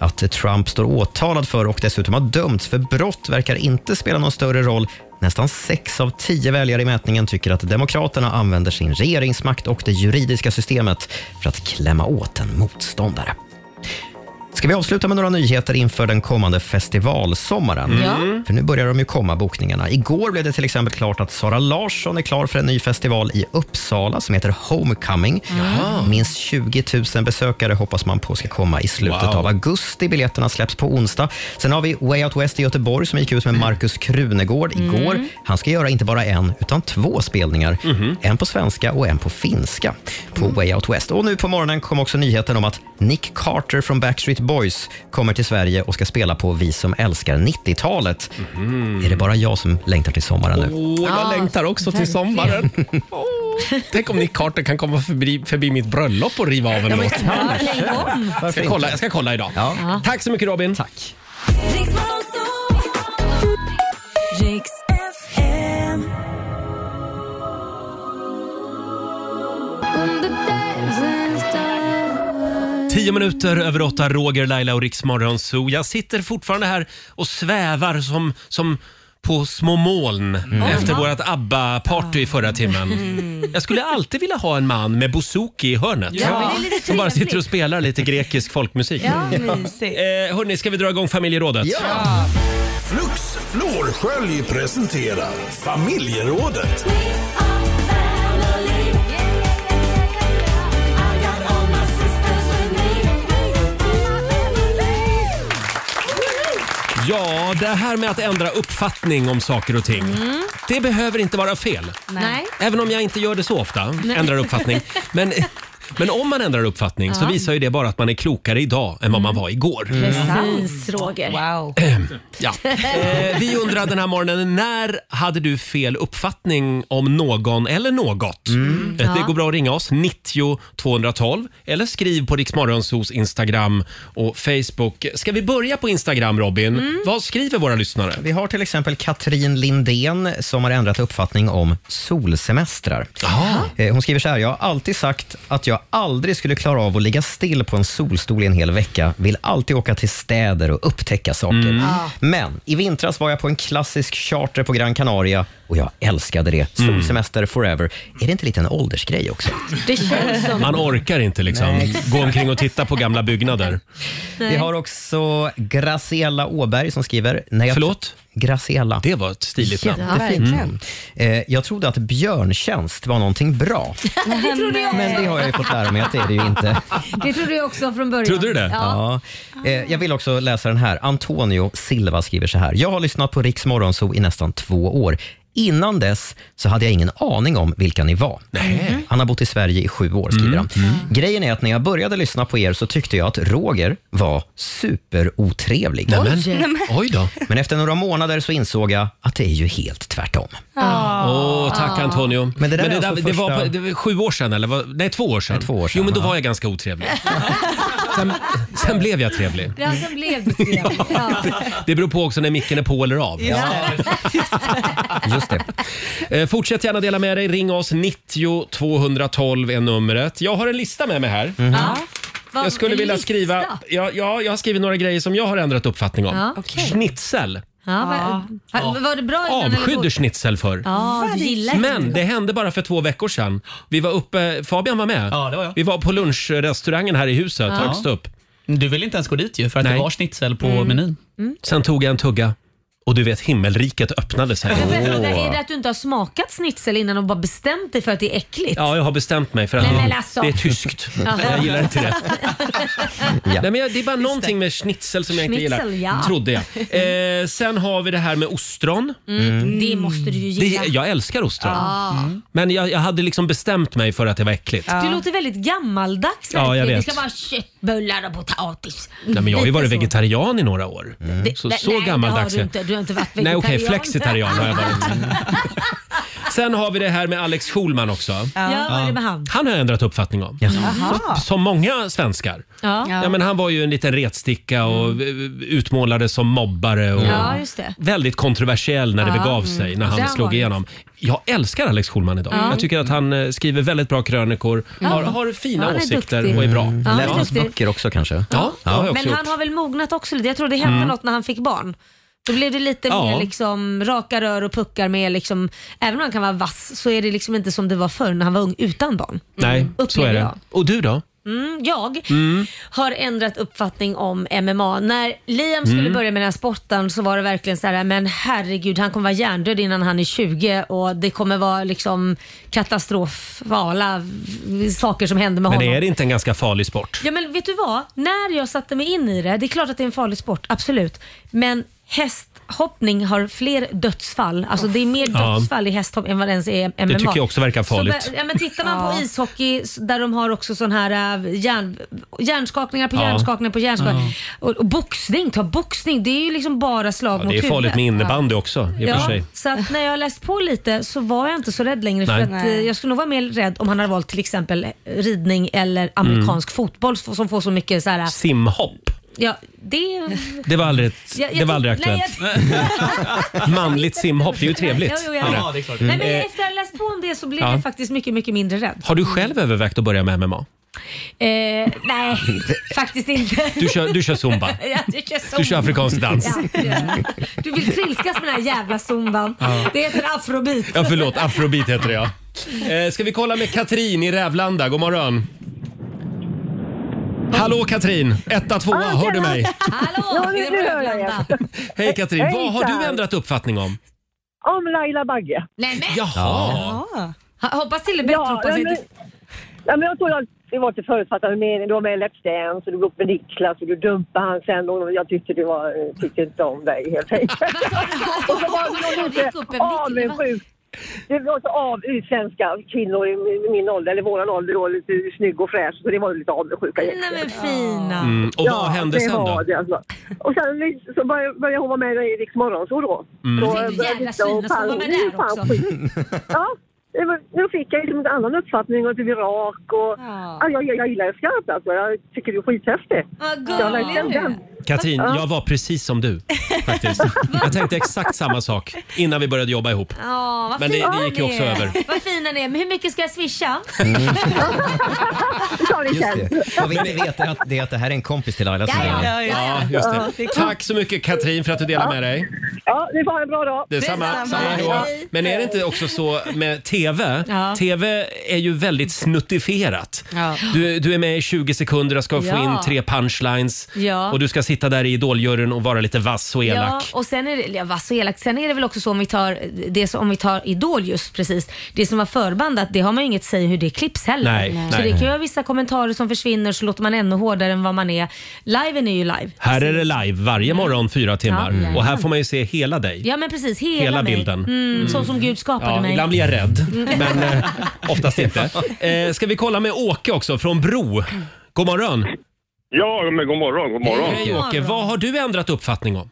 Speaker 3: Att Trump står åtalad för och dessutom har dömts för brott verkar inte spela någon större roll. Nästan sex av tio väljare i mätningen tycker att Demokraterna använder sin regeringsmakt och det juridiska systemet för att klämma åt en motståndare. Ska vi avsluta med några nyheter inför den kommande festivalsommaren?
Speaker 17: Ja.
Speaker 3: För nu börjar de ju komma, bokningarna. Igår blev det till exempel klart att Sara Larsson är klar för en ny festival i Uppsala som heter Homecoming.
Speaker 17: Jaha.
Speaker 3: Minst 20 000 besökare hoppas man på ska komma i slutet
Speaker 17: Wow.
Speaker 3: av augusti. Biljetterna släpps på onsdag. Sen har vi Way Out West i Göteborg som gick ut med Markus Krunegård igår.
Speaker 17: Mm.
Speaker 3: Han ska göra inte bara en, utan två spelningar.
Speaker 17: Mhm.
Speaker 3: En på svenska och en på finska på
Speaker 17: Mm.
Speaker 3: Way Out West. Och nu på morgonen kom också nyheten om att Nick Carter från Backstreet Boys kommer till Sverige och ska spela på Vi som älskar 90-talet.
Speaker 17: Mhm.
Speaker 3: Är det bara jag som längtar till sommaren nu?
Speaker 1: Åh,
Speaker 2: Ah,
Speaker 1: jag längtar också till sommaren. Åh, tänk om Nick Carter kan komma förbi, förbi mitt bröllop och riva av en
Speaker 2: Ja, men
Speaker 1: låt.
Speaker 2: kanske. Ja, tänk om.
Speaker 1: Jag
Speaker 2: Varför
Speaker 1: ska,
Speaker 2: inte?
Speaker 1: kolla, jag ska kolla idag. Tack så mycket Robin. Tack.
Speaker 2: Riks FM.
Speaker 1: Tio minuter över åtta, Roger, Laila och Riksmorgon Zoo. Jag sitter fortfarande här och svävar som, som på små moln
Speaker 2: Mm.
Speaker 1: efter vårt ABBA-party i förra timmen. Jag skulle alltid vilja ha en man med bouzouki i hörnet.
Speaker 2: Ja, det är lite
Speaker 1: Som bara sitter och
Speaker 2: trevligt.
Speaker 1: spelar lite grekisk folkmusik.
Speaker 2: Ja,
Speaker 1: eh, hörni, ska vi dra igång familjerådet?
Speaker 10: Flux Florskölj presenterar Familjerådet.
Speaker 1: Ja, det här med att ändra uppfattning om saker och ting. Det behöver inte vara fel.
Speaker 4: Nej.
Speaker 1: Även om jag inte gör det så ofta,
Speaker 4: Nej.
Speaker 1: ändrar uppfattning. Men, men om man ändrar uppfattning så
Speaker 4: Ja. Mm.
Speaker 1: visar ju det bara att man är klokare idag än vad man var igår.
Speaker 4: Precis Roger. Wow.
Speaker 1: Ja. Eh, vi undrar den här morgonen, när hade du fel uppfattning om någon eller något? Eh, Det
Speaker 4: Mm. Ja.
Speaker 1: går bra att ringa oss, 90 212 eller skriv på Riksmorgonsos Instagram och Facebook. Ska vi börja på Instagram Robin?
Speaker 4: Mm.
Speaker 1: Vad skriver våra lyssnare?
Speaker 3: Vi har till exempel Katrin Lindén som har ändrat uppfattning om solsemestrar. Eh, Hon skriver så här, jag har alltid sagt att jag aldrig skulle klara av att ligga still på en solstol i en hel vecka. Vill alltid åka till städer och upptäcka saker.
Speaker 17: Mm. Ah.
Speaker 3: Men i vintras var jag på en klassisk charter på Gran Canaria och jag älskade det.
Speaker 1: Mm.
Speaker 3: Solsemester forever. Är det inte lite en åldersgrej också?
Speaker 4: Det känns som...
Speaker 1: Man orkar inte liksom
Speaker 3: Nej.
Speaker 1: gå omkring och titta på gamla byggnader.
Speaker 4: Nej.
Speaker 3: Vi har också Graciella Åberg som skriver... När jag
Speaker 1: Förlåt?
Speaker 3: Graciella.
Speaker 1: Det var ett stiligt namn.
Speaker 3: Jättefint.
Speaker 1: Ja, verkligen.
Speaker 3: Mm. Eh, Jag trodde att björntjänst var någonting bra,
Speaker 4: Det trodde jag
Speaker 3: men det har jag ju fått lära mig att det är det ju inte.
Speaker 4: Det trodde jag också från början. Ja.
Speaker 3: Ja. Eh, Jag vill också läsa den här. Antonio Silva skriver så här. Jag har lyssnat på Riks Morgonzoo i nästan två år. Innan dess så hade jag ingen aning om vilka ni var. Han har bott i Sverige i sju år, skriver
Speaker 1: Mm.
Speaker 3: han. Grejen är att när jag började lyssna på er så tyckte jag att Roger var superotrevlig.
Speaker 1: Nämen. Oj. Nämen. Oj då.
Speaker 3: Men efter några månader så insåg jag att det är ju helt tvärtom.
Speaker 1: Åh, tack Antonio.
Speaker 3: Men det där är
Speaker 1: det,
Speaker 3: alltså
Speaker 1: det var
Speaker 3: första-
Speaker 1: på, det var sju år sedan, eller? vad- Nej, två år sedan. två år jo, men då var jag ganska otrevlig. Sen, sen blev jag trevlig.
Speaker 4: Det alltså blev det trevligt. ja.
Speaker 1: Det beror på också när micken är på eller av. Just det. Eh, Fortsätt gärna dela med dig. Ring oss. 90 212 är numret. Jag har en lista med mig här.
Speaker 4: Vad-
Speaker 1: Jag skulle
Speaker 4: en
Speaker 1: vilja
Speaker 4: lista?
Speaker 1: skriva... Ja, ja, jag har skrivit några grejer som jag har ändrat uppfattning om.
Speaker 4: Ja. Okej.
Speaker 1: Schnitzel.
Speaker 4: Ja, var, var, var det bra innan eller
Speaker 1: Avskydde
Speaker 4: dåligt?
Speaker 1: schnitzel för.
Speaker 4: Ja, du gillar
Speaker 1: Men det hände bara för två veckor sedan. Vi var uppe, Fabian var med.
Speaker 5: Ja, det var jag.
Speaker 1: Vi var på lunchrestaurangen här i huset,
Speaker 5: Ja.
Speaker 1: högst upp.
Speaker 5: Du vill inte ens gå dit ju för att det var schnitzel på
Speaker 1: Mm.
Speaker 5: menyn.
Speaker 1: Sen tog jag en tugga och du vet, himmelriket öppnade sig.
Speaker 4: Men får jag fråga, är det att du inte har smakat schnitzel innan och bara bestämt dig för att det är äckligt?
Speaker 1: Ja, jag har bestämt mig för att
Speaker 4: Nej, men
Speaker 1: det-
Speaker 4: alltså.
Speaker 1: det är tyskt.
Speaker 4: Ja.
Speaker 1: Jag gillar inte det. Nej, men jag, det är bara någonting med schnitzel som jag inte
Speaker 4: Schnitzel,
Speaker 1: gillar.
Speaker 4: ja.
Speaker 1: Trodde jag. Eh, sen har vi det här med ostron.
Speaker 4: Mm. Det måste du ju gilla.
Speaker 1: Det, jag älskar ostron.
Speaker 4: Ja. Mm.
Speaker 1: Men jag, jag hade liksom bestämt mig för att det var äckligt.
Speaker 4: Du låter väldigt gammaldags
Speaker 1: Ja, jag
Speaker 4: verkligen.
Speaker 1: vet.
Speaker 4: Det ska vara köttbullar och potatis.
Speaker 1: Nej, men jag har ju
Speaker 4: Lite
Speaker 1: varit
Speaker 4: så. Mm.
Speaker 1: vegetarian i några år.
Speaker 4: Det-
Speaker 1: Så,
Speaker 4: nej,
Speaker 1: så
Speaker 4: nej, det
Speaker 1: gammaldags
Speaker 4: har du
Speaker 1: är-
Speaker 4: inte. Du har inte varit
Speaker 1: Nej okej,
Speaker 4: vegetarian.
Speaker 1: flexitarian har jag varit. Sen har vi det här med Alex Schulman också.
Speaker 4: Ja, vad är det med han?
Speaker 1: Han har jag ändrat uppfattning om.
Speaker 4: Jaha.
Speaker 1: Som många svenskar.
Speaker 4: Ja. Mm.
Speaker 1: Ja, men han var ju en liten retsticka och eh, utmålades som mobbare. Och
Speaker 4: Ja, just det.
Speaker 1: Väldigt kontroversiell när det
Speaker 4: Ja.
Speaker 1: begav
Speaker 4: Mm.
Speaker 1: sig, när han
Speaker 4: Där var
Speaker 1: slog
Speaker 4: det.
Speaker 1: igenom. Jag älskar Alex Schulman idag.
Speaker 4: Ja.
Speaker 1: Jag tycker att han eh, skriver väldigt bra krönikor,
Speaker 4: Ja.
Speaker 1: har, har fina
Speaker 4: Ja, han är
Speaker 1: åsikter
Speaker 4: duktig.
Speaker 1: och är bra.
Speaker 4: Mm. Ja, han är Läst hans duktig. böcker
Speaker 3: också kanske?
Speaker 1: Ja, det har jag också
Speaker 4: Men
Speaker 1: gjort.
Speaker 4: han har väl mognat också lite. Jag tror det hände
Speaker 1: Mm.
Speaker 4: något när han fick barn. Då blev det lite
Speaker 1: Ja.
Speaker 4: mer liksom raka rör och puckar med liksom, även om han kan vara vass så är det liksom inte som det var förr när han var ung utan barn.
Speaker 1: Nej, så
Speaker 4: Upplever
Speaker 1: är det.
Speaker 4: jag.
Speaker 1: Och du då?
Speaker 4: Mm, jag
Speaker 1: Mm.
Speaker 4: har ändrat uppfattning om MMA. När Liam skulle
Speaker 1: Mm.
Speaker 4: börja med den här sporten så var det verkligen så här, men herregud han kommer vara hjärndöd innan han är 20 och det kommer vara liksom katastrofala v- saker som händer med
Speaker 1: Men
Speaker 4: honom.
Speaker 1: är det inte en ganska farlig sport?
Speaker 4: Ja men vet du vad? När jag satte mig in i det, det är klart att det är en farlig sport, absolut. Men hästhoppning har fler dödsfall. Alltså det är mer
Speaker 1: Ja.
Speaker 4: dödsfall i hästhoppning än vad det ens är i MMA.
Speaker 1: Det tycker jag också verkar farligt.
Speaker 4: Så, ja, men tittar man på
Speaker 1: Ja.
Speaker 4: ishockey s- där de har också sån här äh, hjärn, hjärnskakningar på
Speaker 1: Ja.
Speaker 4: hjärnskakningar på hjärnskakningar.
Speaker 1: Ja.
Speaker 4: Och, och boxning, ta boxning, det är ju liksom bara slag
Speaker 1: Ja,
Speaker 4: mot
Speaker 1: det är
Speaker 4: huvudet.
Speaker 1: farligt med innebandy också i och
Speaker 4: Ja,
Speaker 1: för sig.
Speaker 4: så att när jag har läst på lite så var jag inte så rädd längre. För
Speaker 1: Nej.
Speaker 4: att, eh, jag skulle nog vara mer rädd om han hade valt till exempel ridning eller amerikansk
Speaker 1: Mm.
Speaker 4: fotboll som får så mycket så här... eh,
Speaker 1: Simhopp,
Speaker 4: Ja, det...
Speaker 1: det var aldrig,
Speaker 4: Jag- jag
Speaker 1: det var
Speaker 4: tyck-
Speaker 1: aldrig
Speaker 4: nej,
Speaker 1: aktuellt. Manligt simhopp, det är ju trevligt.
Speaker 4: Jo, jo, jag vet.
Speaker 1: Anna.
Speaker 4: Nej, men
Speaker 1: Eh,
Speaker 4: efter att ha läst på om det så blev
Speaker 1: Ja.
Speaker 4: jag faktiskt mycket, mycket mindre rädd.
Speaker 1: Har du själv övervägt att börja med MMA?
Speaker 4: Eh, nej, faktiskt inte.
Speaker 1: Du kör- du kör zumba.
Speaker 4: ja, du kör zumba.
Speaker 1: Du kör afrikansk dans.
Speaker 4: Ja, det gör jag. du vill trilskas med den här jävla zumban.
Speaker 1: Ja.
Speaker 4: Det heter afrobeat.
Speaker 1: Ja, förlåt. Afrobeat heter det, ja. Eh, ska vi kolla med Katrin i Rävlanda? God morgon. Hallå Katrin! Etta, tvåa,
Speaker 11: Ah,
Speaker 1: hör du mig?
Speaker 4: Hallå!
Speaker 17: Ja, nu hör jag er.
Speaker 1: Hej Katrin! Vad har du
Speaker 17: Hejsan.
Speaker 1: ändrat uppfattning om?
Speaker 17: Om Laila Bagge.
Speaker 4: Nej, men.
Speaker 1: Jaha.
Speaker 4: Ha- Hoppas till det bättre.
Speaker 17: Ja,
Speaker 4: hoppas
Speaker 17: ja, men,
Speaker 4: inte-
Speaker 17: ja, men jag tror att det var till förutfattade mening. Du var med i Let's Dance och du går upp med Niklas och du dumpade han sen och jag tyckte du var, tyckte inte om dig helt enkelt. och så var jag lite avundsjuk. Det var så avundsjuk svenska kvinnor i min- min ålder, eller våran ålder då, lite snygg och fräsch. Så det var ju lite avundsjuka
Speaker 4: Nej men fina.
Speaker 1: Mm, och vad hände
Speaker 17: det
Speaker 1: sen då?
Speaker 17: var Det, alltså. Och sen liksom, så började, började hon vara med i Riks Morgonzoo då.
Speaker 1: Mm.
Speaker 17: Då
Speaker 1: Tänkte,
Speaker 17: började
Speaker 4: jävla
Speaker 17: jag titta och
Speaker 4: svin, och så
Speaker 17: fan-
Speaker 4: var man där
Speaker 17: nu fan
Speaker 4: också.
Speaker 17: skit. ja, det var, nu fick jag liksom en annan uppfattning och du är rak och... Ja. jag, jag, jag gillar det skarpt alltså. Jag tycker du är skithäftig.
Speaker 4: Vad
Speaker 17: Jag verkligen
Speaker 4: gullig.
Speaker 17: den.
Speaker 1: Katrin,
Speaker 17: Ja.
Speaker 1: jag var precis som du faktiskt. Jag tänkte exakt samma sak innan vi började jobba ihop.
Speaker 4: Ja, vad
Speaker 1: Men det-
Speaker 4: fina
Speaker 1: det gick ju
Speaker 4: ni
Speaker 1: också
Speaker 4: är.
Speaker 1: över.
Speaker 4: Vad fina ni är. Men hur mycket ska jag swisha?
Speaker 3: Just det. Vad Mm. vi inte vet är att det, är att det här är en kompis till Laila som
Speaker 4: Ja, ja,
Speaker 3: ringer.
Speaker 4: ja, ja.
Speaker 1: Ja, just det. Tack så mycket Katrin för att du delar
Speaker 17: Ja.
Speaker 1: med dig.
Speaker 17: Ja, ni får ha en bra dag.
Speaker 1: Detsamma. Samma, hej då. Men är det inte också så med TV?
Speaker 17: Ja.
Speaker 1: TV är ju väldigt snuttifierat.
Speaker 4: Ja.
Speaker 1: Du, du är med i 20 sekunder och ska få
Speaker 4: Ja.
Speaker 1: in tre punchlines
Speaker 4: Ja.
Speaker 1: och du ska sitta där i idoljuryn och vara lite vass och elak.
Speaker 4: Ja, och sen är det, ja, vass och elak. Sen är det väl också så om vi tar, det som, om vi tar Idol just precis, det som var förbandat, det har man ju inget säg hur det klipps heller.
Speaker 1: Nej, Nej.
Speaker 4: Så
Speaker 1: nej.
Speaker 4: det kan ju vara vissa kommentarer som försvinner så låter man ännu hårdare än vad man är. Liven är ju live.
Speaker 1: Här är det live varje morgon fyra timmar
Speaker 4: jajamän.
Speaker 1: och här får man ju se hela dig.
Speaker 4: Ja men precis, hela,
Speaker 1: Hela
Speaker 4: mig.
Speaker 1: bilden.
Speaker 4: Mm, Så som Gud skapade
Speaker 1: Ja,
Speaker 4: mig.
Speaker 1: ibland blir jag rädd,
Speaker 4: Mm.
Speaker 1: men eh, oftast inte. Eh, ska vi kolla med Åke också från Bro? God morgon!
Speaker 18: Ja, men god morgon, god morgon.
Speaker 1: Hej Åke, vad har du ändrat uppfattning om?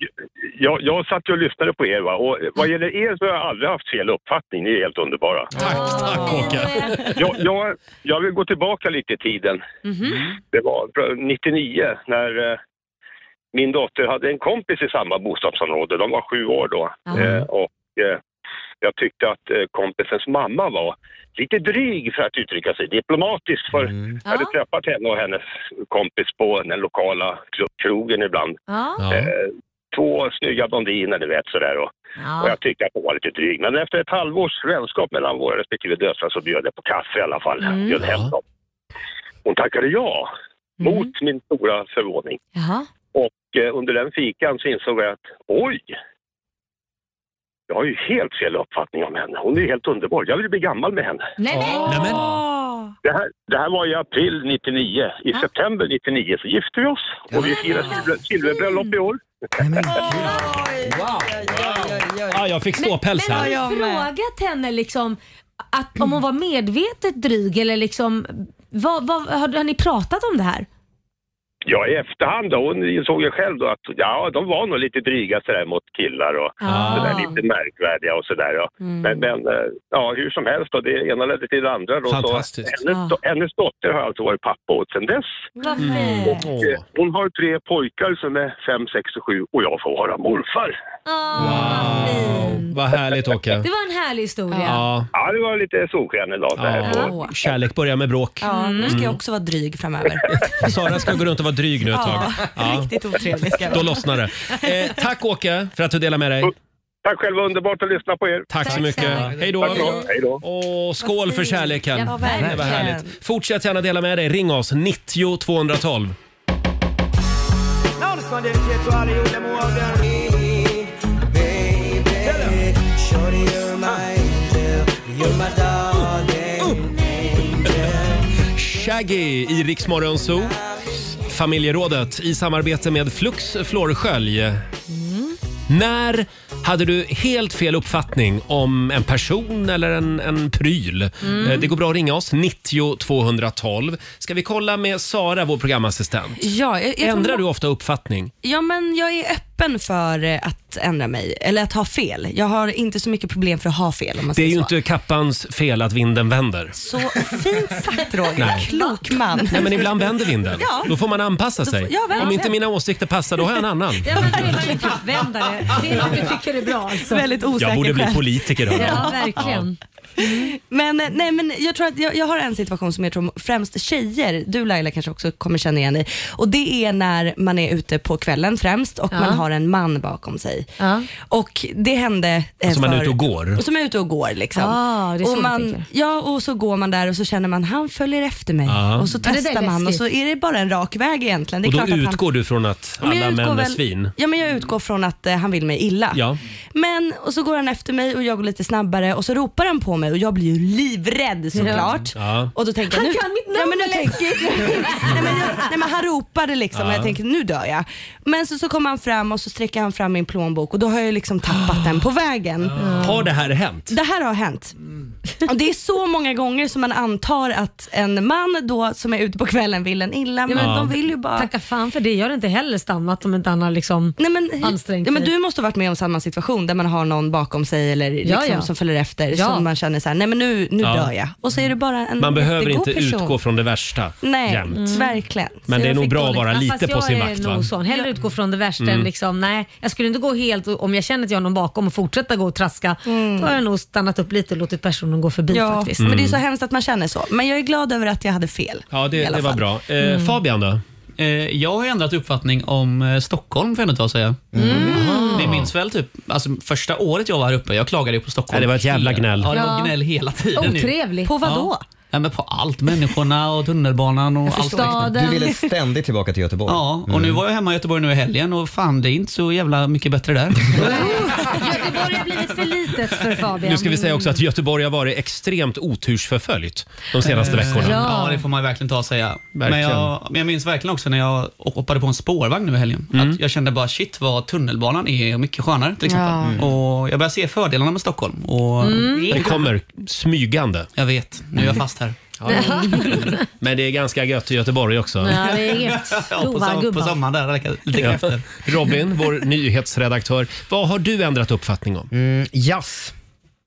Speaker 18: Jag, jag satt ju och lyssnade på er va? och vad gäller er så har jag aldrig haft fel uppfattning. Ni är helt underbara.
Speaker 1: Tack, tack Åke!
Speaker 18: Jag, jag, jag vill gå tillbaka lite i tiden.
Speaker 4: Mhm.
Speaker 16: Mm.
Speaker 18: Det var 99 när eh, min dotter hade en kompis i samma bostadsområde. De var sju år då.
Speaker 19: Ja.
Speaker 18: Eh, och eh, jag tyckte att eh, kompisens mamma var lite dryg för att uttrycka sig diplomatiskt. För Jag hade träffat henne och hennes kompis på den lokala kro- krogen ibland.
Speaker 4: Ja.
Speaker 18: Eh, två snygga blondiner, du vet sådär. Och,
Speaker 4: Ja.
Speaker 18: och jag tyckte att hon var lite dryg. Men efter ett halvårs vänskap mellan våra respektive döttrar så bjöd jag på kaffe i alla fall.
Speaker 4: Mm.
Speaker 18: Bjöd hem dem. Hon tackade ja,
Speaker 4: Mm.
Speaker 18: mot min stora förvåning.
Speaker 4: Jaha.
Speaker 18: Och eh, under den fikan så insåg jag att oj, jag har ju helt fel uppfattning om henne. Hon är ju helt underbar. Jag vill bli gammal med henne.
Speaker 4: Nej, nej.
Speaker 18: Det här, det här var i april 99. I september 99 så gifte vi oss och vi firar silver- silverbröllop i år.
Speaker 1: Ah, jag fick ståpäls
Speaker 4: men,
Speaker 1: här.
Speaker 4: Men har du frågat henne liksom att, om hon var medvetet dryg eller liksom, vad, vad, har, har ni pratat om det här?
Speaker 18: Ja, i efterhand då. Hon insåg ju själv då att ja, de var nog lite dryga sådär mot killar och
Speaker 4: Ah.
Speaker 18: sådär lite märkvärdiga och sådär. Ja.
Speaker 4: Mm.
Speaker 18: Men, men eh, ja, hur som helst då, det ena ledde till det andra. Då,
Speaker 1: Fantastiskt. Ah.
Speaker 18: Så hennes, do- hennes dotter har alltså varit pappa åt sedan dess.
Speaker 4: Vad
Speaker 18: Mm.
Speaker 4: fint.
Speaker 18: Och, eh, hon har tre pojkar som är fem, sex och sju och jag får vara morfar.
Speaker 1: Vad härligt Åke.
Speaker 4: Det var en härlig historia.
Speaker 1: Ja.
Speaker 18: Ja, det var lite solsken idag. så här på-
Speaker 1: Ja. Kärlek börjar med bråk.
Speaker 6: Ja, nu ska jag
Speaker 1: Mm.
Speaker 6: också vara dryg framöver.
Speaker 1: Sara ska gå runt och vara dryg nu ett tag.
Speaker 6: Ja, riktigt otrevlig ska jag
Speaker 1: Då
Speaker 6: vara.
Speaker 1: lossnar det. Eh, tack Åke för att du delade med dig.
Speaker 18: Tack själva, underbart att lyssna på er.
Speaker 1: Tack, så
Speaker 18: Tack
Speaker 1: mycket.
Speaker 18: snälla.
Speaker 1: Hej då.
Speaker 18: Tack då. Hej då.
Speaker 1: Och skål för kärleken.
Speaker 18: Ja, verkligen.
Speaker 1: Det var härligt. Fortsätt gärna dela med dig. Ring oss, 90 212.
Speaker 5: Ah. Oh,
Speaker 1: Shaggy i Rix Morgon Zoo. Familjerådet i samarbete med Flux Florskölj. När hade du helt fel uppfattning om en person eller en, en pryl?
Speaker 6: Mm.
Speaker 1: Eh, Det går bra att ringa oss, 90 212. Ska vi kolla med Sara, vår programassistent?
Speaker 6: Ja, jag, jag tror-
Speaker 1: Ändrar du ofta uppfattning?
Speaker 6: Ja, men jag är öppen för eh, att ändra mig, eller att ha fel. Jag har inte så mycket problem för att ha fel om man
Speaker 1: Det är
Speaker 6: säger
Speaker 1: ju
Speaker 6: så.
Speaker 1: inte kappans fel att vinden vänder.
Speaker 6: Så fint sagt Roger,
Speaker 1: Nej.
Speaker 6: klok man.
Speaker 1: Nej, men ibland vänder vinden.
Speaker 6: Ja.
Speaker 1: Då får man anpassa
Speaker 6: Då får-
Speaker 1: sig.
Speaker 6: ja, verkligen.
Speaker 1: Om inte mina åsikter passar, då har jag en annan.
Speaker 4: Ja, men det var ju en kappvändare.
Speaker 5: ah.
Speaker 4: Det är något du tycker är bra alltså.
Speaker 6: Väldigt osäker
Speaker 1: Jag borde bli
Speaker 6: själv.
Speaker 1: politiker, hörru.
Speaker 4: Ja, verkligen.
Speaker 6: Men, eh, nej, men jag tror att jag, jag har en situation som jag tror främst tjejer, du Laila kanske också kommer känna igen dig, och det är när man är ute på kvällen främst och
Speaker 4: Ja.
Speaker 6: man har en man bakom sig.
Speaker 4: Ja.
Speaker 6: Och det hände... eh,
Speaker 1: Som Alltså, man är
Speaker 6: för-
Speaker 1: ute och går.
Speaker 6: Som är ute och går liksom.
Speaker 4: Ah, det är så
Speaker 6: och
Speaker 4: du
Speaker 6: man,
Speaker 4: tänker.
Speaker 6: ja, och så går man där och så känner man, han följer efter mig.
Speaker 1: Ja.
Speaker 6: Och så
Speaker 4: Ja, det där är
Speaker 6: testar man och
Speaker 4: läskigt.
Speaker 6: så är det bara en rak väg egentligen. Det är
Speaker 1: Och då
Speaker 6: klart att han-
Speaker 1: utgår du från att
Speaker 6: Ja, men jag
Speaker 1: alla
Speaker 6: utgår
Speaker 1: män är
Speaker 6: väl-
Speaker 1: svin?
Speaker 6: Ja, men jag utgår från att eh, han vill mig illa.
Speaker 1: Ja.
Speaker 6: Men, och så går han efter mig och jag går lite snabbare och så ropar han på mig och jag blir ju livrädd såklart.
Speaker 1: Ja.
Speaker 6: Och då tänker jag,
Speaker 4: Han
Speaker 6: nu,
Speaker 4: kan mitt
Speaker 6: ja, men nu
Speaker 4: namn,
Speaker 6: tänker, nej, men jag, nej men han ropade liksom och
Speaker 4: Ja.
Speaker 6: jag tänkte nu dör jag. Men så, så kommer han fram och så sträcker han fram min plånbok och då har jag liksom tappat den på vägen.
Speaker 1: Har det här hänt?
Speaker 6: Det här har hänt.
Speaker 4: Mm.
Speaker 6: Och det är så många gånger som man antar att en man då som är ute på kvällen vill en illa, men de vill ju bara...
Speaker 4: Tacka fan för det. Jag har inte heller stannat om inte han har liksom
Speaker 6: Nej, men,
Speaker 4: ansträngt
Speaker 6: ja, men
Speaker 4: sig.
Speaker 6: Du måste ha varit med om samma situation där man har någon bakom sig eller liksom,
Speaker 4: ja.
Speaker 6: som följer efter
Speaker 4: Ja.
Speaker 6: som man känner så här, nej men nu, nu
Speaker 1: Ja.
Speaker 6: dör jag. Och så är det bara en
Speaker 1: Man behöver
Speaker 6: jättegod
Speaker 1: inte
Speaker 6: person.
Speaker 1: utgå från det värsta
Speaker 6: Nej,
Speaker 1: jämt.
Speaker 4: Mm.
Speaker 6: verkligen.
Speaker 1: Men
Speaker 6: Så
Speaker 1: det är
Speaker 6: jag
Speaker 1: nog
Speaker 6: fick
Speaker 1: bra att
Speaker 6: dåligt-
Speaker 1: vara
Speaker 4: Ja,
Speaker 1: lite
Speaker 4: fast
Speaker 1: på sin
Speaker 4: jag
Speaker 1: vakt
Speaker 4: är
Speaker 1: va?
Speaker 4: nog sån. Hellre utgå från det värsta
Speaker 1: Mm.
Speaker 4: än liksom, nej, jag skulle inte gå helt och- om jag känner att jag har någon bakom och fortsätta gå och traska. Då har jag nog stannat upp lite och låtit personen gå förbi
Speaker 6: Ja,
Speaker 4: faktiskt. Mm.
Speaker 6: men det är så hemskt att man känner så. Men jag är glad över att jag hade fel.
Speaker 1: Ja,
Speaker 6: i
Speaker 1: det,
Speaker 6: alla
Speaker 1: det var
Speaker 6: fall.
Speaker 1: bra. Eh,
Speaker 6: Mm.
Speaker 1: Fabian då?
Speaker 5: Eh, jag har ändrat uppfattning om eh, Stockholm får jag ändå ta och
Speaker 6: Mm.
Speaker 5: säga.
Speaker 3: Mm.
Speaker 5: Ni minns väl typ, alltså, första året jag var här uppe, jag klagade ju på Stockholm.
Speaker 1: Ja, det var ett jävla
Speaker 5: hela-
Speaker 1: gnäll.
Speaker 5: Ja, det
Speaker 4: Ja.
Speaker 5: var gnäll hela tiden. nu.
Speaker 4: Otrevligt. På
Speaker 5: vad då? Ja, men på allt. Människorna och tunnelbanan och allt.
Speaker 3: Du ville ständigt tillbaka till Göteborg.
Speaker 5: Ja, och nu
Speaker 1: Mm.
Speaker 5: var jag hemma i Göteborg nu i helgen och fan det är inte så jävla mycket bättre där.
Speaker 4: Göteborg har blivit för litet för Fabian.
Speaker 1: Nu ska vi säga också att Göteborg har varit extremt otursförföljt de senaste veckorna.
Speaker 5: Ja. det får man verkligen ta och säga. Men
Speaker 1: Verkligen.
Speaker 5: jag, men jag minns verkligen också när jag hoppade på en spårvagn nu i helgen.
Speaker 1: Mm.
Speaker 5: Att jag kände bara shit vad tunnelbanan är mycket skönare till exempel.
Speaker 1: Ja. Mm.
Speaker 5: Och jag börjar se fördelarna med Stockholm. Och
Speaker 1: Mm. Den kommer smygande.
Speaker 5: Jag vet, nu är jag fast här.
Speaker 1: Men det är ganska gött i Göteborg också.
Speaker 4: Ja, det är inget.
Speaker 5: på,
Speaker 4: Goa
Speaker 5: som, på
Speaker 4: gubbar.
Speaker 5: sommaren där räcker lite
Speaker 1: Ja.
Speaker 5: krafter.
Speaker 1: Robin, vår nyhetsredaktör. Vad har du ändrat uppfattning om?
Speaker 3: Mm, jazz.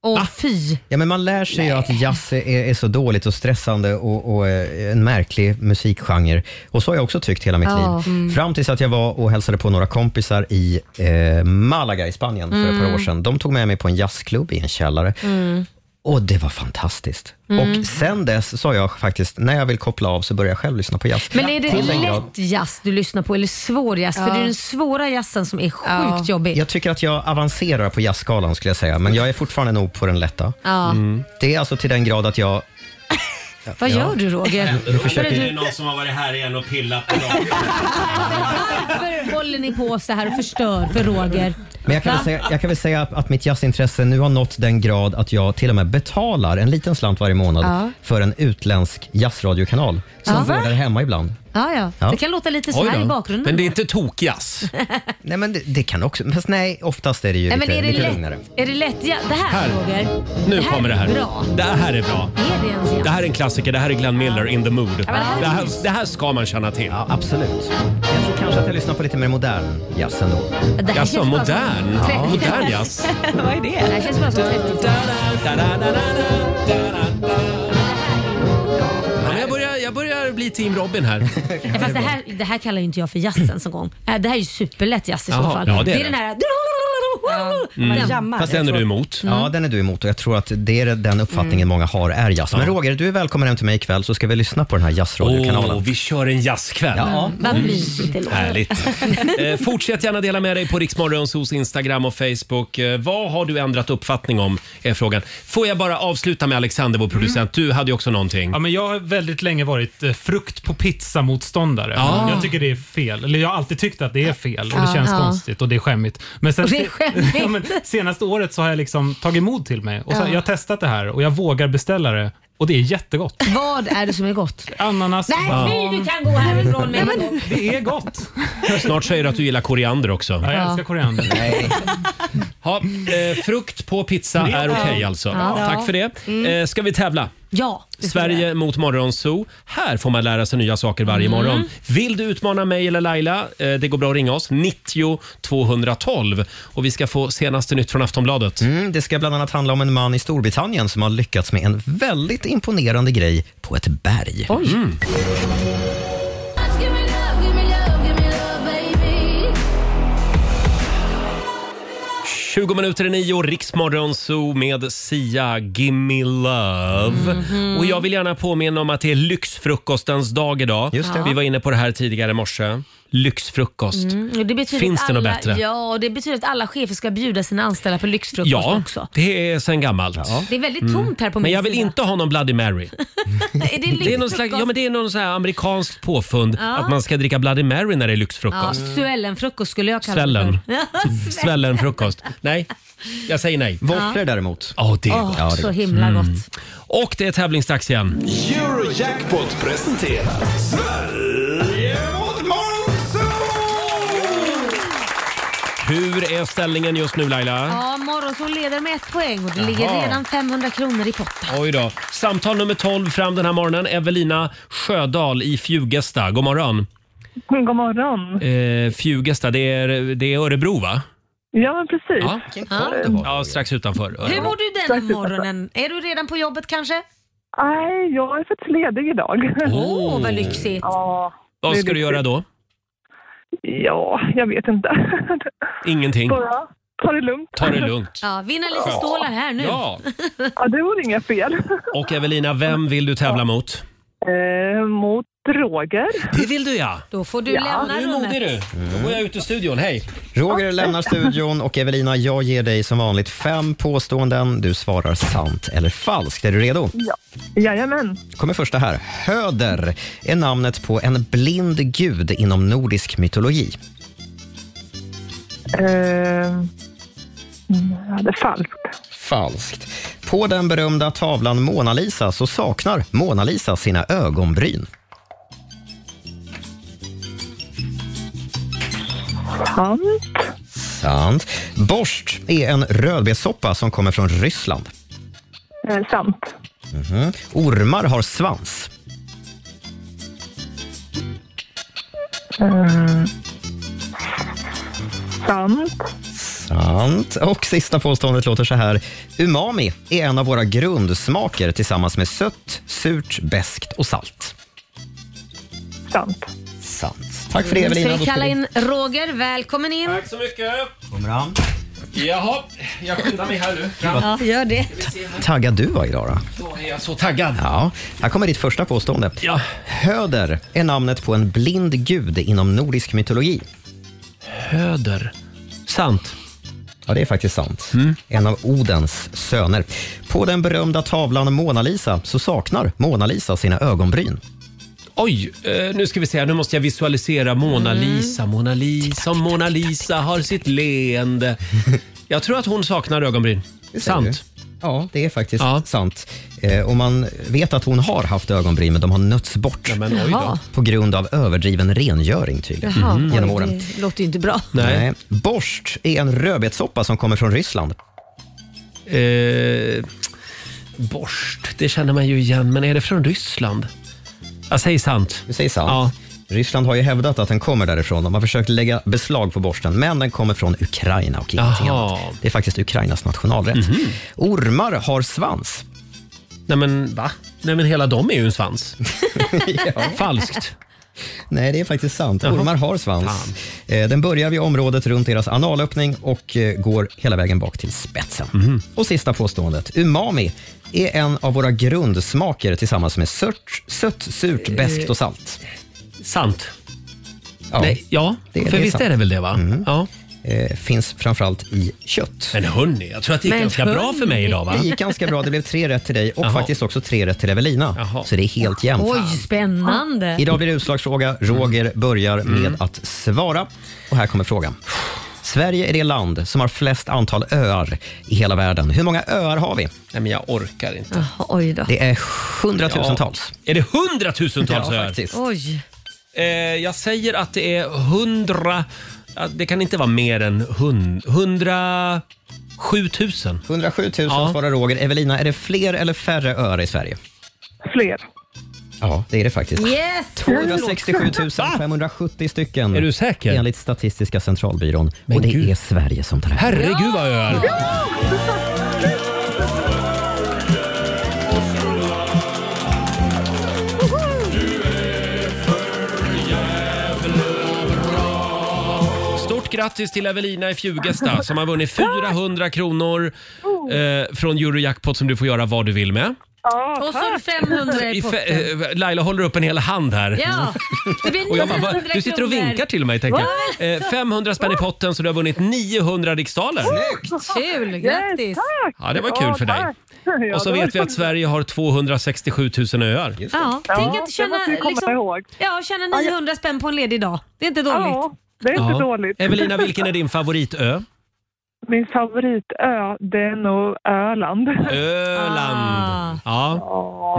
Speaker 4: Åh fy.
Speaker 3: Ja, men man lär sig ju att jazz är, är så dåligt och stressande och, och eh, en märklig musikgenre. Och så har jag också tyckt hela mitt
Speaker 4: Ja.
Speaker 3: liv.
Speaker 4: Mm.
Speaker 3: Fram tills att jag var och hälsade på några kompisar i eh, Malaga i Spanien för ett
Speaker 4: Mm.
Speaker 3: par år sedan. De tog med mig på en jazzklubb i en källare.
Speaker 2: Mm.
Speaker 3: Och det var fantastiskt.
Speaker 4: Mm.
Speaker 3: Och sen dess så har jag faktiskt, när jag vill koppla av så börjar jag själv lyssna på jazz.
Speaker 4: Men är det
Speaker 3: Till den grad-
Speaker 4: lätt jazz du lyssnar på eller svår jazz? För det är den svåra jazzen som är sjukt jobbig.
Speaker 3: Jag tycker att jag avancerar på jazzskalan skulle jag säga, men jag är fortfarande nog på den lätta.
Speaker 4: Ja. Mm.
Speaker 3: Det är alltså till den grad att jag...
Speaker 4: Vad
Speaker 3: Ja.
Speaker 4: gör du Roger?
Speaker 3: Jag försöker-
Speaker 4: Vad är det
Speaker 1: någon som har varit här igen och pillat på dem.
Speaker 4: Varför håller ni på så här och förstör för Roger?
Speaker 3: Men jag kan, väl
Speaker 4: Va?
Speaker 3: säga, jag kan väl säga att mitt jazzintresse nu har nått den grad att jag till och med betalar en liten slant varje månad
Speaker 4: Ja.
Speaker 3: för en utländsk jazzradiokanal som
Speaker 4: Ja.
Speaker 3: går där hemma ibland.
Speaker 4: Ja, ja.
Speaker 3: Ja.
Speaker 4: Det kan låta lite så här i bakgrunden.
Speaker 1: inte tokjazz?
Speaker 3: nej, men det, det kan också... Fast nej, oftast är det ju
Speaker 4: Nej,
Speaker 3: lite,
Speaker 4: men är det
Speaker 3: lite
Speaker 4: lätt?
Speaker 3: lugnare.
Speaker 4: Är det lätt? Ja, det här,
Speaker 1: Här.
Speaker 4: Roger.
Speaker 1: Nu kommer det här.
Speaker 4: Är bra.
Speaker 1: Det här är bra.
Speaker 4: Är det ens
Speaker 1: Det
Speaker 4: jazz?
Speaker 1: här är en klassiker. Det här är Glenn Miller, In the Mood.
Speaker 4: men det här är
Speaker 1: Det här,
Speaker 4: nice.
Speaker 1: det här ska man känna till.
Speaker 3: Ja, absolut. Jag tror kanske att jag lyssnar på lite mer modern jazz ändå.
Speaker 4: Det
Speaker 1: Jaså,
Speaker 4: här känns bara som-
Speaker 1: Alltså, modern?
Speaker 4: Tre-
Speaker 1: Modern jazz?
Speaker 4: Vad är det? Det här känns bara som 30-talet.
Speaker 1: Ja, men jag, börjar, jag börjar bli team Robin här.
Speaker 4: Ja, Fast det här, det här kallar ju inte jag för jazz ens en gång. Äh, Det här är ju superlätt jazz i så
Speaker 3: Jaha,
Speaker 4: fall.
Speaker 3: ja, det är
Speaker 4: den
Speaker 3: det.
Speaker 4: här...
Speaker 3: Mm.
Speaker 4: Den. Mm.
Speaker 3: Ja, den är du emot och jag tror att det är den uppfattningen
Speaker 4: Mm.
Speaker 3: många har är jazz. Men
Speaker 1: Ja.
Speaker 3: Roger, du är välkommen hem till mig ikväll så ska vi lyssna på den här jazzradiokanalen.
Speaker 1: Åh, vi kör en jazzkväll. Mm.
Speaker 3: Ja.
Speaker 4: Mm, Vad mysigt det låter.
Speaker 1: Härligt. Eh, fortsätt gärna dela med dig på Riksmorgonsos Instagram och Facebook. Eh, vad har du ändrat uppfattning om? är frågan. Får jag bara avsluta med Alexander, vår producent.
Speaker 4: Mm.
Speaker 1: Du hade ju också någonting.
Speaker 9: Ja, men jag har väldigt länge varit eh, frukt på pizza-motståndare.
Speaker 1: Ah.
Speaker 9: Jag tycker det är fel. Eller jag har alltid tyckt att det är fel och det
Speaker 1: Ja. Ah,
Speaker 9: känns
Speaker 1: Ja.
Speaker 9: konstigt och det är skämmigt. Men
Speaker 1: Och det är skämmigt.
Speaker 9: men senaste året så har jag liksom tagit mod till mig och så,
Speaker 4: Ja.
Speaker 9: jag har testat det här och jag vågar beställa det och det är jättegott.
Speaker 4: Vad är det som är gott?
Speaker 9: Ananas.
Speaker 4: Nej, fy, du kan gå härifrån med en gång.
Speaker 9: Det är gott.
Speaker 1: Snart säger du att du gillar koriander också.
Speaker 9: Ja, jag älskar koriander.
Speaker 1: Nej. Ha, eh, frukt på pizza
Speaker 9: Ja.
Speaker 1: är okej alltså.
Speaker 9: Ja.
Speaker 1: Tack för det.
Speaker 4: Mm.
Speaker 1: Eh, ska vi tävla?
Speaker 4: Ja.
Speaker 1: Sverige mot Morgonzoo. Här får man lära sig nya saker varje
Speaker 4: Mm.
Speaker 1: morgon. Vill du utmana mig eller Laila? eh, Det går bra att ringa oss. 90 212. Och vi ska få senaste nytt från Aftonbladet.
Speaker 3: Mm, det ska bland annat handla om en man i Storbritannien som har lyckats med en väldigt imponerande grej på ett berg. Mm.
Speaker 2: baby.
Speaker 1: 20 minuter i nio, Riksmorgonzoo med Sia, Gimme Love.
Speaker 4: Mhm.
Speaker 1: Och jag vill gärna påminna om att det är lyxfrukostens dag idag.
Speaker 4: Just det.
Speaker 1: Vi var inne på det här tidigare i morse. Lyxfrukost.
Speaker 4: Mm, och det betyder
Speaker 1: Finns
Speaker 4: att
Speaker 1: det något
Speaker 4: alla,
Speaker 1: bättre?
Speaker 4: Ja, och det betyder att alla chefer ska bjuda sina anställda på lyxfrukost
Speaker 1: Ja,
Speaker 4: också.
Speaker 1: det är sen gammalt. Mm.
Speaker 4: Det är väldigt tomt här på
Speaker 1: Men
Speaker 4: min
Speaker 1: jag vill
Speaker 4: sida.
Speaker 1: inte ha någon Bloody Mary.
Speaker 4: är det,
Speaker 1: Det är någon, slags, ja, men det är någon så här amerikansk påfund
Speaker 4: Ja.
Speaker 1: att man ska dricka Bloody Mary när det är
Speaker 4: Ja,
Speaker 1: lyxfrukost.
Speaker 4: Svällenfrukost skulle jag kalla
Speaker 1: Svällen.
Speaker 4: det för.
Speaker 1: Svällenfrukost. Nej, jag säger nej.
Speaker 3: Våfflor
Speaker 1: Ja.
Speaker 3: däremot.
Speaker 1: Ja, det är
Speaker 4: Åh,
Speaker 1: gott. Mm.
Speaker 4: så himla gott.
Speaker 1: Och det är tävlingsdags igen.
Speaker 10: Eurojackpot presenterar Sverige mot Monzo!
Speaker 1: Hur är ställningen just nu Laila?
Speaker 4: Ja, Morgonzoo leder med ett poäng och det
Speaker 1: Jaha.
Speaker 4: ligger redan 500 kronor i potten.
Speaker 1: Oj då. Samtal nummer 12 fram den här morgonen. Evelina Sjödahl i Fjugesta. God morgon.
Speaker 11: God
Speaker 4: Mm.
Speaker 11: morgon.
Speaker 1: Eh, Fjugesta, det är, det är Örebro va?
Speaker 11: Ja, precis.
Speaker 1: Ja.
Speaker 11: Eh,
Speaker 1: ja, strax utanför.
Speaker 4: Hur mår du den
Speaker 11: Tack,
Speaker 4: morgonen? Är du redan på jobbet kanske?
Speaker 11: Nej, jag är faktiskt ledig idag.
Speaker 4: Åh, vad lyxigt.
Speaker 11: Ja,
Speaker 1: Vad
Speaker 11: det är
Speaker 1: ska du
Speaker 11: lyxigt.
Speaker 1: göra då?
Speaker 11: Ja, jag vet inte.
Speaker 1: Ingenting.
Speaker 11: Bara ta det lugnt.
Speaker 1: Ta det lugnt.
Speaker 4: Ja, vinna lite
Speaker 1: Ja.
Speaker 4: stålar här nu.
Speaker 1: Ja.
Speaker 11: Ja, det vore inga fel.
Speaker 1: Och Evelina, vem vill du tävla mot?
Speaker 11: Eh, mot Roger.
Speaker 1: Det vill du ja!
Speaker 4: Då får du
Speaker 11: Ja.
Speaker 1: Nu
Speaker 4: lämna
Speaker 1: är
Speaker 4: rummet.
Speaker 1: modig du. Då går jag ut ur studion. Hej!
Speaker 3: Roger lämnar studion och Evelina, jag ger dig som vanligt fem påståenden. Du svarar sant eller falskt. Är du redo?
Speaker 11: Ja. Jajamän.
Speaker 3: kommer första här. Höder är namnet på en blind gud inom nordisk mytologi.
Speaker 11: Eh, mm, ja, det är falskt.
Speaker 3: Falskt. På den berömda tavlan Mona Lisa så saknar Mona Lisa sina ögonbryn.
Speaker 11: Sant.
Speaker 3: Sant. Borst är en rödbetssoppa som kommer från Ryssland.
Speaker 11: Eh, sant.
Speaker 3: Mhm. Ormar har svans.
Speaker 11: Eh, sant.
Speaker 3: Sant. Och sista påståendet låter så här. Umami är en av våra grundsmaker tillsammans med sött, surt, beskt och salt.
Speaker 11: Sant.
Speaker 3: Sant. Tack för det Evelina.
Speaker 4: Mm.
Speaker 3: Då
Speaker 4: Ska vi
Speaker 3: ska
Speaker 4: kalla
Speaker 3: vi-
Speaker 4: in Roger? Välkommen in.
Speaker 1: Tack så mycket.
Speaker 3: Kommer han?
Speaker 1: Jaha, jag skyndar mig här nu.
Speaker 4: Ja, gör det.
Speaker 3: Taggad du var idag då?
Speaker 1: Då är jag så taggad.
Speaker 3: Ja, här kommer ditt första påstående. Höder är namnet på en blind gud inom nordisk mytologi.
Speaker 1: Höder. Sant. Mm.
Speaker 3: Ja, det är faktiskt sant. En av Odens söner. På den berömda tavlan Mona Lisa så saknar Mona Lisa sina ögonbryn.
Speaker 1: Oj, eh, nu ska vi se här. Nu måste jag visualisera Mona
Speaker 3: Mm.
Speaker 1: Lisa. Mona Lisa, och Mona Lisa har sitt leende. Jag tror att hon saknar ögonbryn. Sant.
Speaker 3: Ja, det är faktiskt sant. Eh, och man vet att hon har haft ögonbryn, men de har nötts bort.
Speaker 1: men oj då. Jaha.
Speaker 3: På grund av överdriven rengöring tydligen,
Speaker 4: Jaha,
Speaker 3: Mm, genom
Speaker 4: oj,
Speaker 3: åren.
Speaker 4: Det låter ju inte bra.
Speaker 3: Nej. Borst är en rödbetssoppa som kommer från Ryssland.
Speaker 1: Eh, borst, det känner man ju igen. Men är det från Ryssland? Jag säger sant.
Speaker 3: Du säger sant. Ryssland har ju hävdat att den kommer därifrån. De har försökt lägga beslag på borsten, men den kommer från Ukraina och ingenting
Speaker 1: Jaha. Mhm.
Speaker 3: annat. Det är faktiskt Ukrainas nationalrätt. Ormar har svans.
Speaker 1: Nej men va? Nej men hela de är ju en svans. Falskt.
Speaker 3: Nej, det är faktiskt sant.
Speaker 1: Jaha.
Speaker 3: Ormar har svans. Eh, Den börjar vid området runt deras analöppning och eh, går hela vägen bak till spetsen.
Speaker 1: Mhm.
Speaker 3: Och sista påståendet. Umami är en av våra grundsmaker tillsammans med sört, sött, surt, beskt och salt.
Speaker 1: Eh, Sant. Nej, ja, för visst är det väl det? va? Ja.
Speaker 3: Eh, finns framförallt i kött.
Speaker 1: Men hörni, jag tror att det gick Men ganska bra för mig idag, va?
Speaker 3: Det gick ganska bra. Det blev tre rätt till dig och faktiskt också tre rätt till Evelina. Så det är helt jämnt.
Speaker 4: Oj,
Speaker 1: Ah. Eh.
Speaker 4: spännande.
Speaker 3: Idag blir det utslagsfråga. Roger
Speaker 1: Mm.
Speaker 3: börjar med att svara. Och här kommer frågan. Sverige är det land som har flest antal öar i hela världen. Hur många öar har vi?
Speaker 1: Nej, men jag orkar inte.
Speaker 4: Jaha, oj då.
Speaker 3: Det är hundratusentals.
Speaker 1: Är det hundratusentals
Speaker 3: Ja,
Speaker 1: öar?
Speaker 3: faktiskt.
Speaker 4: Oj.
Speaker 1: Eh, jag säger att det är hundra... ja, Det kan inte vara mer än hund, hundra... 7000.
Speaker 3: 107 000 svarar Roger. Evelina, är det fler eller färre öar i Sverige?
Speaker 11: Fler.
Speaker 3: Ja, det är det faktiskt.
Speaker 4: Yes!
Speaker 3: 267 570 stycken.
Speaker 1: Är du säker?
Speaker 3: Enligt Statistiska centralbyrån. och det är Sverige som tar hem.
Speaker 1: Herregud vad öar! Stort grattis till Evelina i Fjugesta som har vunnit 400 kronor eh, från Eurojackpot som du får göra vad du vill med.
Speaker 4: Och så är det 500 i
Speaker 1: I fe-
Speaker 4: potten.
Speaker 1: eh, Laila håller upp en hel hand här. Mm.
Speaker 4: Ja, det blir
Speaker 1: Och jag bara,
Speaker 4: 900
Speaker 1: va? Du sitter och
Speaker 4: kronor.
Speaker 1: vinkar till mig tänker jag. Eh, 500 spänn i potten så du har vunnit 900 riksdaler.
Speaker 4: Kul, grattis!
Speaker 1: Ja, det var kul för dig. Och så vet vi att Sverige har 267 000 öar.
Speaker 4: Ja,
Speaker 11: Ja,
Speaker 4: tänk att
Speaker 11: det
Speaker 4: tjäna,
Speaker 11: måste vi komma
Speaker 4: liksom, ja, tjäna 900 spänn på en ledig dag. Det är inte dåligt.
Speaker 11: Ja, det är inte
Speaker 1: Ja.
Speaker 11: dåligt.
Speaker 1: Evelina, vilken är din favoritö?
Speaker 11: Min favoritö, det är nog Öland.
Speaker 1: Öland. Ja.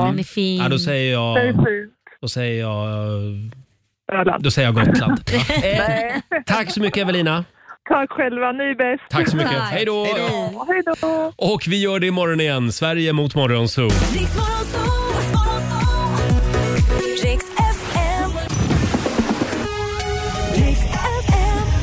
Speaker 11: Ah. Den är fin.
Speaker 1: Ja, då säger jag...
Speaker 11: Det är fint.
Speaker 1: Då säger jag... Öland. Då säger jag Gotland.
Speaker 11: Nej.
Speaker 1: Tack så mycket Evelina.
Speaker 11: Tack själva, ni är bäst.
Speaker 1: Tack så mycket. Hej då.
Speaker 11: Ja, Hej då.
Speaker 1: Och vi gör det imorgon igen. Sverige mot Morgonzoo.